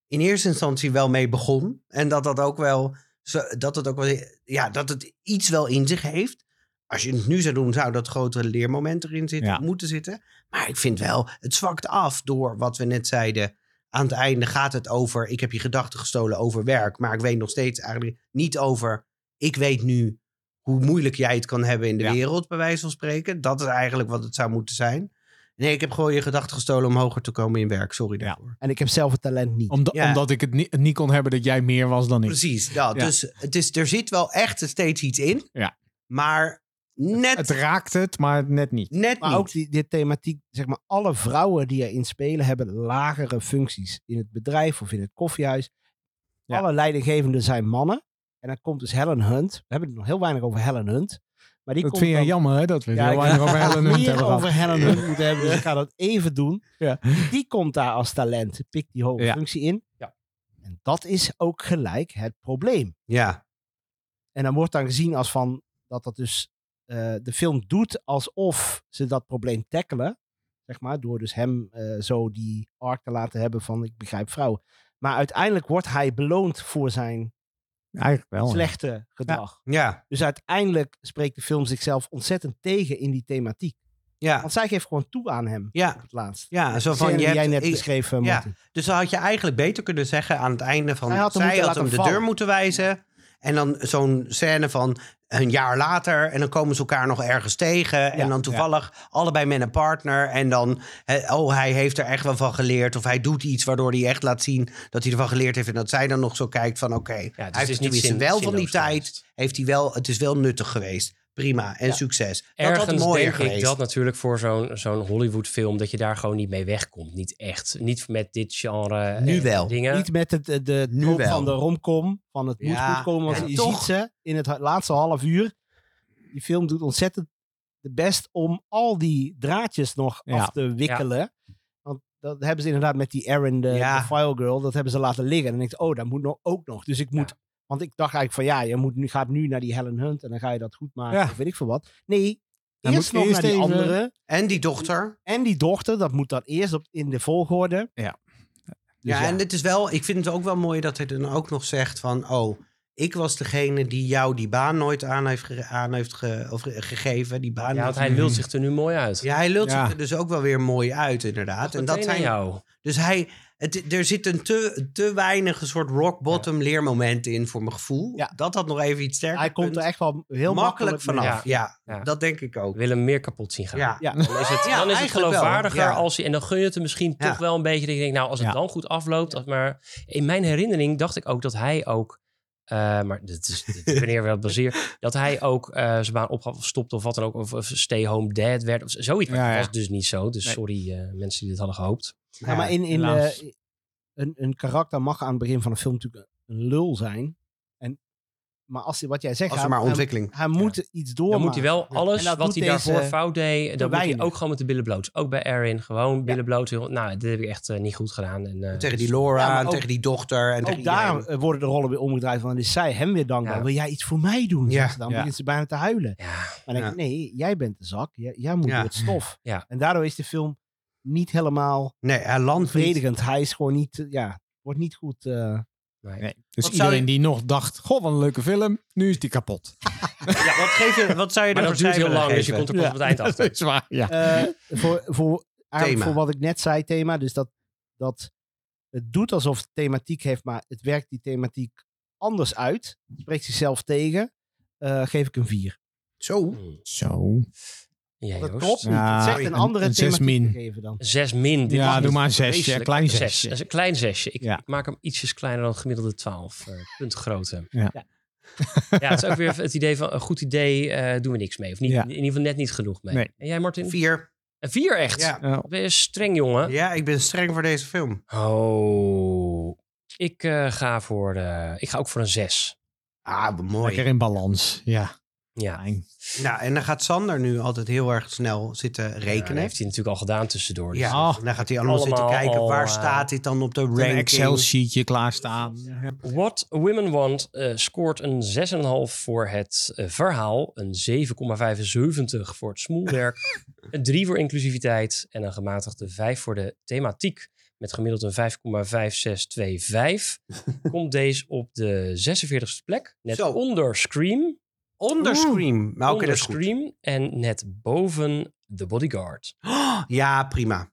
Speaker 4: in eerste instantie wel mee begon en dat dat ook wel... zo- Dat het ook wel, ja, dat het iets wel in zich heeft als je het nu zou doen, zou dat grotere leermoment erin zitten,
Speaker 2: Ja.
Speaker 4: moeten zitten. Maar ik vind wel, het zwakt af door wat we net zeiden. Aan het einde gaat het over, ik heb je gedachten gestolen over werk. Maar ik weet nog steeds eigenlijk niet over, ik weet nu hoe moeilijk jij het kan hebben in de
Speaker 2: Ja.
Speaker 4: wereld, bij wijze van spreken. Dat is eigenlijk wat het zou moeten zijn. Nee, ik heb gewoon je gedachten gestolen om hoger te komen in werk. Sorry
Speaker 2: Ja.
Speaker 4: daarvoor.
Speaker 1: En ik heb zelf het talent niet.
Speaker 2: Omdat,
Speaker 4: Ja.
Speaker 2: omdat ik het niet, niet kon hebben dat jij meer was dan ik.
Speaker 4: Precies, dat.
Speaker 2: Ja.
Speaker 4: Dus het is, er zit wel echt steeds iets in.
Speaker 2: Ja.
Speaker 4: Maar net,
Speaker 2: Het raakt het, maar net niet.
Speaker 4: net
Speaker 1: Maar
Speaker 4: niet.
Speaker 1: ook die, die thematiek, zeg maar, alle vrouwen die erin spelen hebben lagere functies in het bedrijf of in het koffiehuis.
Speaker 2: Ja.
Speaker 1: Alle leidinggevenden zijn mannen. En dan komt dus Helen Hunt. We hebben het nog heel weinig over Helen Hunt. Maar die
Speaker 2: Dat
Speaker 1: komt
Speaker 2: vind je
Speaker 1: dan
Speaker 2: jammer, hè? Dat Dus we het
Speaker 1: Ja,
Speaker 2: heel
Speaker 1: ik-
Speaker 2: weinig over Helen Hunt
Speaker 1: meer
Speaker 2: hebben gehad.
Speaker 1: over Helen Hunt moeten hebben. Dus ik ga dat even doen.
Speaker 2: Ja.
Speaker 1: Die komt daar als talent, pikt die hoge
Speaker 2: Ja.
Speaker 1: functie in.
Speaker 3: Ja.
Speaker 1: En dat is ook gelijk het probleem.
Speaker 4: Ja,
Speaker 1: En dan wordt dan gezien als van dat dat dus eh, de film doet alsof ze dat probleem tackelen. Zeg maar, door dus hem eh, zo die arc te laten hebben van ik begrijp vrouwen. Maar uiteindelijk wordt hij beloond voor zijn
Speaker 2: Eigenlijk wel. hè.
Speaker 1: slechte gedrag.
Speaker 4: ja,
Speaker 1: Dus uiteindelijk spreekt de film zichzelf ontzettend tegen in die thematiek.
Speaker 4: ja,
Speaker 1: Want zij geeft gewoon toe aan hem
Speaker 4: ja.
Speaker 1: op het laatst.
Speaker 4: Ja, zo
Speaker 1: De scène
Speaker 4: van, je
Speaker 1: die jij
Speaker 4: hebt,
Speaker 1: net
Speaker 4: ik-
Speaker 1: beschreef, eh,
Speaker 4: ja.
Speaker 1: Martin.
Speaker 4: dus dan had je eigenlijk beter kunnen zeggen aan het einde van...
Speaker 1: Hij had hem
Speaker 4: zij
Speaker 1: moeten
Speaker 4: had hem
Speaker 1: laten
Speaker 4: de deur
Speaker 1: vallen.
Speaker 4: moeten wijzen. En dan zo'n scène van een jaar later. En dan komen ze elkaar nog ergens tegen. en dan toevallig allebei met een partner. En dan, hè, oh, hij heeft er echt wel van geleerd. Of hij doet iets waardoor hij echt laat zien dat hij ervan geleerd heeft. En dat zij dan nog zo kijkt van, oké, hij
Speaker 3: dus het
Speaker 4: heeft
Speaker 3: is niet
Speaker 4: er tenminste
Speaker 3: zin-
Speaker 4: wel van die
Speaker 3: zinloos
Speaker 4: tijd.
Speaker 3: geweest.
Speaker 4: Heeft hij wel, het is wel nuttig geweest. Prima en succes. Dat had
Speaker 3: Ergens
Speaker 4: mooier
Speaker 3: denk ik
Speaker 4: geweest.
Speaker 3: dat natuurlijk voor zo'n zo'n Hollywood-film... dat je daar gewoon niet mee wegkomt. Niet echt. Niet met dit genre
Speaker 4: Nu
Speaker 3: eh,
Speaker 4: wel.
Speaker 3: dingen.
Speaker 1: Niet met het, eh, de, de
Speaker 4: Nu
Speaker 1: troep
Speaker 4: wel.
Speaker 1: van de romcom, van het moet
Speaker 4: Ja,
Speaker 1: goed komen. Want
Speaker 4: en
Speaker 1: je
Speaker 4: toch-
Speaker 1: ziet ze in het ha- laatste half uur. Die film doet ontzettend de best om al die draadjes nog
Speaker 2: Ja.
Speaker 1: af te wikkelen. Want dat hebben ze inderdaad met die Erin, de,
Speaker 4: Ja.
Speaker 1: de file girl, dat hebben ze laten liggen. En dan denk ik, oh, dat moet nog, ook nog. Dus ik moet... Want ik dacht eigenlijk van, ja, je moet nu, gaat nu naar die Helen Hunt en dan ga je dat goed maken.
Speaker 2: Ja.
Speaker 1: Of weet ik veel wat. Nee,
Speaker 2: Dan
Speaker 1: eerst
Speaker 2: moet
Speaker 1: nog
Speaker 2: eerst
Speaker 1: naar die
Speaker 2: even-
Speaker 1: andere.
Speaker 4: En die dochter.
Speaker 1: En die dochter, dat moet dan eerst op, in de volgorde.
Speaker 2: Ja.
Speaker 1: Dus
Speaker 4: ja, en het is wel, ik vind het ook wel mooi dat hij dan ook nog zegt van, oh, ik was degene die jou die baan nooit aan heeft, ge- aan heeft ge- of ge- gegeven. Die baan
Speaker 3: Ja, want
Speaker 4: nooit-
Speaker 3: hij lult zich er nu mooi uit.
Speaker 4: ja, hij lult
Speaker 2: Ja.
Speaker 4: zich er dus ook wel weer mooi uit, inderdaad. En dat zijn,
Speaker 3: jou.
Speaker 4: dus hij, het, er zit een te, te weinig een soort rock bottom leermoment in voor mijn gevoel.
Speaker 1: Ja.
Speaker 4: Dat had nog even iets sterker.
Speaker 1: Hij komt er
Speaker 4: punt.
Speaker 1: echt wel heel makkelijk,
Speaker 4: makkelijk vanaf.
Speaker 1: mee.
Speaker 4: Ja. Ja,
Speaker 3: Ja.
Speaker 4: dat denk ik ook.
Speaker 3: We willen hem meer kapot zien gaan.
Speaker 4: Ja.
Speaker 1: Ja.
Speaker 3: Dan is het,
Speaker 4: Ja,
Speaker 3: dan is het
Speaker 4: eigenlijk wel,
Speaker 3: geloofwaardiger
Speaker 4: ja.
Speaker 3: als hij. En dan gun je het hem misschien
Speaker 4: Ja.
Speaker 3: toch wel een beetje. Dat ik denk, nou, als het
Speaker 2: Ja.
Speaker 3: dan goed afloopt. als- Maar in mijn herinnering dacht ik ook dat hij ook. eh, maar dit is dit is wanneer we het baseer. Dat hij ook eh, zijn baan opgaf of stopte of wat dan ook. Of, of stay home dad werd. Of z- zoiets. Maar
Speaker 2: Ja,
Speaker 3: dat
Speaker 2: ja.
Speaker 3: was dus niet zo. Dus
Speaker 2: Nee.
Speaker 3: sorry eh, mensen die dit hadden gehoopt.
Speaker 1: Ja, maar in, in,
Speaker 2: helaas.
Speaker 1: eh, een, een karakter mag aan het begin van een film natuurlijk een lul zijn. En, maar als, hij- wat jij zegt,
Speaker 4: Als er
Speaker 1: hij,
Speaker 4: maar
Speaker 1: hij,
Speaker 4: ontwikkeling.
Speaker 1: hij moet iets door.
Speaker 3: Dan moet hij wel alles
Speaker 1: En dat
Speaker 3: wat
Speaker 1: doet
Speaker 3: hij daarvoor
Speaker 1: deze
Speaker 3: fout deed. Dan moet hij
Speaker 1: weinig.
Speaker 3: ook gewoon met de billen bloot. Ook bij Erin. Gewoon billen bloot. Heel- Nou, dit heb ik echt eh, niet goed gedaan. En, eh,
Speaker 4: Tegen
Speaker 3: dus-
Speaker 4: die Laura,
Speaker 1: Ja, maar
Speaker 4: en
Speaker 1: ook-
Speaker 4: tegen die dochter. En tegen
Speaker 1: Ook daar
Speaker 4: iedereen.
Speaker 1: eh, worden de rollen weer omgedraaid. Want dan is zij hem weer dankbaar.
Speaker 3: Ja.
Speaker 1: Wil jij iets voor mij doen?
Speaker 4: Ja.
Speaker 1: zegt ze Dan
Speaker 2: Ja.
Speaker 1: begint ze bijna te huilen.
Speaker 3: Ja.
Speaker 1: Maar dan denk ik, nee, jij bent de zak. Jij, jij moet
Speaker 4: Ja.
Speaker 1: door het stof.
Speaker 3: Ja.
Speaker 1: En daardoor is de film niet helemaal
Speaker 4: Nee, hij landt niet.
Speaker 1: bevredigend. Hij is gewoon niet, eh, ja, wordt niet goed... eh,
Speaker 2: Nee. Dus
Speaker 4: Wat zou
Speaker 2: iedereen
Speaker 4: je-
Speaker 2: die nog dacht, goh, wat een leuke film. Nu is die kapot.
Speaker 4: Ja, wat, geef je, wat zou je
Speaker 3: Maar
Speaker 4: ervoor
Speaker 3: dat duurt heel
Speaker 4: cijfer
Speaker 3: lang, dus je
Speaker 4: geven?
Speaker 3: komt er pas op het eind achter.
Speaker 2: dat is waar, ja.
Speaker 1: Eh, voor, voor, eigenlijk
Speaker 4: Thema.
Speaker 1: voor wat ik net zei, thema. Dus dat, dat het doet alsof het thematiek heeft, maar het werkt die thematiek anders uit. Het Spreekt zichzelf tegen. eh, geef ik een 4.
Speaker 4: Zo.
Speaker 2: Zo.
Speaker 3: Ja,
Speaker 1: Dat
Speaker 3: Joost.
Speaker 1: klopt niet.
Speaker 2: Ja,
Speaker 1: het zegt een
Speaker 2: een-
Speaker 1: andere
Speaker 2: een zes
Speaker 1: thematiek
Speaker 2: min.
Speaker 1: gegeven dan.
Speaker 3: Zes min. Dit
Speaker 2: Ja,
Speaker 3: is
Speaker 2: doe maar een
Speaker 3: echt
Speaker 2: zesje,
Speaker 3: vreselijk.
Speaker 2: klein
Speaker 3: Een
Speaker 2: zesje.
Speaker 3: Zes, een klein zesje. Ik,
Speaker 2: Ja.
Speaker 3: ik maak hem ietsjes kleiner dan gemiddelde 12 eh punten grootte.
Speaker 2: Ja.
Speaker 1: Ja.
Speaker 3: Ja, het is ook weer het idee van een goed idee eh, doen we niks mee. Of niet,
Speaker 2: Ja.
Speaker 3: in ieder geval net niet genoeg mee.
Speaker 2: Nee.
Speaker 3: En jij Martin?
Speaker 4: Vier.
Speaker 3: Een Vier echt?
Speaker 4: Ja.
Speaker 2: Ja.
Speaker 3: Ben je streng jongen?
Speaker 4: ja, ik ben streng voor deze film.
Speaker 3: Oh. Ik, eh, ga voor, eh, ik ga ook voor een zes.
Speaker 4: Ah, mooi.
Speaker 2: Lekker in balans. Ja.
Speaker 3: Ja.
Speaker 2: Fijn.
Speaker 4: Nou, en dan gaat Sander nu altijd heel erg snel zitten
Speaker 3: Ja, dat
Speaker 4: rekenen.
Speaker 3: Eh, heeft hij natuurlijk al gedaan tussendoor. dus-
Speaker 4: Ja,
Speaker 2: Oh.
Speaker 4: dan gaat hij allemaal, zitten
Speaker 3: Allemaal
Speaker 4: kijken
Speaker 3: al,
Speaker 4: waar
Speaker 3: eh,
Speaker 4: staat dit dan op de
Speaker 2: Een
Speaker 4: ranking.
Speaker 2: Excel-sheetje klaarstaan. Ja.
Speaker 3: What Women Want eh, scoort een 6,5 voor het eh, verhaal, een 7,75 voor het smoelwerk, een 3 voor inclusiviteit en een gematigde 5 voor de thematiek. Met gemiddeld een 5,5625 komt deze op de 46e plek, net
Speaker 4: Zo.
Speaker 3: onder Scream,
Speaker 4: Onder Scream. Maar oké,
Speaker 3: onder
Speaker 4: dat is goed.
Speaker 3: Scream en net boven The Bodyguard.
Speaker 4: Oh, ja, prima.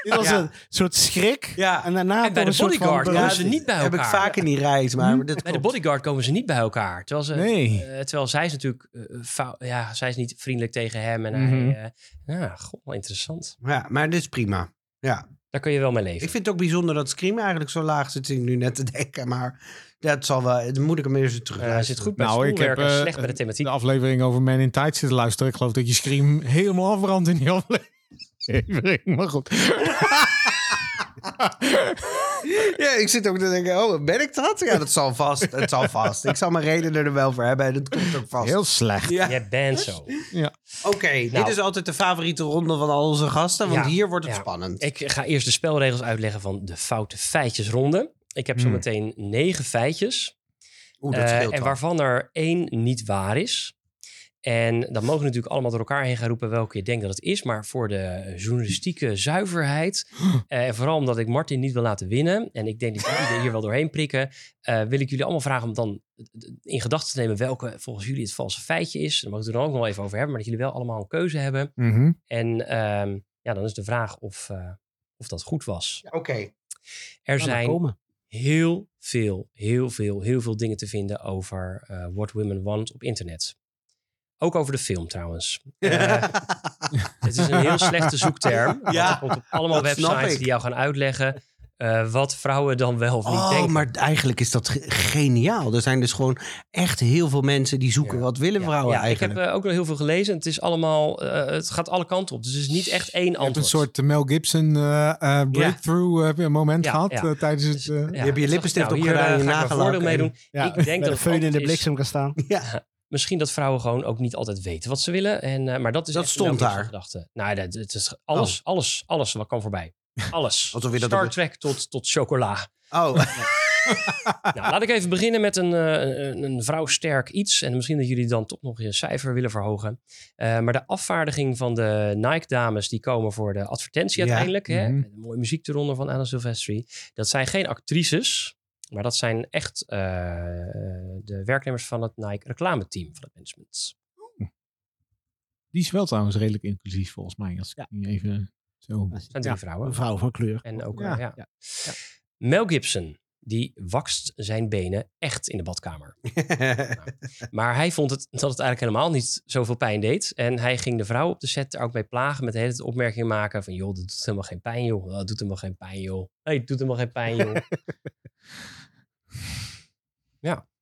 Speaker 1: Dit was
Speaker 4: Ja.
Speaker 1: een soort schrik.
Speaker 4: Ja.
Speaker 1: En daarna
Speaker 3: En bij
Speaker 1: kwam
Speaker 3: de
Speaker 1: een soort van
Speaker 3: bodyguard kwamen ze
Speaker 1: berusting.
Speaker 3: niet bij elkaar.
Speaker 4: Heb ik vaak in die reis, maar dit
Speaker 3: Bij de
Speaker 4: klopt.
Speaker 3: bodyguard komen ze niet bij elkaar. Terwijl, ze,
Speaker 2: Nee.
Speaker 1: Nou,
Speaker 3: eh, terwijl zij is natuurlijk... eh, fou- ja, zij is niet vriendelijk tegen hem. En
Speaker 2: Mhm.
Speaker 3: hij... eh, ja, god, wel interessant.
Speaker 4: Ja, maar dit is prima. Ja.
Speaker 3: Daar kun je wel mee leven.
Speaker 4: Ik vind het ook bijzonder dat Scream eigenlijk zo laag zit, zit ik nu net te denken. Maar dat zal wel, dan moet ik hem eerst terug.
Speaker 3: Eh, hij zit goed bij
Speaker 2: Nou,
Speaker 3: het
Speaker 2: ik heb
Speaker 3: schoolwerk en
Speaker 2: eh,
Speaker 3: slecht bij de thematiek.
Speaker 2: de aflevering over Man in Tight zitten luisteren. Ik geloof dat je Scream helemaal afbrandt in die aflevering. Maar goed.
Speaker 4: Ja, ik zit ook te denken, oh, ben ik dat? Ja, dat zal vast. Het zal vast. Ik zal mijn redenen er wel voor hebben en dat komt ook vast.
Speaker 2: Heel slecht.
Speaker 4: Ja.
Speaker 3: Jij bent zo.
Speaker 4: Oké,
Speaker 3: Nou.
Speaker 4: dit is altijd de favoriete ronde van al onze gasten, want
Speaker 3: Ja,
Speaker 4: hier wordt het
Speaker 3: ja.
Speaker 4: spannend.
Speaker 3: Ik ga eerst de spelregels uitleggen van de foute feitjesronde. Ik heb zo
Speaker 2: Hmm.
Speaker 3: meteen negen feitjes.
Speaker 4: Oeh, dat
Speaker 3: Eh,
Speaker 4: scheelt
Speaker 3: en
Speaker 4: al.
Speaker 3: waarvan er één niet waar is. En dan mogen we natuurlijk allemaal door elkaar heen gaan roepen welke je denkt dat het is. Maar voor de journalistieke zuiverheid. eh, en vooral omdat ik Martin niet wil laten winnen. En ik denk dat jullie hier wel doorheen prikken. eh, wil ik jullie allemaal vragen om dan in gedachten te nemen welke volgens jullie het valse feitje is. Daar mag ik het er dan ook nog wel even over hebben. Maar dat jullie wel allemaal een keuze hebben.
Speaker 2: Mhm.
Speaker 3: En ehm, ja, dan is de vraag of, eh, of dat goed was.
Speaker 4: Oké. Nou,
Speaker 3: Er
Speaker 1: Kan er
Speaker 3: zijn
Speaker 1: komen.
Speaker 3: heel veel, heel veel, heel veel dingen te vinden over eh, What Women Want op internet. Ook over de film trouwens. Eh, het is een heel slechte zoekterm. want
Speaker 4: Ja,
Speaker 3: er komt op allemaal
Speaker 4: dat snap
Speaker 3: websites
Speaker 4: ik.
Speaker 3: die jou gaan uitleggen eh, wat vrouwen dan wel of niet
Speaker 4: Oh,
Speaker 3: denken.
Speaker 4: maar eigenlijk is dat ge- geniaal. Er zijn dus gewoon echt heel veel mensen die zoeken
Speaker 3: Ja.
Speaker 4: wat willen
Speaker 3: Ja,
Speaker 4: vrouwen
Speaker 3: ja, ik heb
Speaker 4: eigenlijk.
Speaker 3: eh, ook nog heel veel gelezen. en Het is allemaal, eh, het gaat alle kanten op. Dus het is niet echt één
Speaker 2: Je hebt
Speaker 3: antwoord.
Speaker 2: een soort Mel Gibson eh, eh, breakthrough eh, heb je een moment
Speaker 3: Ja,
Speaker 2: gehad
Speaker 3: ja.
Speaker 2: eh, tijdens het...
Speaker 3: Dus,
Speaker 2: eh,
Speaker 3: ja,
Speaker 4: je
Speaker 3: dus
Speaker 4: lippenstift
Speaker 3: dacht ik,
Speaker 4: opgedaan
Speaker 3: nou,
Speaker 4: en
Speaker 3: hier,
Speaker 4: je
Speaker 3: eh, ga ik mijn
Speaker 4: nagellak
Speaker 3: voordeel mee
Speaker 4: en-
Speaker 3: doen.
Speaker 1: Ja,
Speaker 3: ik denk
Speaker 1: met
Speaker 3: dat
Speaker 1: een
Speaker 3: het
Speaker 1: feun in de
Speaker 3: antwoord is-
Speaker 1: bliksem kan staan.
Speaker 3: misschien dat vrouwen gewoon ook niet altijd weten wat ze willen. En, eh, maar dat is
Speaker 4: Dat
Speaker 3: echt
Speaker 4: stond
Speaker 3: een
Speaker 4: daar. Oh.
Speaker 3: gedachte. Nou, dat, het is alles, alles, alles wat kan voorbij. Alles.
Speaker 4: Alsof je dat
Speaker 3: Star
Speaker 4: op-
Speaker 3: Trek tot, tot chocola.
Speaker 4: Oh,
Speaker 3: nou, laat ik even beginnen met een, eh, een, een vrouwsterk iets. En misschien dat jullie dan toch nog je cijfer willen verhogen. Eh, maar de afvaardiging van de Nike-dames die komen voor de advertentie
Speaker 4: Ja.
Speaker 3: uiteindelijk. Hè,
Speaker 2: Mhm.
Speaker 3: met een mooie muziek eronder van Anna Silvestri. Dat zijn geen actrices. Maar dat zijn echt eh, de werknemers van het Nike reclameteam van het management.
Speaker 2: Die is wel trouwens redelijk inclusief volgens mij. Als ik even zo...
Speaker 1: Dat is-
Speaker 3: zijn drie
Speaker 1: ja,
Speaker 3: vrouwen.
Speaker 1: Een vrouw van kleur.
Speaker 3: En ook,
Speaker 2: Ja,
Speaker 3: eh, ja.
Speaker 1: ja,
Speaker 3: Mel Gibson, die wakst zijn benen echt in de badkamer. Maar hij vond het, dat het eigenlijk helemaal niet zoveel pijn deed. En hij ging de vrouw op de set er ook mee plagen met de hele tijd opmerkingen maken van... joh, dat doet helemaal geen pijn, joh. Dat doet helemaal geen pijn, joh. Nee, het doet helemaal geen pijn, joh.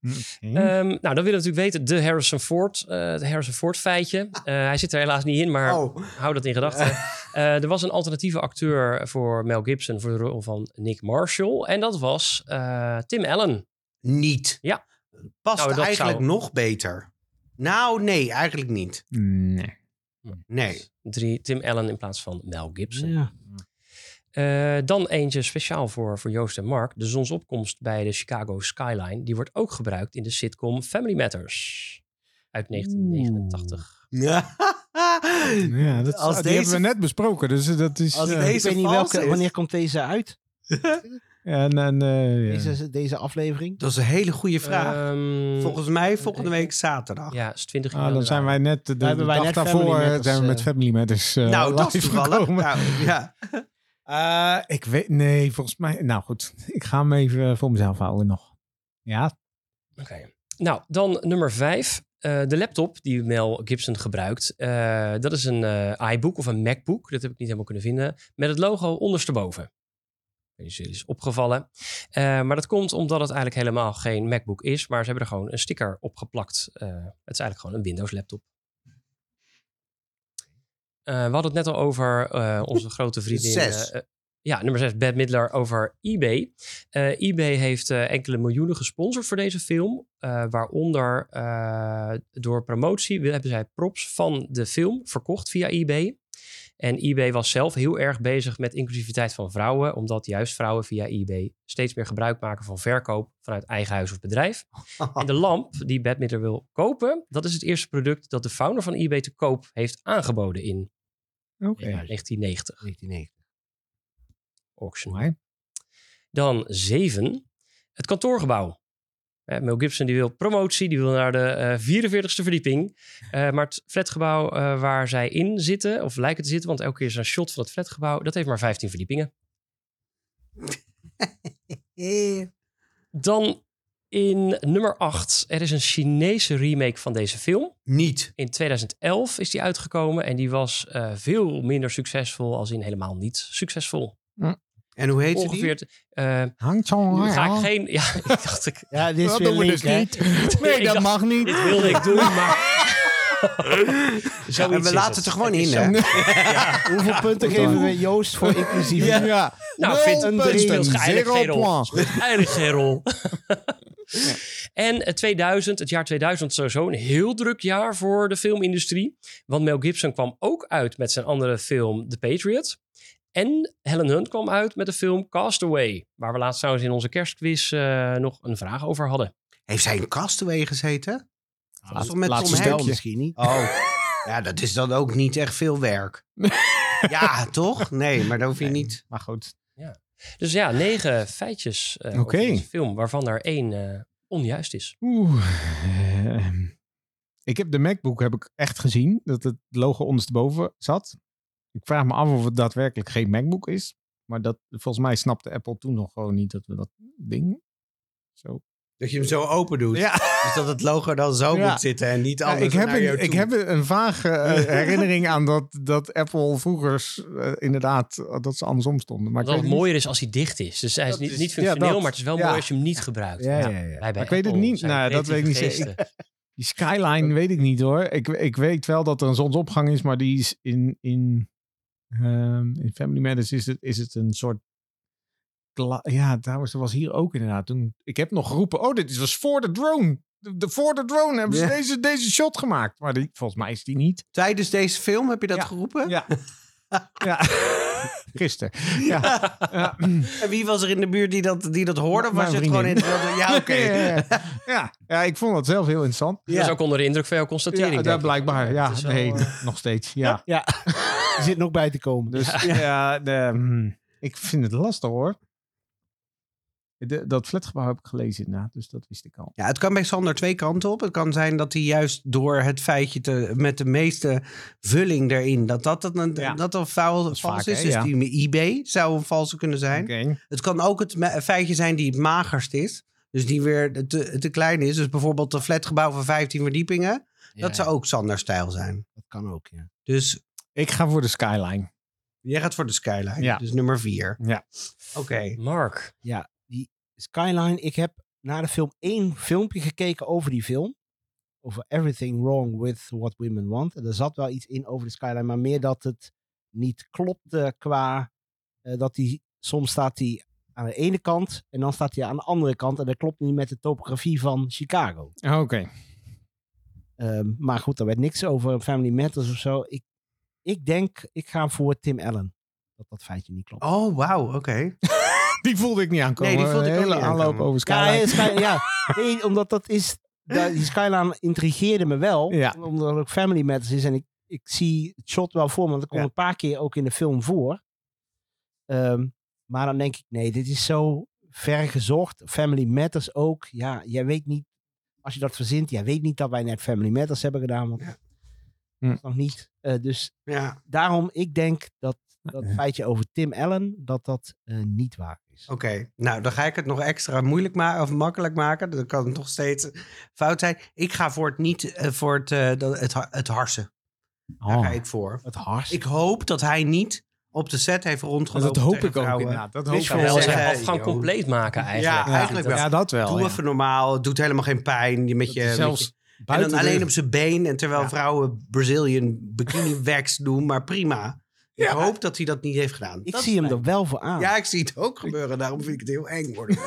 Speaker 1: Hm,
Speaker 2: Oké.
Speaker 3: Ehm, nou, dan willen we natuurlijk weten, de Harrison Ford, eh het Harrison Ford feitje. Eh, hij zit er helaas niet in, maar
Speaker 4: oh.
Speaker 3: hou dat in gedachten. Eh, er was een alternatieve acteur voor Mel Gibson voor de rol van Nick Marshall. En dat was eh, Tim Allen.
Speaker 4: niet.
Speaker 3: Ja.
Speaker 4: Past
Speaker 3: Nou, dat
Speaker 4: eigenlijk
Speaker 3: zou-
Speaker 4: nog beter. Nou, nee, eigenlijk niet.
Speaker 2: Nee.
Speaker 4: Nee.
Speaker 3: Drie, Tim Allen in plaats van Mel Gibson.
Speaker 1: Ja.
Speaker 3: Eh, dan eentje speciaal voor, voor Joost en Mark. De zonsopkomst bij de Chicago Skyline. Die wordt ook gebruikt in de sitcom Family Matters. Uit 1989.
Speaker 4: Ja.
Speaker 2: Ja, dat,
Speaker 4: Als
Speaker 2: die
Speaker 4: deze-
Speaker 2: hebben we net besproken. Dus eh, dat is...
Speaker 4: Als
Speaker 2: eh,
Speaker 4: deze
Speaker 1: Ik weet niet
Speaker 4: vals
Speaker 1: welke,
Speaker 4: is.
Speaker 1: wanneer komt deze uit?
Speaker 2: en, en, eh, ja.
Speaker 1: Deze, deze aflevering?
Speaker 4: Dat is een hele goede vraag.
Speaker 3: Ehm,
Speaker 4: Volgens mij volgende week zaterdag.
Speaker 3: Eh, Ja, is 20
Speaker 2: Ah, dan
Speaker 3: januari.
Speaker 2: zijn wij net de, de
Speaker 1: hebben wij
Speaker 2: dag
Speaker 1: net
Speaker 2: daarvoor
Speaker 1: Family
Speaker 2: eh,
Speaker 1: Matters,
Speaker 2: zijn we met
Speaker 1: eh,
Speaker 2: Family Matters eh,
Speaker 4: nou, dat is
Speaker 2: live
Speaker 4: toevallig.
Speaker 2: gekomen.
Speaker 4: Nou, ja.
Speaker 2: Eh, ik weet, nee, volgens mij. Nou goed, ik eh, ga hem even voor mezelf houden nog. Ja,
Speaker 3: Oké. Nou, dan nummer vijf. eh, de laptop die Mel Gibson gebruikt, eh, dat is een eh, iBook of een MacBook. Dat heb ik niet helemaal kunnen vinden. Met het logo ondersteboven. Ik weet niet of jullie is opgevallen. Eh, maar dat komt omdat het eigenlijk helemaal geen MacBook is. Maar ze hebben er gewoon een sticker op geplakt. Eh, het is eigenlijk gewoon een Windows laptop. Eh, we hadden het net al over eh, onze grote vriendin.
Speaker 4: Zes.
Speaker 3: eh, eh, ja, nummer 6, Bad Midler, over eBay. Eh, eBay heeft eh, enkele miljoenen gesponsord voor deze film. eh, waaronder eh, door promotie hebben zij props van de film verkocht via eBay. En eBay was zelf heel erg bezig met inclusiviteit van vrouwen, omdat juist vrouwen via eBay steeds meer gebruik maken van verkoop vanuit eigen huis of bedrijf. En de lamp die Badminton wil kopen, dat is het eerste product dat de founder van eBay te koop heeft aangeboden in
Speaker 2: Oké.
Speaker 3: 1990.
Speaker 1: 1990.
Speaker 3: Auction.
Speaker 2: Mooi.
Speaker 3: Dan zeven, het kantoorgebouw. Eh, Mel Gibson die wil promotie, die wil naar de eh, 44ste verdieping. Eh, maar het flatgebouw eh, waar zij in zitten, of lijken te zitten, want elke keer is er een shot van het flatgebouw, dat heeft maar 15 verdiepingen.
Speaker 4: eh.
Speaker 3: Dan in nummer 8, er is een Chinese remake van deze film.
Speaker 4: Niet.
Speaker 3: In 2011 is die uitgekomen en die was eh, veel minder succesvol, als in helemaal niet succesvol.
Speaker 4: En hoe heet ze die?
Speaker 3: Ongeveer. eh,
Speaker 2: Hangt zo
Speaker 3: nu ga ik geen. Ja, ik dacht ik.
Speaker 1: Ja, dit is
Speaker 2: Dat
Speaker 1: weer
Speaker 2: doen we
Speaker 1: link,
Speaker 2: dus
Speaker 1: hè?
Speaker 2: niet.
Speaker 3: Ik
Speaker 2: Nee, dat
Speaker 3: dacht-
Speaker 2: mag niet.
Speaker 3: Dit wilde ik doen, maar. Zoiets
Speaker 4: Ja, en
Speaker 3: is
Speaker 4: we laten het er gewoon in,
Speaker 3: is
Speaker 4: hè?
Speaker 3: zo.
Speaker 1: Hoeveel punten geven we Joost voor inclusief?
Speaker 2: Ja.
Speaker 3: Nou,
Speaker 2: Nul
Speaker 3: vindt een
Speaker 2: punten.
Speaker 3: drie speelt ge- eigenlijk
Speaker 2: Zero
Speaker 3: geen rol.
Speaker 2: point.
Speaker 3: Speelt Eigenlijk geen rol. En eh, 2000, het jaar 2000 is sowieso een heel druk jaar voor de filmindustrie. Want Mel Gibson kwam ook uit met zijn andere film The Patriot. En Helen Hunt kwam uit met de film Castaway. Waar we laatst trouwens in onze kerstquiz eh, nog een vraag over hadden.
Speaker 4: Heeft zij in Castaway gezeten?
Speaker 2: Laat-
Speaker 4: Toch met
Speaker 2: laatste
Speaker 4: Tom Hanks?
Speaker 2: stukje.
Speaker 1: misschien niet.
Speaker 4: Oh, ja, dat is dan ook niet echt veel werk. ja, toch? Nee, maar dat hoef je niet.
Speaker 2: Maar goed.
Speaker 3: Dus ja, negen feitjes eh over
Speaker 2: Oké.
Speaker 3: deze film. Waarvan er één eh, onjuist is.
Speaker 2: Oeh. ehm. Ik heb de MacBook heb ik echt gezien dat het logo ondersteboven zat. Ik vraag me af of het daadwerkelijk geen MacBook is. Maar dat, volgens mij snapte Apple toen nog gewoon niet dat we dat ding zo.
Speaker 4: Dat je hem zo open doet.
Speaker 2: Ja,
Speaker 4: Dus dat het logo dan zo
Speaker 2: Ja.
Speaker 4: moet zitten en niet
Speaker 2: ja
Speaker 4: anders
Speaker 2: ik, heb
Speaker 4: naar jou
Speaker 2: een, ik
Speaker 4: toe.
Speaker 2: heb een vage eh, herinnering aan dat, dat Apple vroeger eh, inderdaad eh, dat ze andersom stonden. Maar ik
Speaker 3: Omdat het
Speaker 2: weet het niet.
Speaker 3: mooier is als hij dicht is. Dus hij is
Speaker 2: Dat
Speaker 3: niet,
Speaker 2: is-
Speaker 3: niet
Speaker 2: ja,
Speaker 3: functioneel,
Speaker 2: dat.
Speaker 3: maar het is wel
Speaker 2: Ja.
Speaker 3: mooi als je hem niet gebruikt.
Speaker 1: Ja, ja,
Speaker 3: Ja.
Speaker 1: ja.
Speaker 3: Wij bij
Speaker 2: Maar ik weet het
Speaker 3: Apple
Speaker 2: niet.
Speaker 3: zijn
Speaker 2: Nou, dat weet ik niet
Speaker 3: creatieve geesten.
Speaker 2: Die skyline weet ik niet hoor. Ik, ik weet wel dat er een zonsopgang is, maar die is in, in, ehm, in Family Matters is het, is het een soort... kla- Ja, trouwens, dat was hier ook inderdaad. Toen, ik heb nog geroepen, oh, dit is- was voor de drone. De, de- voor de drone hebben ze
Speaker 4: Ja.
Speaker 2: deze, deze shot gemaakt. Maar die, volgens mij is die niet.
Speaker 4: Tijdens deze film heb je dat
Speaker 2: Ja.
Speaker 4: geroepen?
Speaker 2: Ja. ja. Gisteren. Ja. ja.
Speaker 4: En wie was er in de buurt die dat, die dat hoorde? Of
Speaker 2: Mijn
Speaker 4: was je het gewoon in
Speaker 2: vriendin.
Speaker 4: Ja, oké.
Speaker 2: Ja, ja, ja. ja, ik vond dat zelf heel interessant.
Speaker 3: Dat is ook onder de indruk van jouw
Speaker 2: Ja,
Speaker 3: constatering.
Speaker 2: dat
Speaker 3: denk ik.
Speaker 2: blijkbaar. Ja,
Speaker 3: Het is wel,
Speaker 2: nee,
Speaker 3: eh,
Speaker 2: nog steeds. Ja.
Speaker 1: Ja, er zit nog bij te komen. Dus
Speaker 2: Dus ja, de, hmm, ik vind het lastig hoor. De, dat flatgebouw heb ik gelezen inderdaad, dus dat wist ik al.
Speaker 4: Ja, het kan bij Sander twee kanten op. Het kan zijn dat hij juist door het feitje te, met de meeste vulling erin, dat dat, dat, een,
Speaker 2: Ja.
Speaker 4: dat een faal-
Speaker 2: is
Speaker 4: vals
Speaker 2: vaak,
Speaker 4: is.
Speaker 2: hè,
Speaker 4: Dus
Speaker 2: ja.
Speaker 4: die eBay zou een valse kunnen zijn. Het kan ook het me- feitje zijn die het magerst is. Dus die weer te, te klein is. Dus bijvoorbeeld een flatgebouw van 15 verdiepingen. dat zou ook Sander's stijl zijn.
Speaker 1: dat kan ook, ja.
Speaker 4: Dus
Speaker 2: Ik ga voor de skyline.
Speaker 4: jij gaat voor de skyline.
Speaker 2: Ja.
Speaker 4: Dus nummer vier.
Speaker 2: Ja.
Speaker 4: Oké.
Speaker 3: Mark,
Speaker 1: Skyline, ik heb na de film één filmpje gekeken over die film. Over Everything Wrong with What Women Want. En er zat wel iets in over de Skyline, maar meer dat het niet klopte qua eh, dat die soms staat die aan de ene kant en dan staat hij aan de andere kant en dat klopt niet met de topografie van Chicago.
Speaker 2: Oké.
Speaker 1: Ehm, maar goed, er werd niks over Family Matters of zo. Ik, ik denk, ik ga voor Tim Allen. Dat dat feitje niet klopt.
Speaker 4: Oh, wauw. Oké.
Speaker 2: Die voelde ik niet aankomen.
Speaker 4: Nee, die voelde ik
Speaker 2: De
Speaker 4: ook
Speaker 2: hele
Speaker 4: niet
Speaker 2: aanloop
Speaker 4: aankomen.
Speaker 2: over
Speaker 1: Ja,
Speaker 2: skyline.
Speaker 1: ja, Sky- ja. Nee, omdat dat is. da- Die Skyline intrigeerde me wel.
Speaker 2: Ja.
Speaker 1: Omdat het ook Family Matters is. En ik, ik zie het shot wel voor me. Want dat komt
Speaker 2: Ja.
Speaker 1: een paar keer ook in de film voor. Ehm, maar dan denk ik, nee, dit is zo ver gezocht. Family Matters ook. Ja, jij weet niet. Als je dat verzint, jij weet niet dat wij net Family Matters hebben gedaan. Want
Speaker 4: Ja.
Speaker 2: Hm.
Speaker 1: dat is nog niet. Eh, dus
Speaker 4: Ja.
Speaker 1: daarom, ik denk dat dat
Speaker 2: Ja.
Speaker 1: feitje over Tim Allen, dat dat eh, niet waar is. is.
Speaker 4: Oké, nou dan ga ik het nog extra moeilijk maken of makkelijk maken. Dan kan het nog steeds fout zijn. Ik ga voor het niet eh, voor het, eh, dat- het, ha- het harsen. Daar ga
Speaker 1: Oh,
Speaker 4: ik voor.
Speaker 1: het hars.
Speaker 4: Ik hoop dat hij niet op de set heeft rondgelopen.
Speaker 2: dat hoop
Speaker 4: tegen
Speaker 2: ik ook
Speaker 4: vrouwen.
Speaker 2: inderdaad. Dat
Speaker 1: Wist
Speaker 2: hoop
Speaker 1: je
Speaker 2: ik
Speaker 3: Wel
Speaker 2: ook.
Speaker 4: zeggen,
Speaker 3: zijn
Speaker 4: hey,
Speaker 3: afgang
Speaker 4: joh.
Speaker 3: compleet maken eigenlijk.
Speaker 4: Ja, eigenlijk wel.
Speaker 2: Ja, dat wel.
Speaker 4: Doe
Speaker 2: ja.
Speaker 4: even normaal. Het doet helemaal geen pijn. Je met je, met je-
Speaker 2: Zelfs
Speaker 4: en dan
Speaker 2: buiten de-
Speaker 4: alleen op zijn been. En terwijl vrouwen Brazilian bikini wax doen. Maar prima. Ik hoop dat hij dat niet heeft gedaan.
Speaker 1: Ik
Speaker 4: Dat
Speaker 1: zie
Speaker 4: is
Speaker 1: hem er wel voor aan.
Speaker 4: mijn- Ja, ik zie het ook gebeuren. Daarom vind ik het heel eng worden.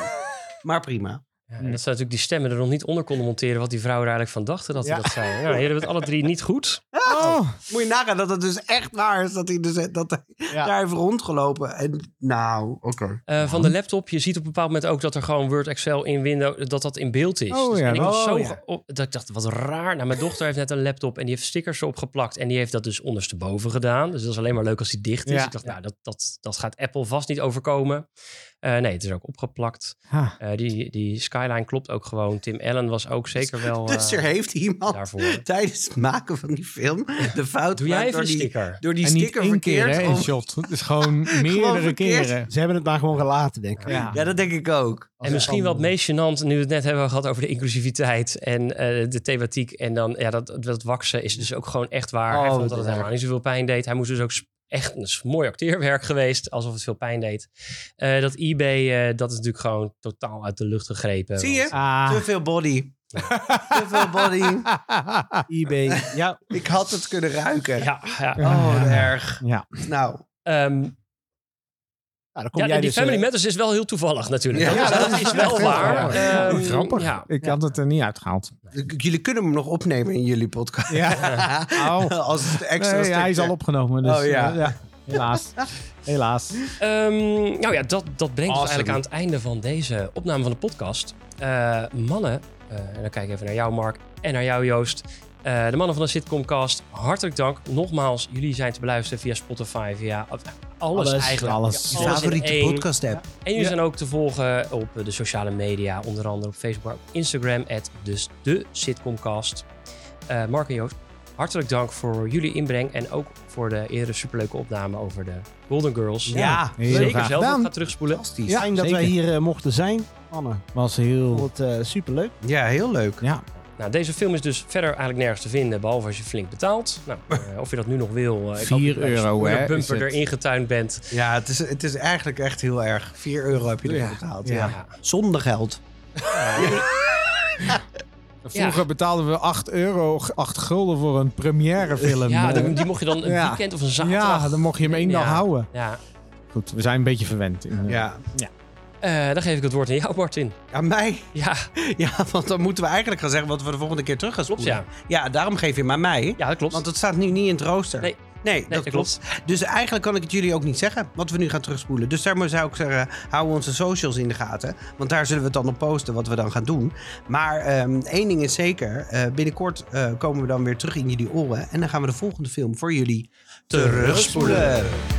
Speaker 4: maar prima.
Speaker 3: Ja, en dat ze natuurlijk die stemmen er nog niet onder konden monteren... wat die vrouwen er eigenlijk van dachten dat ze dat zeiden. Nou, jullie hebben het alle drie niet goed.
Speaker 2: Oh,
Speaker 4: Moet je nagaan dat het dus echt waar is dat hij, dus, dat hij
Speaker 1: Ja.
Speaker 4: daar heeft rondgelopen. En, nou, oké.
Speaker 3: Eh, van de laptop, je ziet op een bepaald moment ook dat er gewoon Word, Excel in Windows, dat dat in beeld is.
Speaker 2: Oh
Speaker 3: Dus-
Speaker 2: ja,
Speaker 3: en ik was
Speaker 2: oh
Speaker 3: zo
Speaker 2: ja.
Speaker 3: ge- op, dat ik dacht, wat raar. Nou, mijn dochter heeft net een laptop en die heeft stickers erop geplakt en die heeft dat dus ondersteboven gedaan. Dus dat is alleen maar leuk als die dicht is.
Speaker 2: Ja.
Speaker 3: Ik dacht, nou, dat, dat, dat gaat Apple vast niet overkomen. Eh, nee, het is ook opgeplakt.
Speaker 2: Ha.
Speaker 3: Eh, die, die skyline klopt ook gewoon. Tim Allen was ook zeker wel
Speaker 4: Dus
Speaker 3: eh,
Speaker 4: er heeft iemand
Speaker 3: daarvoor.
Speaker 4: tijdens het maken van die film de fout
Speaker 3: Doe jij
Speaker 4: gemaakt
Speaker 3: even
Speaker 4: door
Speaker 3: een
Speaker 4: die,
Speaker 3: sticker?
Speaker 4: door die
Speaker 2: en niet
Speaker 4: sticker
Speaker 2: één keer
Speaker 4: verkeerd.
Speaker 2: hè,
Speaker 4: om-
Speaker 2: een shot. Het is gewoon meerdere
Speaker 4: verkeerd.
Speaker 2: keren.
Speaker 1: Ze hebben het daar gewoon gelaten, denk ik.
Speaker 2: Ja.
Speaker 4: Ja, dat denk ik ook.
Speaker 3: En misschien wel het meest gênant, nu we het net hebben gehad over de inclusiviteit en eh, de thematiek. En dan, ja, dat, dat waksen is dus ook gewoon echt waar. hij
Speaker 4: Oh,
Speaker 3: vond
Speaker 4: wat
Speaker 3: dat het
Speaker 4: erg.
Speaker 3: helemaal niet zoveel pijn deed. Hij moest dus ook sp- echt een s- mooi acteerwerk geweest, alsof het veel pijn deed. Eh, dat eBay, eh, dat is natuurlijk gewoon totaal uit de lucht gegrepen.
Speaker 4: Zie je? Te
Speaker 2: Ah.
Speaker 4: veel body. Te veel body.
Speaker 1: eBay. Ja,
Speaker 4: Ik had het kunnen ruiken.
Speaker 3: Want- ja, ja.
Speaker 4: Oh, wat erg.
Speaker 2: Ja.
Speaker 4: Nou,
Speaker 3: Ehm,
Speaker 1: nou, dan kom
Speaker 3: ja,
Speaker 1: jij
Speaker 3: die
Speaker 1: dus...
Speaker 3: Family
Speaker 1: eh,
Speaker 3: Matters is wel heel toevallig natuurlijk.
Speaker 4: Ja,
Speaker 3: dat, is-
Speaker 4: ja,
Speaker 3: dat
Speaker 4: dat
Speaker 3: is wel waar.
Speaker 2: Ja,
Speaker 3: Ehm,
Speaker 2: grappig.
Speaker 3: Ja.
Speaker 2: Ik had het er niet uitgehaald.
Speaker 4: j- jullie kunnen hem nog opnemen in jullie podcast.
Speaker 2: Ja. Au.
Speaker 4: Als het extra
Speaker 2: Nee, hij is
Speaker 4: stukje.
Speaker 2: al opgenomen. Dus,
Speaker 4: Oh, ja.
Speaker 2: eh, Helaas. Helaas.
Speaker 3: Ehm, nou ja, dat, dat brengt
Speaker 4: Awesome.
Speaker 3: ons eigenlijk aan het einde van deze opname van de podcast. Eh, mannen, eh, en dan kijk ik even naar jou Mark en naar jou Joost. Eh, de mannen van de sitcomcast, hartelijk dank. Nogmaals, jullie zijn te beluisteren via Spotify, via eh, alles,
Speaker 1: Alles,
Speaker 3: eigenlijk.
Speaker 1: alles.
Speaker 3: Ja,
Speaker 4: Je
Speaker 3: in
Speaker 4: favoriete
Speaker 3: één.
Speaker 4: podcast app.
Speaker 3: En jullie
Speaker 2: Ja.
Speaker 3: zijn ook te volgen op de sociale media, onder andere op Facebook, op Instagram, at dus de sitcomcast. Eh, Mark en Joost, hartelijk dank voor jullie inbreng en ook voor de eerdere superleuke opname over de Golden Girls.
Speaker 4: Ja,
Speaker 2: heel
Speaker 3: Zeker
Speaker 2: graag
Speaker 3: zelf, ik
Speaker 2: gedaan.
Speaker 3: ga terugspoelen.
Speaker 4: fantastisch.
Speaker 1: Fijn dat
Speaker 2: zeker.
Speaker 1: wij hier eh, mochten zijn, mannen.
Speaker 2: Was heel...
Speaker 1: Vond het eh, superleuk.
Speaker 4: Ja, heel leuk.
Speaker 2: Ja.
Speaker 3: Nou, deze film is dus verder eigenlijk nergens te vinden, behalve als je flink betaalt. Nou, eh, of je dat nu nog wil. eh, ik hoop
Speaker 2: 4
Speaker 3: dat je
Speaker 2: euro,
Speaker 3: spoiler
Speaker 2: hè, is
Speaker 3: bumper
Speaker 2: het.
Speaker 3: erin getuind bent.
Speaker 4: Ja, het is, het is eigenlijk echt heel erg. 4 euro heb je ervoor betaald. Ja.
Speaker 3: Ja.
Speaker 4: Zonder geld.
Speaker 2: Vroeger betaalden we 8 euro, 8 gulden voor een premièrefilm.
Speaker 3: Ja,
Speaker 2: Eh,
Speaker 3: dan- die mocht je dan een
Speaker 2: Ja.
Speaker 3: weekend of een zaterdag...
Speaker 2: ja, dan mocht je hem één dag
Speaker 3: Ja.
Speaker 2: houden.
Speaker 3: Ja.
Speaker 2: Goed, we zijn een beetje verwend. In,
Speaker 4: Ja.
Speaker 3: Eh, dan geef ik het woord aan jou, Martin.
Speaker 4: Aan mij?
Speaker 3: Ja,
Speaker 4: Ja, want dan moeten we eigenlijk gaan zeggen wat we de volgende keer terug gaan
Speaker 3: Klopt,
Speaker 4: spoelen. Ja, daarom geef je hem aan mij.
Speaker 3: ja dat klopt.
Speaker 4: Want dat staat nu niet in het rooster.
Speaker 3: Nee.
Speaker 4: dat, klopt. Dus eigenlijk kan ik het jullie ook niet zeggen wat we nu gaan terugspoelen. Dus daarom zou ik zeggen, hou onze socials in de gaten. Want daar zullen we het dan op posten wat we dan gaan doen. Maar ehm, één ding is zeker. eh, binnenkort eh, komen we dan weer terug in jullie oren. En dan gaan we de volgende film voor jullie terugspoelen.